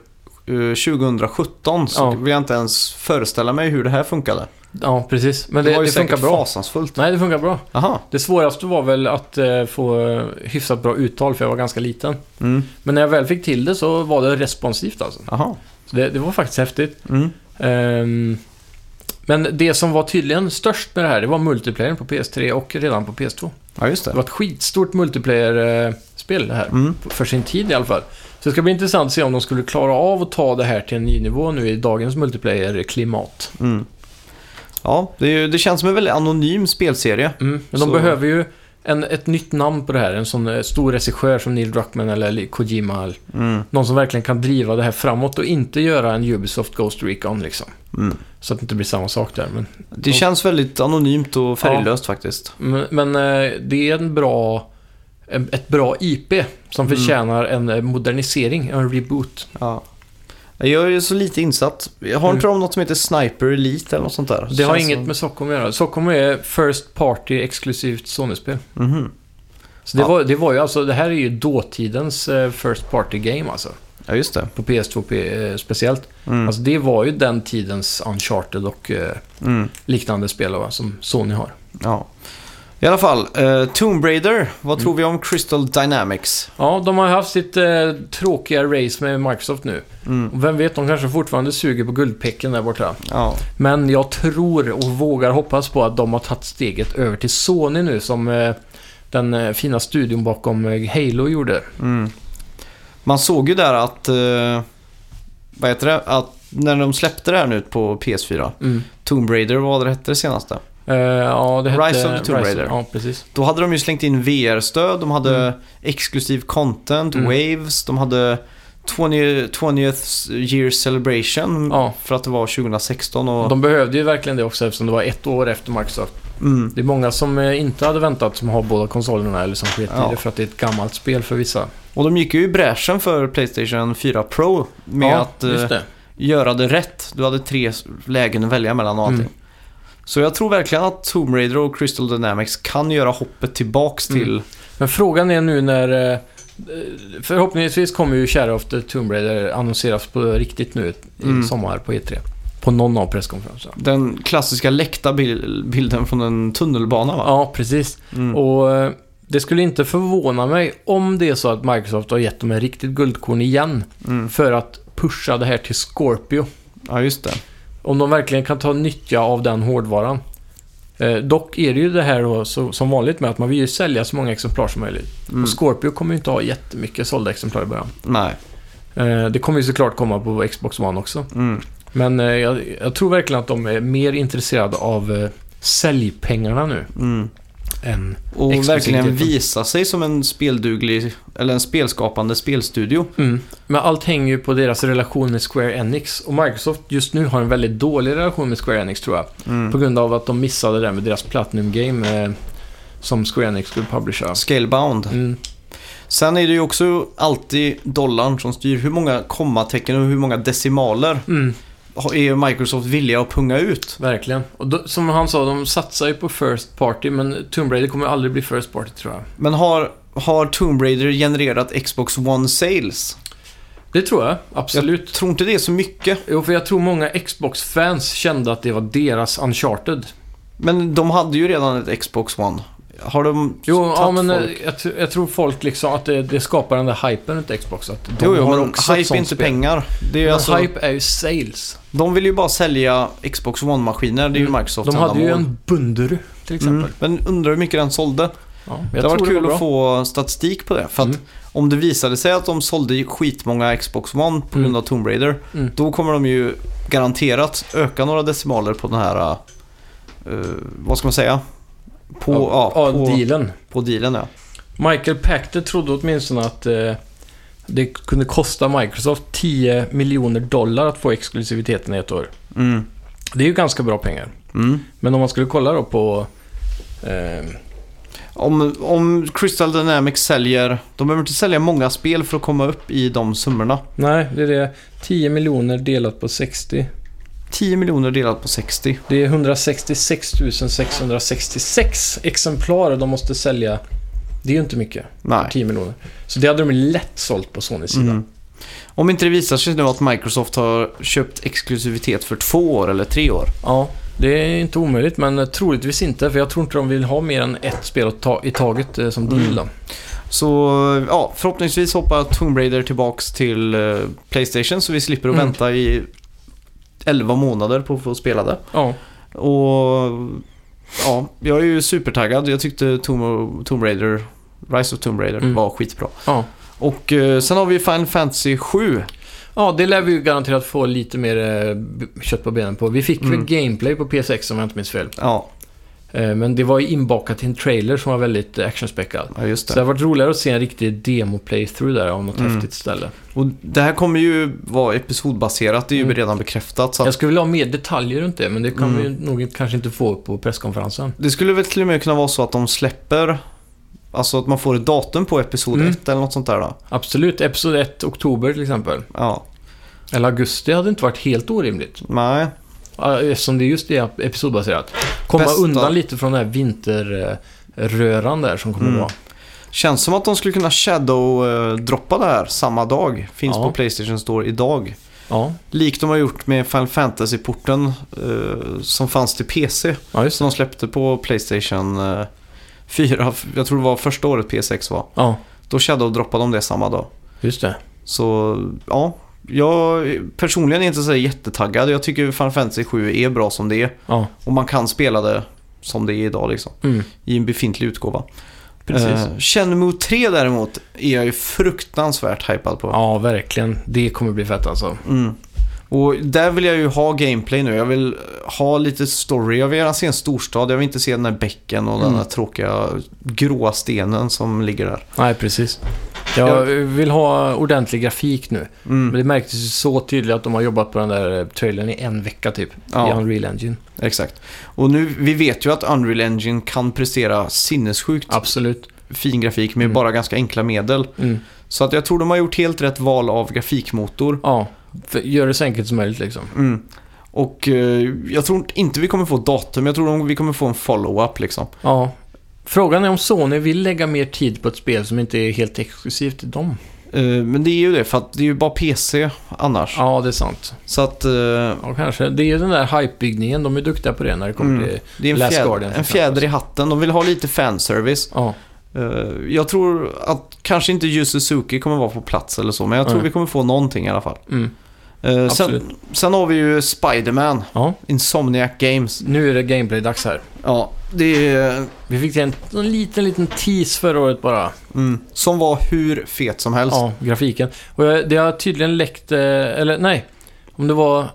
S1: eh, 2017 så
S2: Ja.
S1: vill jag inte ens föreställa mig hur det här funkade.
S2: Ja, precis. Men
S1: det,
S2: det,
S1: var
S2: det,
S1: ju
S2: funkar
S1: säkert
S2: bra.
S1: fasansfullt.
S2: Nej, det funkar bra.
S1: Aha.
S2: Det svåraste var väl att eh, få eh, hyfsat bra uttal för jag var ganska liten.
S1: Mm.
S2: Men när jag väl fick till det så var det responsivt alltså.
S1: Aha.
S2: Så det, det var faktiskt häftigt.
S1: Mm.
S2: Ehm, men det som var tydligen störst med det här, det var multiplayern på PS3 och redan på PS2.
S1: Ja, just
S2: Det
S1: det.
S2: var ett skitstort multiplayer-spel det här.
S1: Mm.
S2: För sin tid i alla fall. Så det ska bli intressant att se om de skulle klara av att ta det här till en ny nivå nu i dagens multiplayer-klimat.
S1: Mm. Ja, det, är ju, det känns som en väldigt anonym spelserie.
S2: Mm. Men de
S1: Så-
S2: behöver ju en, ett nytt namn på det här. En sån eh, stor regissör som Neil Druckmann eller Kojima. Eller
S1: Mm.
S2: någon som verkligen kan driva det här framåt och inte göra en Ubisoft Ghost Recon liksom.
S1: Mm.
S2: Så att det inte blir samma sak där. Men
S1: Det känns väldigt anonymt och färglöst faktiskt.
S2: Men, men eh, det är en bra, en- ett bra IP som
S1: Mm.
S2: förtjänar en eh, modernisering, en reboot.
S1: Ja. Jag är ju så lite insatt. Jag har inte om något som heter Sniper Elite eller något sånt där?
S2: Mm. Det har
S1: Känns
S2: inget
S1: som-
S2: med Stockholm att göra. Stockholm är First Party exklusivt Sony-spel.
S1: Mhm.
S2: Så det,
S1: Ja.
S2: var, det var ju alltså, det här är ju dåtidens eh, First Party Game alltså.
S1: Ja, just det.
S2: På PS2 P- eh, speciellt.
S1: Mm.
S2: Alltså det var ju den tidens Uncharted och eh,
S1: Mm.
S2: liknande spel va, som Sony har.
S1: Ja. I alla fall, eh, Tomb Raider. Vad
S2: Mm.
S1: tror vi om Crystal Dynamics?
S2: Ja, de har haft sitt eh, tråkiga race med Microsoft nu.
S1: Mm.
S2: Och vem vet, de kanske fortfarande suger på guldpicken där borta.
S1: Ja.
S2: Men jag tror och vågar hoppas på att de har tagit steget över till Sony nu som eh, den eh, fina studion bakom eh, Halo gjorde.
S1: Mm. Man såg ju där att... Eh, vad heter det? Att när de släppte det här nu på PS4. Tomb Raider, vad var det hette det senaste?
S2: Eh, ja, det hette...
S1: Rise of the Tomb Raider.
S2: Ja, precis.
S1: Då hade de ju slängt in VR-stöd, de hade exklusiv content,
S2: Mm.
S1: waves, de hade 20, 20th year celebration
S2: Ja.
S1: för att det var 2016 och...
S2: De behövde ju verkligen det också eftersom det var ett år efter Microsoft.
S1: Mm,
S2: Det är många som eh, inte hade väntat som har båda konsolerna eller som sket i
S1: Ja.
S2: det för att det är ett gammalt spel för vissa.
S1: och de gick ju i bräschen för Playstation 4 Pro med
S2: ja,
S1: att eh,
S2: just det.
S1: göra det rätt. Du hade tre s- lägen att välja mellan och allting.
S2: Mm.
S1: Så jag tror verkligen att Tomb Raider och Crystal Dynamics kan göra hoppet tillbaks
S2: Mm.
S1: till...
S2: Men frågan är nu när... eh, Förhoppningsvis kommer ju Shadow of the Tomb Raider annonseras på riktigt nu
S1: Mm.
S2: i sommar på E3. På någon av presskonferenserna.
S1: Den klassiska läckta bil- bilden från en tunnelbana va?
S2: Ja, precis.
S1: Mm.
S2: Och eh, det skulle inte förvåna mig om det är så att Microsoft har gett dem en riktigt guldkorn igen
S1: Mm.
S2: för att pusha det här till Scorpio.
S1: Ja, just det.
S2: Om de verkligen kan ta nytta av den hårdvaran. Eh, dock är det ju det här då, så, som vanligt med att man vill ju sälja så många exemplar som möjligt.
S1: Mm.
S2: Och Scorpio kommer ju inte ha jättemycket sålda exemplar i början.
S1: Nej.
S2: Eh, det kommer ju såklart komma på Xbox One också.
S1: Mm.
S2: Men eh, jag, jag tror verkligen att de är mer intresserade av eh, säljpengarna nu
S1: Mm.
S2: en...
S1: Och verkligen
S2: Exklusiviteten.
S1: visa sig som en spelduglig, eller en spelskapande spelstudio.
S2: Mm. Men allt hänger ju på deras relation med Square Enix. Och Microsoft just nu har en väldigt dålig relation med Square Enix, tror jag. På grund av att de missade det där med deras Platinum Game eh, som Square Enix skulle publicera.
S1: Scalebound.
S2: Mm.
S1: Sen är det ju också alltid dollarn som styr. Hur många kommatecken och hur många decimaler
S2: Mm,
S1: har- är Microsoft villiga att punga ut?
S2: verkligen. Och då, som han sa, de satsar ju på First Party, men Tomb Raider kommer aldrig bli First Party, tror jag.
S1: Men har, har Tomb Raider genererat Xbox One Sales?
S2: Det tror jag, absolut.
S1: Tror inte det är så mycket.
S2: Jo, för jag tror många Xbox-fans kände att det var deras Uncharted.
S1: Men de hade ju redan ett Xbox One. Har de
S2: Jo, ja,
S1: tagit
S2: men eh,
S1: folk?
S2: jag, tr- jag tror folk liksom att det, det skapar den där hypen runt Xbox. Att de
S1: Jo, jo,
S2: har
S1: men
S2: också ett
S1: hype är
S2: sånt
S1: inte
S2: spel.
S1: pengar. Det är
S2: Men
S1: alltså,
S2: Hype är ju sales.
S1: De vill ju bara sälja Xbox One-maskiner. Det är ju Microsofts
S2: Mm. De hade
S1: enda
S2: ju
S1: mål.
S2: en Bunduru, till exempel.
S1: Mm. Men undrar hur mycket den sålde.
S2: Ja, jag
S1: det
S2: tror
S1: har varit kul
S2: var
S1: att
S2: bra.
S1: få statistik på det. För att
S2: Mm.
S1: om det visade sig att de sålde skitmånga Xbox One på grund
S2: Mm.
S1: av Tomb Raider.
S2: Mm.
S1: Då kommer de ju garanterat öka några decimaler på den här, eh, vad ska man säga? På, ja,
S2: ja, ja,
S1: på,
S2: dealen.
S1: på dealen ja.
S2: Michael Pachter trodde åtminstone att eh, det kunde kosta Microsoft 10 miljoner dollar att få exklusiviteten i ett år.
S1: Mm.
S2: Det är ju ganska bra pengar.
S1: Mm.
S2: Men om man skulle kolla då på... Eh,
S1: Om, om Crystal Dynamics säljer, de behöver inte sälja många spel för att komma upp i de summorna.
S2: nej, det är det. 10 miljoner delat på 60.
S1: 10 miljoner delat på 60.
S2: Det är 166 666 exemplar de måste sälja. Det är ju inte mycket.
S1: Nej.
S2: 10 miljoner. Så det hade de lätt sålt på Sonys sida.
S1: Mm. Om inte det visar sig nu att Microsoft har köpt exklusivitet för två år eller tre år.
S2: Ja, det är inte omöjligt, men troligtvis inte. För jag tror inte de vill ha mer än ett spel att ta, i taget eh, som
S1: Mm.
S2: deal. då.
S1: Så ja, förhoppningsvis hoppar Tomb Raider tillbaks till eh, Playstation så vi slipper att
S2: Mm.
S1: vänta i 11 månader på att få spela det.
S2: Ja.
S1: Och ja, jag är ju supertaggad. Jag tyckte Tomb, Tomb Raider, Rise of Tomb Raider
S2: Mm.
S1: var skitbra.
S2: Ja.
S1: Och eh, sen har vi Final Fantasy 7.
S2: ja, det lär vi ju garanterat få lite mer eh, b- kött på benen på. Vi fick
S1: Mm.
S2: väl gameplay på PS6 om jag inte minns fel.
S1: Ja,
S2: Eh, Men det var ju inbakat i en trailer som var väldigt eh, actionspäckad.
S1: ja, just
S2: Så det
S1: det.
S2: har varit roligare att se en riktig demo-playthrough där av något
S1: Mm.
S2: häftigt ställe.
S1: Och det här kommer ju vara episodbaserat. Det är ju
S2: Mm.
S1: redan bekräftat. Så att
S2: Jag skulle vilja ha mer detaljer runt det, men det kan
S1: Mm.
S2: vi ju nog inte- kanske inte få på presskonferensen.
S1: Det skulle väl till och med kunna vara så att de släpper, alltså att man får ett datum på episod
S2: Mm.
S1: 1 eller något sånt där då.
S2: Absolut, Episod 1, oktober till exempel.
S1: Ja,
S2: Eller augusti hade inte varit helt orimligt.
S1: nej.
S2: Ja, Eftersom det just är episodbaserat. Komma
S1: Bästa-
S2: undan lite från den här vinterröran där som kommer
S1: Mm.
S2: att vara.
S1: Känns som att de skulle kunna shadow-droppa det här samma dag. Finns
S2: Ja.
S1: på Playstation Store idag.
S2: Ja,
S1: Likt de har gjort med Final Fantasy-porten eh, som fanns till PC.
S2: ja just det.
S1: Som de släppte på Playstation eh, 4. Jag tror det var första året PS6 var.
S2: Ja,
S1: Då shadow-droppade de det samma dag.
S2: just det.
S1: Så ja, jag personligen är inte så jättetaggad. Jag tycker Final Fantasy 7 är bra som det är.
S2: Ja,
S1: Och man kan spela det som det är idag liksom.
S2: mm.
S1: I en befintlig utgåva.
S2: precis.
S1: Eh, Shenmue 3 däremot är jag ju fruktansvärt hypad på.
S2: Ja, verkligen. Det kommer bli fett alltså.
S1: Mm. Och där vill jag ju ha gameplay nu. Jag vill ha lite story. Jag vill gärna se en storstad. Jag vill inte se den där bäcken och den
S2: Mm.
S1: där tråkiga gråa stenen som ligger där.
S2: Nej, precis. Jag vill ha ordentlig grafik nu. Men
S1: Mm.
S2: det märktes ju så tydligt att de har jobbat på den där eh, trailern i en vecka typ. I
S1: Ja,
S2: Unreal Engine.
S1: exakt. Och nu, vi vet ju att Unreal Engine kan prestera sinnessjukt
S2: Absolut.
S1: fin grafik med
S2: Mm.
S1: bara ganska enkla medel.
S2: Mm.
S1: Så att jag tror de har gjort helt rätt val av grafikmotor.
S2: Ja, för, gör det så enkelt som möjligt liksom.
S1: Mm. Och eh, jag tror inte vi kommer få datum, jag tror de- vi kommer få en follow-up liksom.
S2: Ja. Frågan är om Sony vill lägga mer tid på ett spel som inte är helt exklusivt till dem.
S1: Eh, men det är ju det, för att det är ju bara PC annars.
S2: Ja, det är sant.
S1: Så att eh,
S2: Ja, kanske. Det är ju den där hypebyggningen. De är duktiga på det när det kommer
S1: Mm.
S2: till...
S1: det är en,
S2: Last
S1: fjäder,
S2: Guardian,
S1: en fjäder i hatten, de vill ha lite fanservice.
S2: Ja,
S1: Eh, jag tror att kanske inte Yu Suzuki kommer vara på plats eller så, men jag tror
S2: Mm.
S1: vi kommer få någonting i alla fall.
S2: mm.
S1: Eh,
S2: Absolut.
S1: sen, sen har vi ju Spider-Man,
S2: ja.
S1: Insomniac Games.
S2: Nu är det gameplay-dags här.
S1: Ja, det är...
S2: Vi fick en, en liten, liten tease förra året bara.
S1: Mm, som var hur fet som helst.
S2: Ja, grafiken. Och jag, det har tydligen läckt... eh, Eller nej. Om det var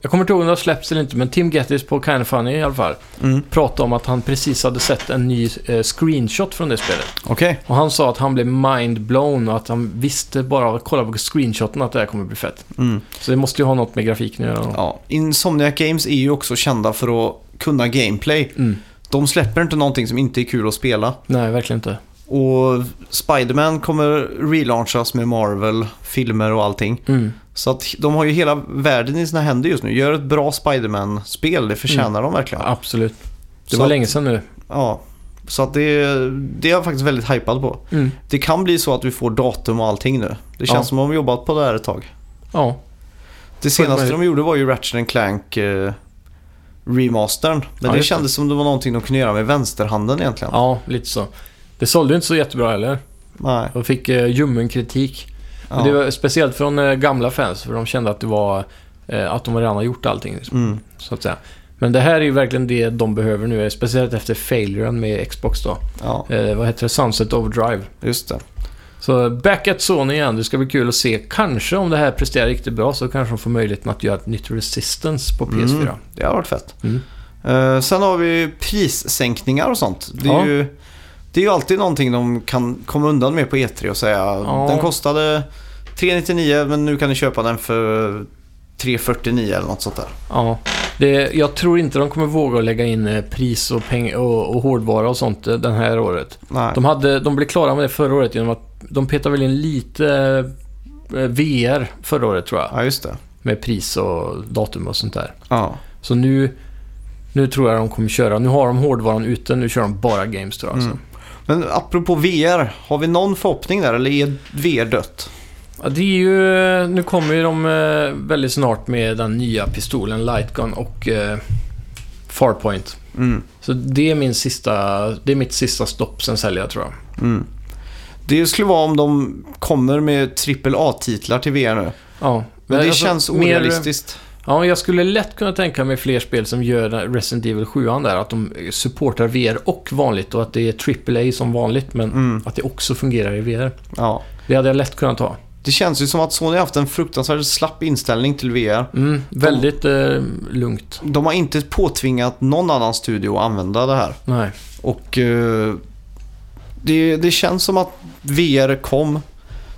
S2: Jag kommer inte ihåg om det har släppts eller inte, men Tim Gettys på Kind of Funny i alla fall
S1: Mm.
S2: pratade om att han precis hade sett en ny eh, screenshot från det spelet.
S1: Okej.
S2: Och han sa att han blev mind-blown och att han visste bara av att kolla på screenshoten att det här kommer bli fett.
S1: Mm.
S2: Så det måste ju ha något med grafiken att göra.
S1: Ja. Insomniac Games är ju också kända för att kunna gameplay.
S2: Mm.
S1: De släpper inte någonting som inte är kul att spela.
S2: Nej, verkligen inte.
S1: Och Spider-Man kommer relaunchas med Marvel, filmer och allting.
S2: Mm.
S1: Så att de har ju hela världen i sina händer just nu. Gör ett bra Spider-Man-spel, det förtjänar
S2: Mm.
S1: de verkligen.
S2: Absolut. Det
S1: Så
S2: var
S1: att-
S2: länge sedan nu.
S1: Ja. Så att det, det är jag faktiskt väldigt hypad på.
S2: Mm.
S1: Det kan bli så att vi får datum och allting nu. Det känns
S2: Ja.
S1: som att de har jobbat på det här ett tag.
S2: Ja,
S1: Det senaste
S2: möjligt.
S1: de gjorde var ju Ratchet and Clank eh, remastern. Men
S2: Ja,
S1: det
S2: just det.
S1: kändes som det var någonting de kunde göra med vänsterhanden egentligen.
S2: ja, lite så. Det sålde ju inte så jättebra heller.
S1: Nej.
S2: Och fick eh, ljummen kritik.
S1: Ja.
S2: Men det var speciellt från eh, gamla fans, för de kände att det var... Eh, att de redan har gjort allting, liksom,
S1: Mm.
S2: så att säga. Men det här är ju verkligen det de behöver nu, eh, speciellt efter failuren med Xbox då.
S1: Ja,
S2: Eh, vad heter det? Sunset Overdrive.
S1: just det.
S2: Så back at Sony igen. Det ska bli kul att se. Kanske om det här presterar riktigt bra så kanske de får möjligheten att göra ett nytt Resistance på PS4.
S1: Mm. Det har varit fett.
S2: Mm.
S1: Eh, sen har vi ju prissänkningar och sånt. Det är,
S2: Ja.
S1: ju, det är ju alltid någonting de kan komma undan med på E3 och säga.
S2: Ja.
S1: Den kostade 399 men nu kan ni köpa den för 349 eller något sånt där.
S2: Ja. Det, jag tror inte de kommer våga att lägga in eh, pris och, peng- och, och hårdvara och sånt eh, det här året.
S1: Nej.
S2: De, hade, de blev klara med det förra året genom att de petade väl in lite eh, VR förra året tror jag.
S1: Ja, just det.
S2: Med pris och datum och sånt där.
S1: Ja.
S2: Så nu, nu tror jag de kommer köra. Nu har de hårdvaran ute, nu kör de bara games tror jag. alltså.
S1: Mm. Men apropå VR, har vi någon förhoppning där eller är VR dött?
S2: Ja, det är ju... Nu kommer ju de eh, väldigt snart med den nya pistolen Lightgun och eh, Farpoint.
S1: Mm.
S2: Så det är min sista... Det är mitt sista stopp sen säljer jag tror jag.
S1: Mm. Det skulle vara om de kommer med AAA-titlar till VR nu.
S2: Ja.
S1: Men det
S2: alltså,
S1: känns
S2: mer-
S1: orealistiskt.
S2: Ja, jag skulle lätt kunna tänka mig fler spel som gör Resident Evil 7 där. Att de supportar VR och vanligt och att det är AAA som vanligt men
S1: Mm.
S2: att det också fungerar i VR.
S1: Ja.
S2: Det hade jag lätt kunnat ta.
S1: Det känns ju som att Sony har haft en fruktansvärt slapp inställning till VR.
S2: Mm, väldigt eh, lugnt.
S1: De har inte påtvingat någon annan studio att använda det här.
S2: Nej.
S1: Och eh, det, det känns som att VR kom,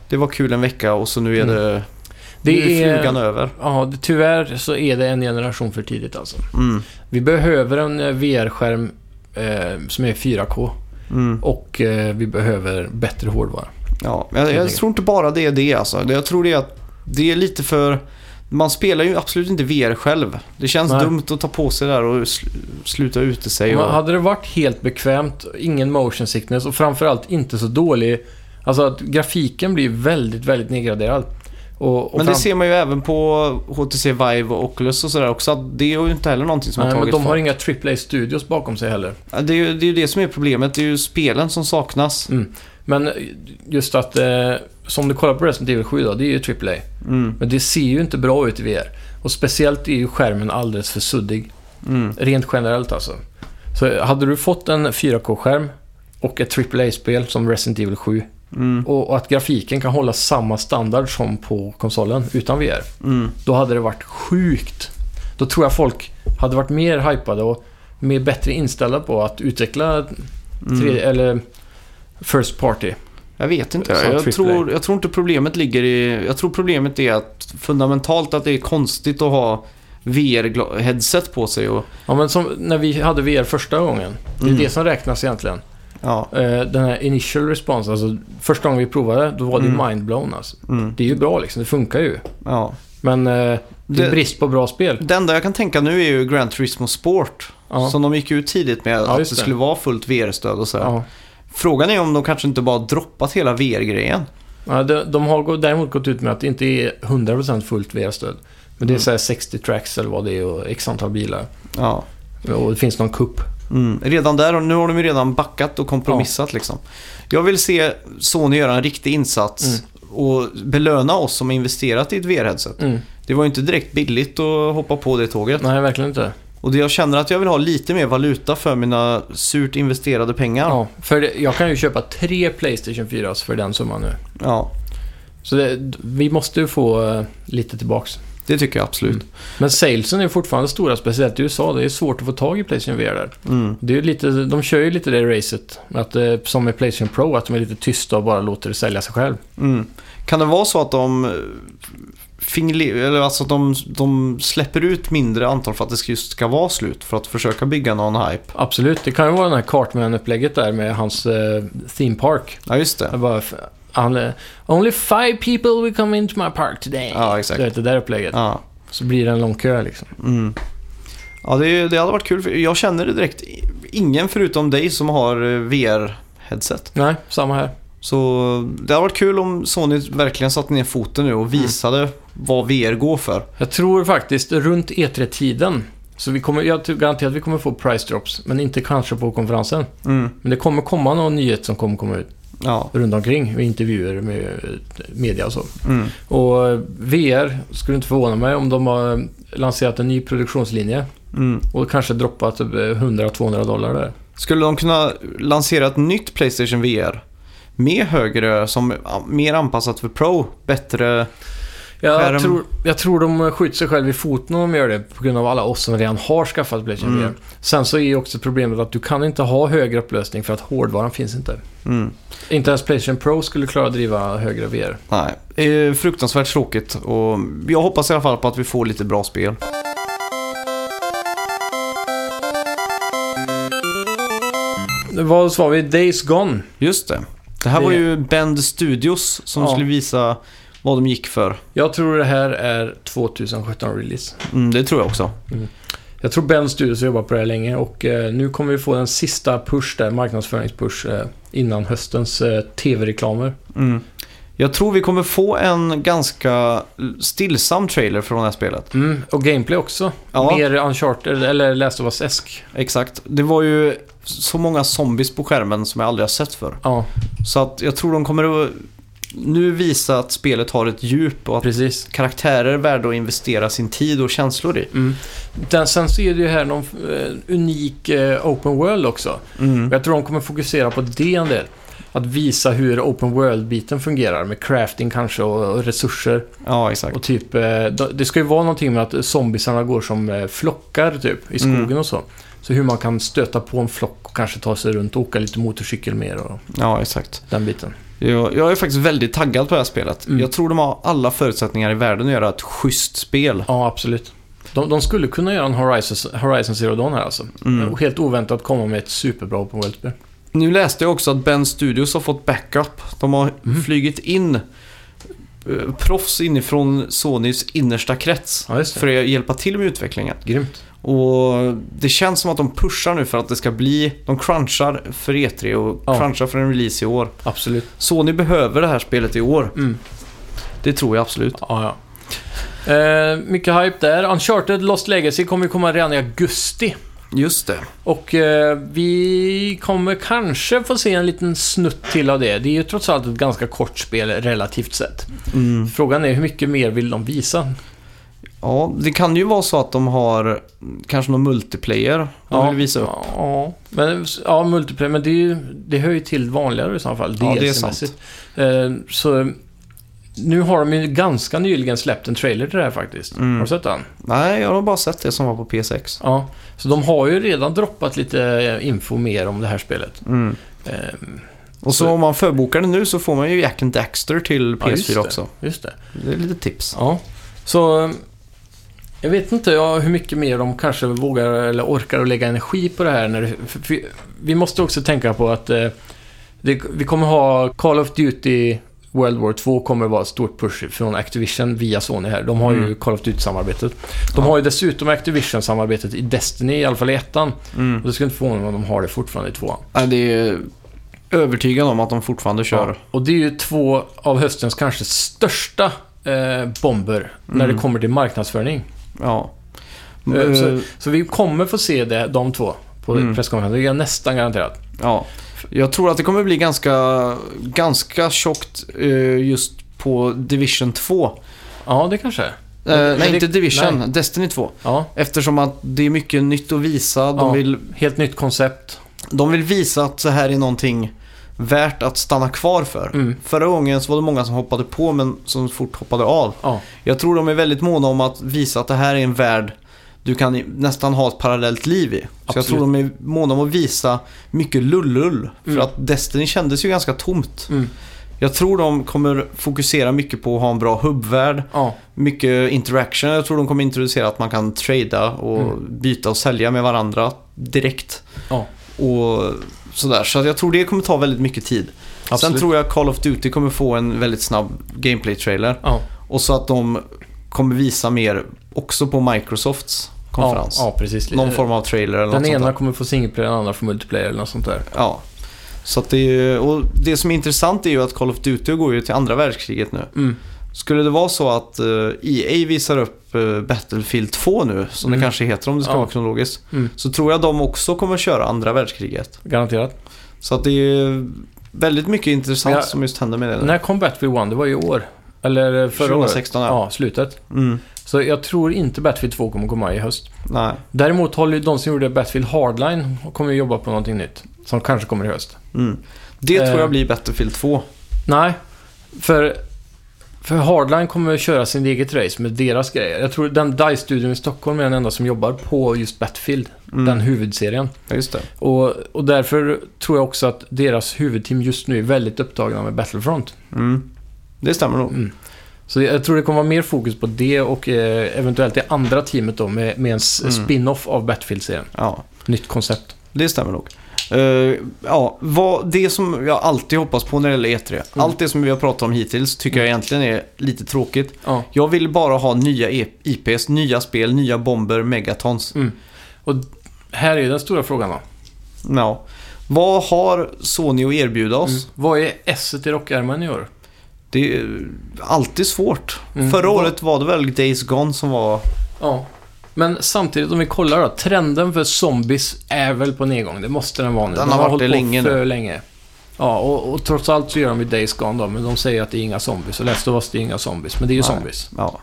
S1: det var kul en vecka och så nu är
S2: Mm.
S1: det, nu
S2: Det
S1: är
S2: är...
S1: flugan över.
S2: Ja, det, tyvärr så är det en generation för tidigt alltså.
S1: Mm.
S2: Vi behöver en eh, VR-skärm eh, som är 4K
S1: Mm.
S2: och eh, vi behöver bättre hårdvara.
S1: Ja, jag, jag tror inte bara det är det alltså. Det- Jag tror det är att det är lite för... Man spelar ju absolut inte VR själv. Det känns
S2: Nej.
S1: dumt att ta på sig det där och sl sluta ute sig.
S2: Men
S1: Och...
S2: hade det varit helt bekvämt, ingen motion sickness och framförallt inte så dålig... Alltså att grafiken blir väldigt, väldigt nedgraderad. Och, och
S1: Men det
S2: fram-
S1: ser man ju även på HTC Vive och Oculus och sådär också. att Det är ju inte heller någonting som
S2: Nej,
S1: har
S2: men
S1: tagit
S2: de har
S1: fart.
S2: inga AAA-studios bakom sig heller.
S1: Ja, Det är ju det, är ju det som är problemet. Det är ju spelen som saknas.
S2: Men just att, eh, som du kollar på Resident Evil 7 då, det är ju AAA.
S1: Mm,
S2: Men det ser ju inte bra ut i VR. Och speciellt är ju skärmen alldeles för suddig.
S1: mm,
S2: Rent generellt alltså. Så hade du fått en 4K-skärm och ett AAA-spel som Resident Evil 7
S1: mm,
S2: och, och att grafiken kan hålla samma standard som på konsolen utan VR.
S1: mm.
S2: Då hade det varit sjukt. Då tror jag folk hade varit mer hypade och mer bättre inställda på att utveckla
S1: Mm.
S2: tre, eller First Party.
S1: Jag vet inte.
S2: Så
S1: Jag
S2: AAA.
S1: tror, jag tror inte problemet ligger i... Jag tror problemet är att fundamentalt att det är konstigt att ha VR-headset på sig och...
S2: Ja, men som när vi hade VR första gången. Det är
S1: Mm.
S2: det som räknas egentligen.
S1: Ja.
S2: Eh, Den här initial response, alltså första gången vi provade, då var det ju
S1: Mm.
S2: mindblown alltså.
S1: Mm,
S2: Det är ju bra liksom, det funkar ju.
S1: ja.
S2: Men eh, det är
S1: Det-
S2: brist på bra spel.
S1: Det enda jag kan tänka nu är ju Gran Turismo Sport.
S2: Ja.
S1: Som de gick ut tidigt med att det
S2: just det.
S1: skulle vara fullt VR-stöd och sådär.
S2: Ja.
S1: Frågan är om de kanske inte bara droppat hela VR-grejen.
S2: Ja, de, de har gå- däremot gått ut med att det inte är 100% fullt VR-stöd. Men det är
S1: Mm.
S2: så här 60 tracks eller vad det är och x antal bilar.
S1: Ja.
S2: Och det finns någon kupp.
S1: Mm. Redan där, och nu har de ju redan backat och kompromissat liksom. Jag vill se Sony göra en riktig
S2: Mm.
S1: insats och belöna oss som har investerat i ett VR-headset.
S2: Mm.
S1: Det var ju inte direkt billigt att hoppa på det tåget.
S2: Nej, verkligen inte.
S1: Och det jag känner att jag vill ha lite mer valuta för mina surt investerade pengar.
S2: Ja, för det, jag kan ju köpa tre Playstation 4 för den summan nu.
S1: Ja.
S2: Så det, vi måste ju få eh, lite tillbaks.
S1: Det tycker jag absolut.
S2: Men salesen är fortfarande stora, speciellt i USA. Det är svårt att få tag i Playstation VR där.
S1: Mm.
S2: Det är ju lite, de kör ju lite det racet, att, eh, som med Playstation Pro, att de är lite tysta och bara låter det sälja sig själv.
S1: Mm. Kan det vara så att de eh, fingle- eller alltså att de, de släpper ut mindre antal för att det just ska vara slut för att försöka bygga någon hype?
S2: Absolut, det kan ju vara det här Cartman-upplägget där med hans eh, theme park.
S1: Ja, just
S2: Jag
S1: det.
S2: bara, f- han, eh, Only five people will come into my park today.
S1: Ja, exakt.
S2: Du vet, det där upplägget.
S1: Ja.
S2: Så blir det en lång kö liksom.
S1: Mm. Ja, det, det hade varit kul. För jag känner direkt ingen förutom dig som har VR-headset.
S2: Nej, samma här.
S1: Så det hade varit kul om Sony verkligen satte ner foten nu och visade vad VR går för.
S2: Jag tror faktiskt runt E3-tiden, så vi kommer, jag tror garanterat att vi kommer få price drops, men inte kanske på konferensen. Men det kommer komma någon nyhet som kommer komma ut
S1: Mm. Ja.
S2: runt omkring och intervjuer med eh, media och så.
S1: Mm.
S2: Och eh, VR skulle inte förvåna mig om de har eh, lanserat en ny produktionslinje
S1: Mm.
S2: och kanske droppat typ, eh, 100-200 dollar där.
S1: Skulle de kunna lansera ett nytt Playstation VR? Med högre, som ja, mer anpassat för Pro, bättre... Skärm.
S2: Jag tror, jag tror de skjuter sig själv i foten om de gör det på grund av alla oss som redan har skaffat Playstation
S1: Mm.
S2: VR. Sen så är ju också problemet att du kan inte ha högre upplösning för att hårdvaran finns inte.
S1: Mm.
S2: Inte ens Playstation Pro skulle klara att driva högre VR.
S1: Nej, eh, fruktansvärt tråkigt och jag hoppas i alla fall på att vi får lite bra spel.
S2: Vad sa vi? Days Gone.
S1: Just det. Det här
S2: Det-
S1: var ju Bend Studios som
S2: Ja.
S1: skulle visa vad de gick för.
S2: Jag tror det här är 2017-release.
S1: Mm, det tror jag också.
S2: Jag tror Ben Studios har jobbat på det här länge och eh, nu kommer vi få den sista push där, marknadsföringspush, eh, innan höstens eh, TV-reklamer.
S1: Mm. Jag tror vi kommer få en ganska stillsam trailer från det här spelet.
S2: Mm, och gameplay också.
S1: Ja.
S2: Mer Uncharted, eller Last of Us-esk.
S1: Exakt. Det var ju så många zombies på skärmen som jag aldrig har sett förr.
S2: Ja,
S1: Så att jag tror de kommer att nu visa att spelet har ett djup och att
S2: precis.
S1: karaktärer är värda att investera sin tid och känslor i.
S2: Mm. Den, sen så är det ju här någon eh, unik eh, open world också. Och Jag tror de kommer fokusera på det en del. Att visa hur open world-biten fungerar med crafting kanske och, och resurser.
S1: Ja, exakt.
S2: Och typ, eh, d- det ska ju vara någonting med att zombisarna går som eh, flockar typ i skogen
S1: Mm.
S2: och så. Så hur man kan stöta på en flock och kanske ta sig runt och åka lite motorcykel mer och
S1: Ja, exakt.
S2: den biten.
S1: Jag, jag är faktiskt väldigt taggad på det här spelet.
S2: Mm.
S1: Jag tror de har alla förutsättningar i världen att göra ett schysst spel.
S2: Ja, absolut. De, de skulle kunna göra en Horizon, Horizon Zero Dawn här alltså.
S1: Mm.
S2: Och helt oväntat komma med ett superbra Open World-spel.
S1: Nu läste jag också att Ben Studios har fått backup. De har
S2: Mm.
S1: flygit in eh, proffs inifrån Sonys innersta krets
S2: Ja, just det.
S1: för att hjälpa till med utvecklingen.
S2: Grymt.
S1: Och det känns som att de pushar nu för att det ska bli... De crunchar för E3 och
S2: Ja.
S1: crunchar för en release i år.
S2: Absolut.
S1: Sony behöver det här spelet i år.
S2: Mm.
S1: Det tror jag absolut.
S2: Ja, ja. Eh, mycket hype där. Uncharted Lost Legacy kommer ju komma redan i augusti.
S1: Just det.
S2: Och eh, vi kommer kanske få se en liten snutt till av det. Det är ju trots allt ett ganska kort spel relativt sett.
S1: Mm.
S2: Frågan är hur mycket mer vill de visa?
S1: Ja, det kan ju vara så att de har kanske någon multiplayer de vill visa upp.
S2: Ja, men, ja multiplayer, men det, är ju, det hör ju till vanligare i så fall.
S1: Ja, det är
S2: DLC-mässigt. Eh, så nu har de ju ganska nyligen släppt en trailer till det här faktiskt.
S1: Mm.
S2: Har du sett den?
S1: Nej, jag har bara sett det som var på PS6.
S2: Ja. Så de har ju redan droppat lite eh, info mer om det här spelet.
S1: Mm.
S2: Eh,
S1: Och så
S2: Så-
S1: om man förbokar det nu så får man ju Jack and Daxter till
S2: Ja,
S1: PS4
S2: just det.
S1: också.
S2: just det.
S1: Det är lite tips.
S2: Ja, så eh, jag vet inte ja, hur mycket mer de kanske vågar eller orkar att lägga energi på det här. När det, för- för vi- vi måste också tänka på att eh, det, vi kommer ha Call of Duty World War 2 kommer vara ett stort push från Activision via Sony här. De har ju
S1: Mm.
S2: Call of Duty-samarbetet. De har ju dessutom Activision-samarbetet i Destiny, i alla fall i ettan.
S1: Mm.
S2: Och det skulle inte förvåna mig om de har det fortfarande i tvåan.
S1: Ja, det är övertygad om att de fortfarande kör.
S2: Ja, och det är ju två av höstens kanske största eh, bomber när
S1: Mm.
S2: det kommer till marknadsföring.
S1: Ja.
S2: Eh,
S1: Eh,
S2: Så, så vi kommer få se det, de två på
S1: Mm.
S2: presskonferensen. Det är nästan garanterat.
S1: ja. Jag tror att det kommer bli ganska, ganska tjockt eh, just på Division 2.
S2: Ja, det kanske är.
S1: Eh,
S2: Men
S1: nej,
S2: det-
S1: inte Division. Destiny 2.
S2: Ja,
S1: Eftersom att det är mycket nytt att visa. De,
S2: Ja.
S1: vill,
S2: helt nytt koncept.
S1: de vill visa att så här är någonting värt att stanna kvar för.
S2: Mm.
S1: Förra gången så var det många som hoppade på men som fort hoppade av.
S2: Ja.
S1: Jag tror de är väldigt måna om att visa att det här är en värld du kan i- nästan ha ett parallellt liv i. Så jag
S2: Absolut.
S1: tror de är måna om att visa mycket lullull. För
S2: Mm.
S1: att Destiny kändes ju ganska tomt.
S2: Mm.
S1: Jag tror de kommer fokusera mycket på att ha en bra hubbvärld,
S2: Ja.
S1: mycket interaction. Jag tror de kommer introducera att man kan trada och
S2: Mm.
S1: byta och sälja med varandra direkt.
S2: Ja.
S1: Och sådär. Så att jag tror det kommer ta väldigt mycket tid. Sen
S2: Absolut.
S1: tror jag Call of Duty kommer få en väldigt snabb gameplay-trailer.
S2: Ja.
S1: Och så att de kommer visa mer också på Microsofts konferens.
S2: Ja, ja precis. Eh,
S1: Någon form av trailer eller
S2: Den
S1: något
S2: ena
S1: sånt
S2: kommer få singleplayer, den andra får multiplayer eller något sånt där.
S1: där. Ja. Så att det, är ju, och det som är intressant är ju att Call of Duty går ju till andra världskriget nu.
S2: Mm.
S1: Skulle det vara så att eh, EA visar upp eh, Battlefield 2 nu, som
S2: Mm.
S1: det kanske heter om det ska
S2: Ja.
S1: vara kronologiskt,
S2: Mm.
S1: så tror jag de också kommer köra andra världskriget.
S2: Garanterat.
S1: Så att det är väldigt mycket intressant
S2: Men jag-
S1: som just händer med det nu.
S2: När kom Battlefield 1? Det var ju i år. Eller eh, förra året.
S1: 2016 ja.
S2: Ja, slutet.
S1: Mm,
S2: Så jag tror inte Battlefield 2 kommer komma i höst.
S1: nej.
S2: Däremot håller ju de som gjorde Battlefield Hardline kommer ju jobba på någonting nytt. Som kanske kommer i höst.
S1: Mm. Det
S2: Eh.
S1: tror jag blir Battlefield 2.
S2: Nej, för, för Hardline kommer köra sin eget race med deras grejer. Jag tror den DICE-studion i Stockholm är den enda som jobbar på just Battlefield.
S1: Mm.
S2: Den huvudserien.
S1: Ja, just det.
S2: Och, och därför tror jag också att deras huvudteam just nu är väldigt upptagna med Battlefront.
S1: Mm. Det stämmer nog.
S2: Mm. Så jag tror det kommer vara mer fokus på det och eh, eventuellt det andra teamet då med, med en s-
S1: Mm.
S2: spin-off av Battlefield-serien.
S1: Ja,
S2: Nytt koncept.
S1: det stämmer nog. Eh, ja, vad, det som jag alltid hoppas på när det gäller E3.
S2: Mm.
S1: Allt det som vi har pratat om hittills tycker jag egentligen är lite tråkigt.
S2: Ja.
S1: Jag vill bara ha nya E- IPs, nya spel, nya bomber, megatons.
S2: Mm. Och här är ju den stora frågan då. Mm.
S1: Ja. Vad har Sony att erbjuda oss?
S2: Vad är S i rockärmen i år?
S1: Det är alltid svårt.
S2: Mm.
S1: Förra
S2: Vad-
S1: året var det väl Days Gone som var...
S2: Ja. Men samtidigt om vi kollar då. Trenden för zombies är väl på nedgång. Det måste den vara nu.
S1: Den
S2: De
S1: har varit
S2: hållit
S1: det
S2: på
S1: länge nu.
S2: för länge. Ja, och, och trots allt så gör de ju Days Gone då, men de säger att det är inga zombies. Och Last of Us, det är inga zombies. Men det är ju
S1: Nej.
S2: zombies.
S1: Ja.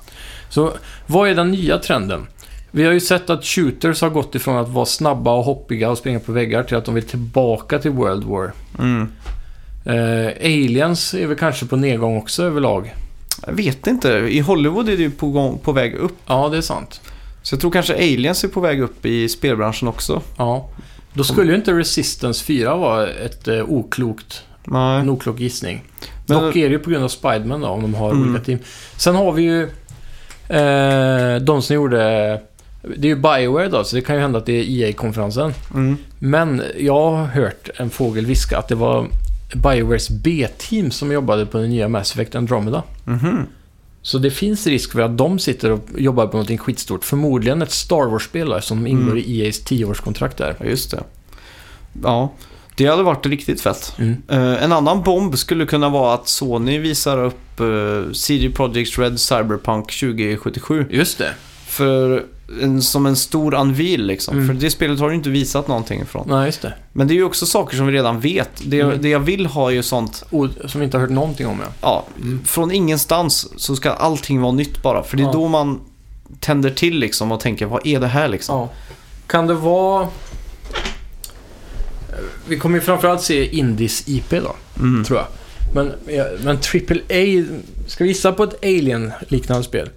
S2: Så vad är den nya trenden? Vi har ju sett att shooters har gått ifrån att vara snabba och hoppiga och springa på väggar till att de vill tillbaka till World War.
S1: Mm.
S2: Eh, aliens är väl kanske på nedgång också överlag.
S1: Jag vet inte. I Hollywood är det ju på, gång, på väg upp.
S2: Ja, det är sant.
S1: Så jag tror kanske aliens är på väg upp i spelbranschen också.
S2: Ja. Då skulle ju inte Resistance 4 vara ett eh, oklokt,
S1: Nej.
S2: en oklok gissning.
S1: Men-
S2: Dock är det ju på grund av Spiderman då, om de har
S1: Mm.
S2: olika team. Sen har vi ju eh, de som gjorde... Det är ju Bioware då, så det kan ju hända att det är EA-konferensen.
S1: Mm.
S2: Men jag har hört en fågel viska att det var Biowares B-team som jobbade på den nya Mass Effect Andromeda.
S1: Mhm.
S2: Så det finns risk för att de sitter och jobbar på någonting skitstort. Förmodligen ett Star Wars-spel då, som ingår
S1: Mm.
S2: i EA's 10-årskontrakt där.
S1: Ja, just det. Ja, det hade varit riktigt fett.
S2: Mm.
S1: Eh, en annan bomb skulle kunna vara att Sony visar upp eh, CD Projekt Red Cyberpunk 2077.
S2: Just det.
S1: För en, som en stor anvil liksom.
S2: Mm.
S1: För det spelet har du inte visat någonting ifrån.
S2: Nej, just det.
S1: Men det är ju också saker som vi redan vet. Det,
S2: Mm.
S1: det jag vill ha är ju sånt,
S2: O som vi inte har hört någonting om, ja.
S1: ja,
S2: Mm.
S1: från ingenstans så ska allting vara nytt bara. För det är
S2: Ja.
S1: då man tänder till liksom och tänker, vad är det här liksom?
S2: ja. Kan det vara... Vi kommer ju framförallt se Indies IP då,
S1: Mm.
S2: tror jag. Men, men AAA, ska vi gissa på ett Alien-liknande spel?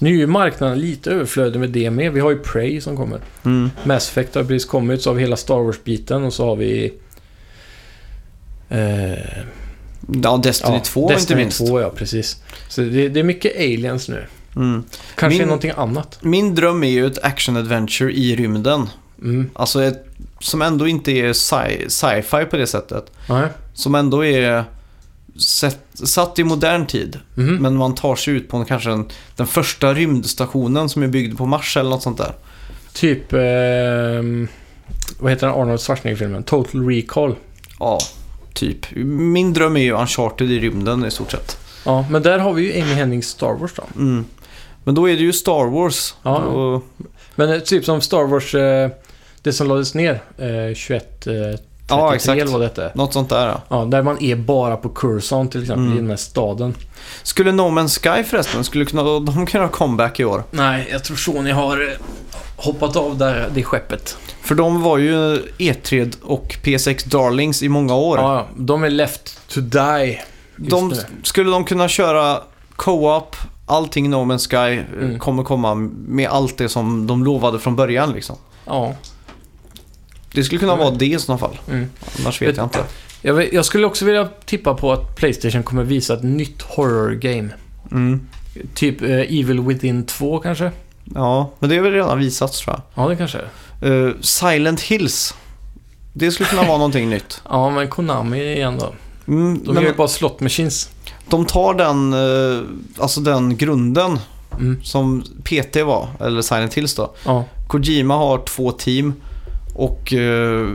S2: Nu är ju marknaden lite överflödig med det med. Vi har ju Prey som kommer.
S1: Mm.
S2: Mass Effect har precis kommit, så har vi hela Star Wars-biten och så har vi... Eh,
S1: Ja, Destiny 2 inte minst.
S2: 2, ja precis. Så det, det är mycket aliens nu.
S1: Mm.
S2: Kanske
S1: Min-
S2: är någonting annat.
S1: Min dröm är ju ett action-adventure i rymden.
S2: Mm.
S1: Alltså ett, som ändå inte är sci- sci-fi på det sättet.
S2: Nej.
S1: Som ändå är sett, satt i modern tid.
S2: Mhm.
S1: Men man tar sig ut på en, kanske en, den första rymdstationen som är byggd på Mars eller något sånt där.
S2: Typ... ehm, vad heter den Arnold Schwarzenegger-filmen? Total Recall.
S1: Ja, typ. Min dröm är ju Uncharted i rymden i stort sett.
S2: Ja, men där har vi ju Amy Hennings Star Wars då.
S1: Mm. Men då är det ju Star Wars.
S2: Ja.
S1: Då-
S2: Men eh, typ som Star Wars... Eh, det som lades ner eh, 21... Eh, 33
S1: ja exakt.
S2: eller vad det hette.
S1: Något sånt där ja.
S2: Ja, där man är bara på Curson till exempel,
S1: Mm.
S2: i den här staden.
S1: Skulle No Man's Sky förresten, skulle kunna, de kunna ha comeback i år?
S2: Nej, jag tror Sony har eh, hoppat av där, det skeppet.
S1: För de var ju E3 och PS6 Darlings i många år.
S2: Ja, ja, de är left to die. just
S1: de,
S2: nu.
S1: skulle de kunna köra co-op, allting No Man's Sky eh,
S2: Mm.
S1: kommer komma med allt det som de lovade från början liksom.
S2: Ja.
S1: Det skulle kunna
S2: Mm.
S1: vara det i sådana fall.
S2: Mm.
S1: Annars vet
S2: Vet-
S1: jag inte.
S2: Jag, vet- jag skulle också vilja tippa på att Playstation kommer visa ett nytt horror game.
S1: Mm.
S2: Typ eh, Evil Within 2 kanske?
S1: Ja, men det har väl redan visats tror jag.
S2: Ja, det kanske är.
S1: Eh, Silent Hills. Det skulle kunna vara någonting nytt.
S2: Ja, men Konami igen då.
S1: Mm,
S2: (laughs) De
S1: men
S2: gör ju bara slot machines.
S1: de tar den, eh, alltså den grunden
S2: Mm.
S1: som PT var, eller Silent Hills då.
S2: Ja.
S1: Kojima har två team och eh,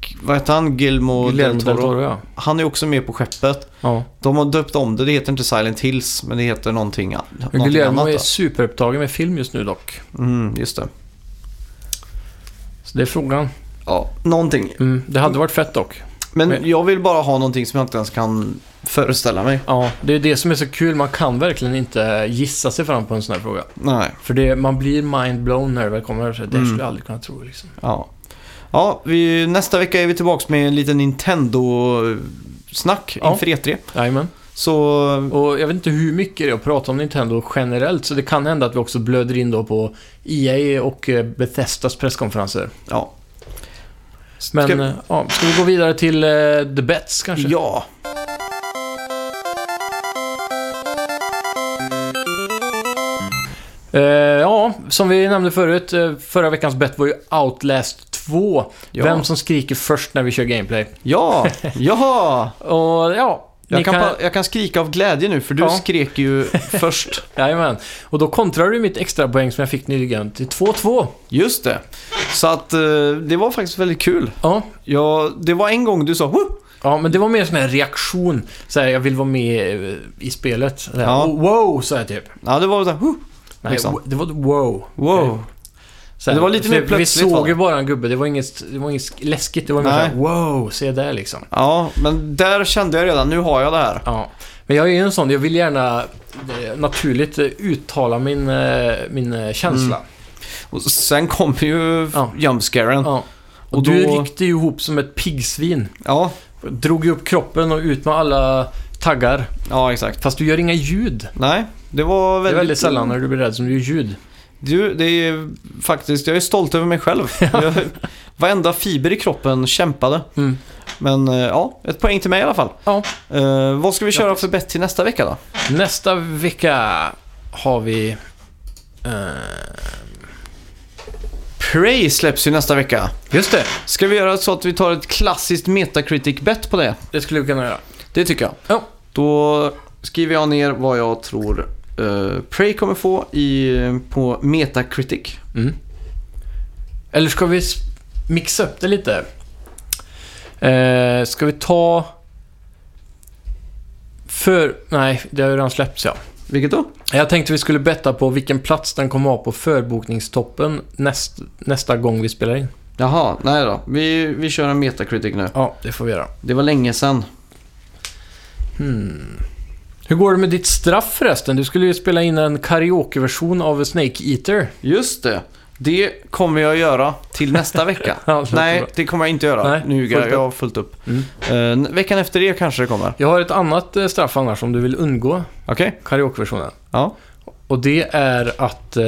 S1: g- vad heter han? Gilmo
S2: Guillermo
S1: del Toro.
S2: ja.
S1: Han är också med på skeppet.
S2: ja.
S1: De har döpt om det, det heter inte Silent Hills men det heter någonting, an- någonting
S2: Guillermo
S1: annat.
S2: är
S1: Då.
S2: superupptagen med film just nu dock.
S1: Mm, just det.
S2: Så det är frågan.
S1: Ja, någonting.
S2: Mm. Det hade varit fett dock.
S1: Men
S2: Men-
S1: jag vill bara ha någonting som jag inte ens kan föreställa mig.
S2: Ja, det är det som är så kul. Man kan verkligen inte gissa sig fram på en sån här fråga.
S1: Nej,
S2: För det, man blir mindblown när det väl kommer. Så det
S1: Mm.
S2: skulle jag aldrig kunna tro liksom.
S1: ja. Ja, vi, nästa vecka är vi tillbaka med en liten Nintendo-snack
S2: Ja.
S1: inför E3.
S2: Jajamän.
S1: Så
S2: Och jag vet inte hur mycket det är att prata om Nintendo generellt. Så det kan hända att vi också blöder in då på EA och eh, Bethesdas presskonferenser.
S1: ja.
S2: Men
S1: Ska-
S2: ska... Ja, ska vi gå vidare till eh, The Bets kanske?
S1: eh, Ja.
S2: Eh, ja, som vi nämnde förut, eh, förra veckans bet var ju Outlast 2.
S1: Ja.
S2: Vem som skriker först när vi kör gameplay. (laughs)
S1: Ja, jaha!
S2: Och ja, ni
S1: Jag kan, pa- jag kan skrika av glädje nu för du
S2: Ja.
S1: skrek
S2: (laughs)
S1: ju (laughs) först.
S2: Jajamän. Och då kontrar du mitt extra poäng som jag fick nyligen till 2-2.
S1: Just det. Så att eh, det var faktiskt väldigt kul.
S2: Ja.
S1: Ja, det var en gång du sa Woo!
S2: ja, men det var mer sån här reaktion. Så här, jag vill vara med eh, i spelet. Så här,
S1: Ja.
S2: "Oh, Wow, så här typ.
S1: Ja, det var så här, Woo!
S2: Nej,
S1: Liksom.
S2: wo- det var wow.
S1: Wow.
S2: Så här,
S1: Det var lite
S2: för
S1: mer
S2: Vi
S1: plötsligt, va?
S2: såg ju bara en gubbe. Det var inget, det var inget sk- läskigt. Det var mer så
S1: Nej.
S2: här, wow, se där liksom.
S1: Ja, men där kände jag redan, nu har jag det här.
S2: Ja, men jag är ju en sån. Jag vill gärna eh, naturligt eh, uttala min, eh, min eh, känsla.
S1: Mm. Och sen kom ju
S2: Ja.
S1: jumpscaren. Ja.
S2: Ja. Och,
S1: Och
S2: du
S1: då-
S2: ryckte ju ihop som ett piggsvin.
S1: ja,
S2: Drog ju upp kroppen och ut med alla taggar.
S1: exakt.
S2: Fast du gör inga ljud.
S1: Nej, det var
S2: Det är
S1: väldigt...
S2: väldigt sällan när du blir rädd som du gör ljud.
S1: Du, det är faktiskt, jag är stolt över mig
S2: (laughs)
S1: själv. jag, varenda fiber i kroppen kämpade.
S2: Mm.
S1: Men eh, ja, ett poäng till mig i alla fall.
S2: Ja.
S1: Eh, vad ska vi köra för bett till nästa vecka då?
S2: Nästa vecka har vi... eh,
S1: Prey släpps ju nästa vecka.
S2: just det,
S1: Ska vi göra så att vi tar ett klassiskt Metacritic-bett på det?
S2: det skulle vi kunna göra.
S1: Det tycker jag.
S2: Ja.
S1: Då skriver jag ner vad jag tror eh, Prey kommer få i, på Metacritic.
S2: Mm. Eller ska vi s- mixa upp det lite? Eh, ska vi ta... För... Nej, det har ju redan släppts ja.
S1: Vilket då?
S2: Jag tänkte vi skulle betta på vilken plats den kommer ha på förbokningstoppen näst, nästa gång vi spelar in.
S1: Jaha, nej då. Vi, vi kör en Metacritic nu.
S2: Ja, det får vi göra.
S1: Det var länge sedan.
S2: Hmm. Hur går det med ditt straff förresten? Du skulle ju spela in en karaokeversion av Snake Eater.
S1: Just det. Det kommer jag göra till nästa vecka.
S2: (laughs) Ja, det låter
S1: nej,
S2: bra.
S1: det kommer jag inte göra.
S2: Nej,
S1: nu ljuger jag.
S2: fullt upp.
S1: Jag har fullt upp.
S2: Mm.
S1: Eh, veckan efter det kanske det kommer.
S2: Jag har ett annat eh, straff annars om du vill undgå
S1: Okej?
S2: karaokeversionen.
S1: Ja.
S2: Och det är att eh,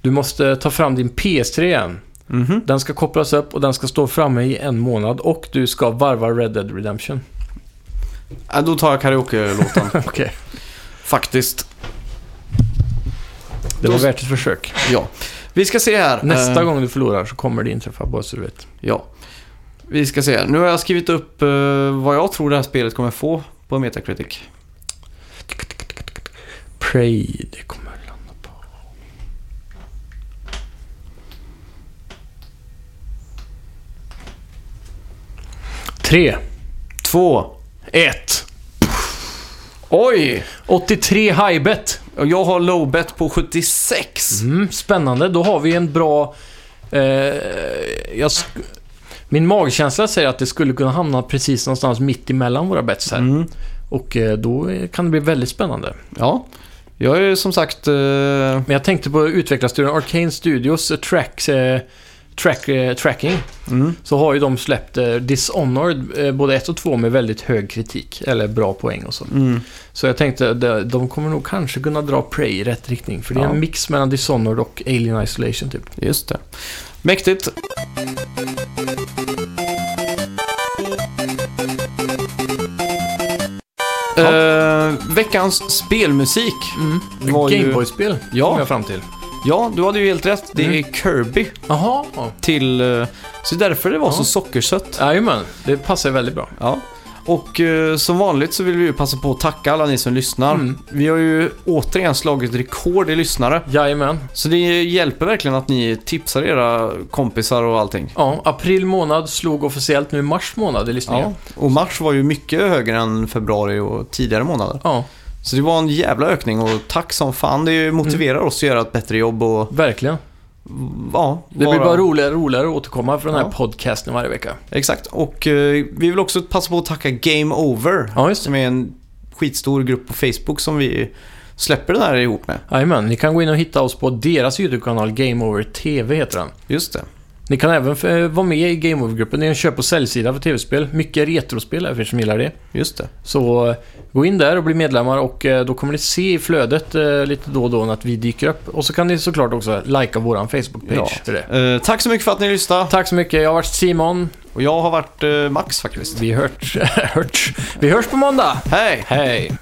S2: du måste ta fram din PS3 igen.
S1: Mhm.
S2: Den ska kopplas upp och den ska stå framme i en månad och du ska varva Red Dead Redemption.
S1: Ja, då tar jag karaoke-låten.
S2: (laughs) Okej.
S1: Faktiskt.
S2: Det var
S1: Då-
S2: värt ett försök.
S1: Ja. Vi ska se här.
S2: Nästa
S1: Eh,
S2: gång du förlorar så kommer det inträffa, bara så du vet.
S1: Ja. Vi ska se. Nu har jag skrivit upp eh, vad jag tror det här spelet kommer få på Metacritic.
S2: Pray, det kommer att landa på... Tre,
S1: Två.
S2: ett,
S1: Oj!
S2: 83 high bet.
S1: Och Jag har low bet på 76.
S2: Mm, spännande, då har vi en bra... Eh, jag sk- Min magkänsla säger att det skulle kunna hamna precis någonstans mitt emellan våra bets här.
S1: Mm.
S2: Och eh, då kan det bli väldigt spännande.
S1: Ja. Jag är ju som sagt... eh,
S2: Men jag tänkte på utvecklarstudion Arcane Studios eh, tracks, eh, track, eh, Tracking.
S1: mm.
S2: Så har ju de släppt eh, Dishonored eh, både 1 och 2 med väldigt hög kritik. Eller bra poäng och så.
S1: Mm.
S2: Så jag tänkte att de- de kommer nog kanske kunna dra Prey i rätt riktning. För det är
S1: Ja.
S2: en mix mellan Dishonored och Alien Isolation typ.
S1: Just det. Mäktigt. Eh, veckans spelmusik.
S2: Mm.
S1: Var ju-
S2: Gameboy-spel
S1: Ja.
S2: kom jag fram till.
S1: Ja, du hade ju helt rätt. Det
S2: Mm.
S1: är Kirby
S2: Jaha.
S1: till... eh, så därför det var
S2: Ja.
S1: så sockersött.
S2: Jajamän, det passar väldigt bra.
S1: Ja. Och eh, som vanligt så vill vi ju passa på att tacka alla ni som lyssnar.
S2: Mm.
S1: Vi har ju återigen slagit rekord i lyssnare.
S2: Jajamän.
S1: Så det hjälper verkligen att ni tipsar era kompisar och allting.
S2: Ja, april månad slog officiellt nu mars månad i
S1: Ja.
S2: lyssningen.
S1: Och mars var ju mycket högre än februari och tidigare månader.
S2: Ja.
S1: Så det var en jävla ökning och tack som fan. Det motiverar
S2: Mm.
S1: oss att göra ett bättre jobb och
S2: verkligen.
S1: ja,
S2: Det blir bara roligare och roligare att återkomma för den här
S1: Ja.
S2: podcasten varje vecka.
S1: Exakt. Och eh, vi vill också passa på att tacka Game Over.
S2: Ja, just det.
S1: Som är en skitstor grupp på Facebook som vi släpper den här ihop med.
S2: Jajamän, ni kan gå in och hitta oss på deras YouTube-kanal Game Over TV heter den.
S1: Just det.
S2: Ni kan även eh, vara med i Game Over-gruppen. Det är en köp och säljsida för tv-spel. Mycket retrospel här för er som gillar det.
S1: Just det.
S2: Så eh, gå in där och bli medlemmar och eh, då kommer ni se i flödet eh, lite då och då att vi dyker upp. Och så kan ni såklart också likea våran
S1: Ja.
S2: Facebook-page. för det.
S1: Eh, tack så mycket för att ni lyssnade.
S2: Tack så mycket. Jag har varit Simon.
S1: Och jag
S2: (laughs)
S1: har varit eh, Max faktiskt.
S2: Vi hörs, hörs. Vi hörs på måndag.
S1: Hej!
S2: Hej!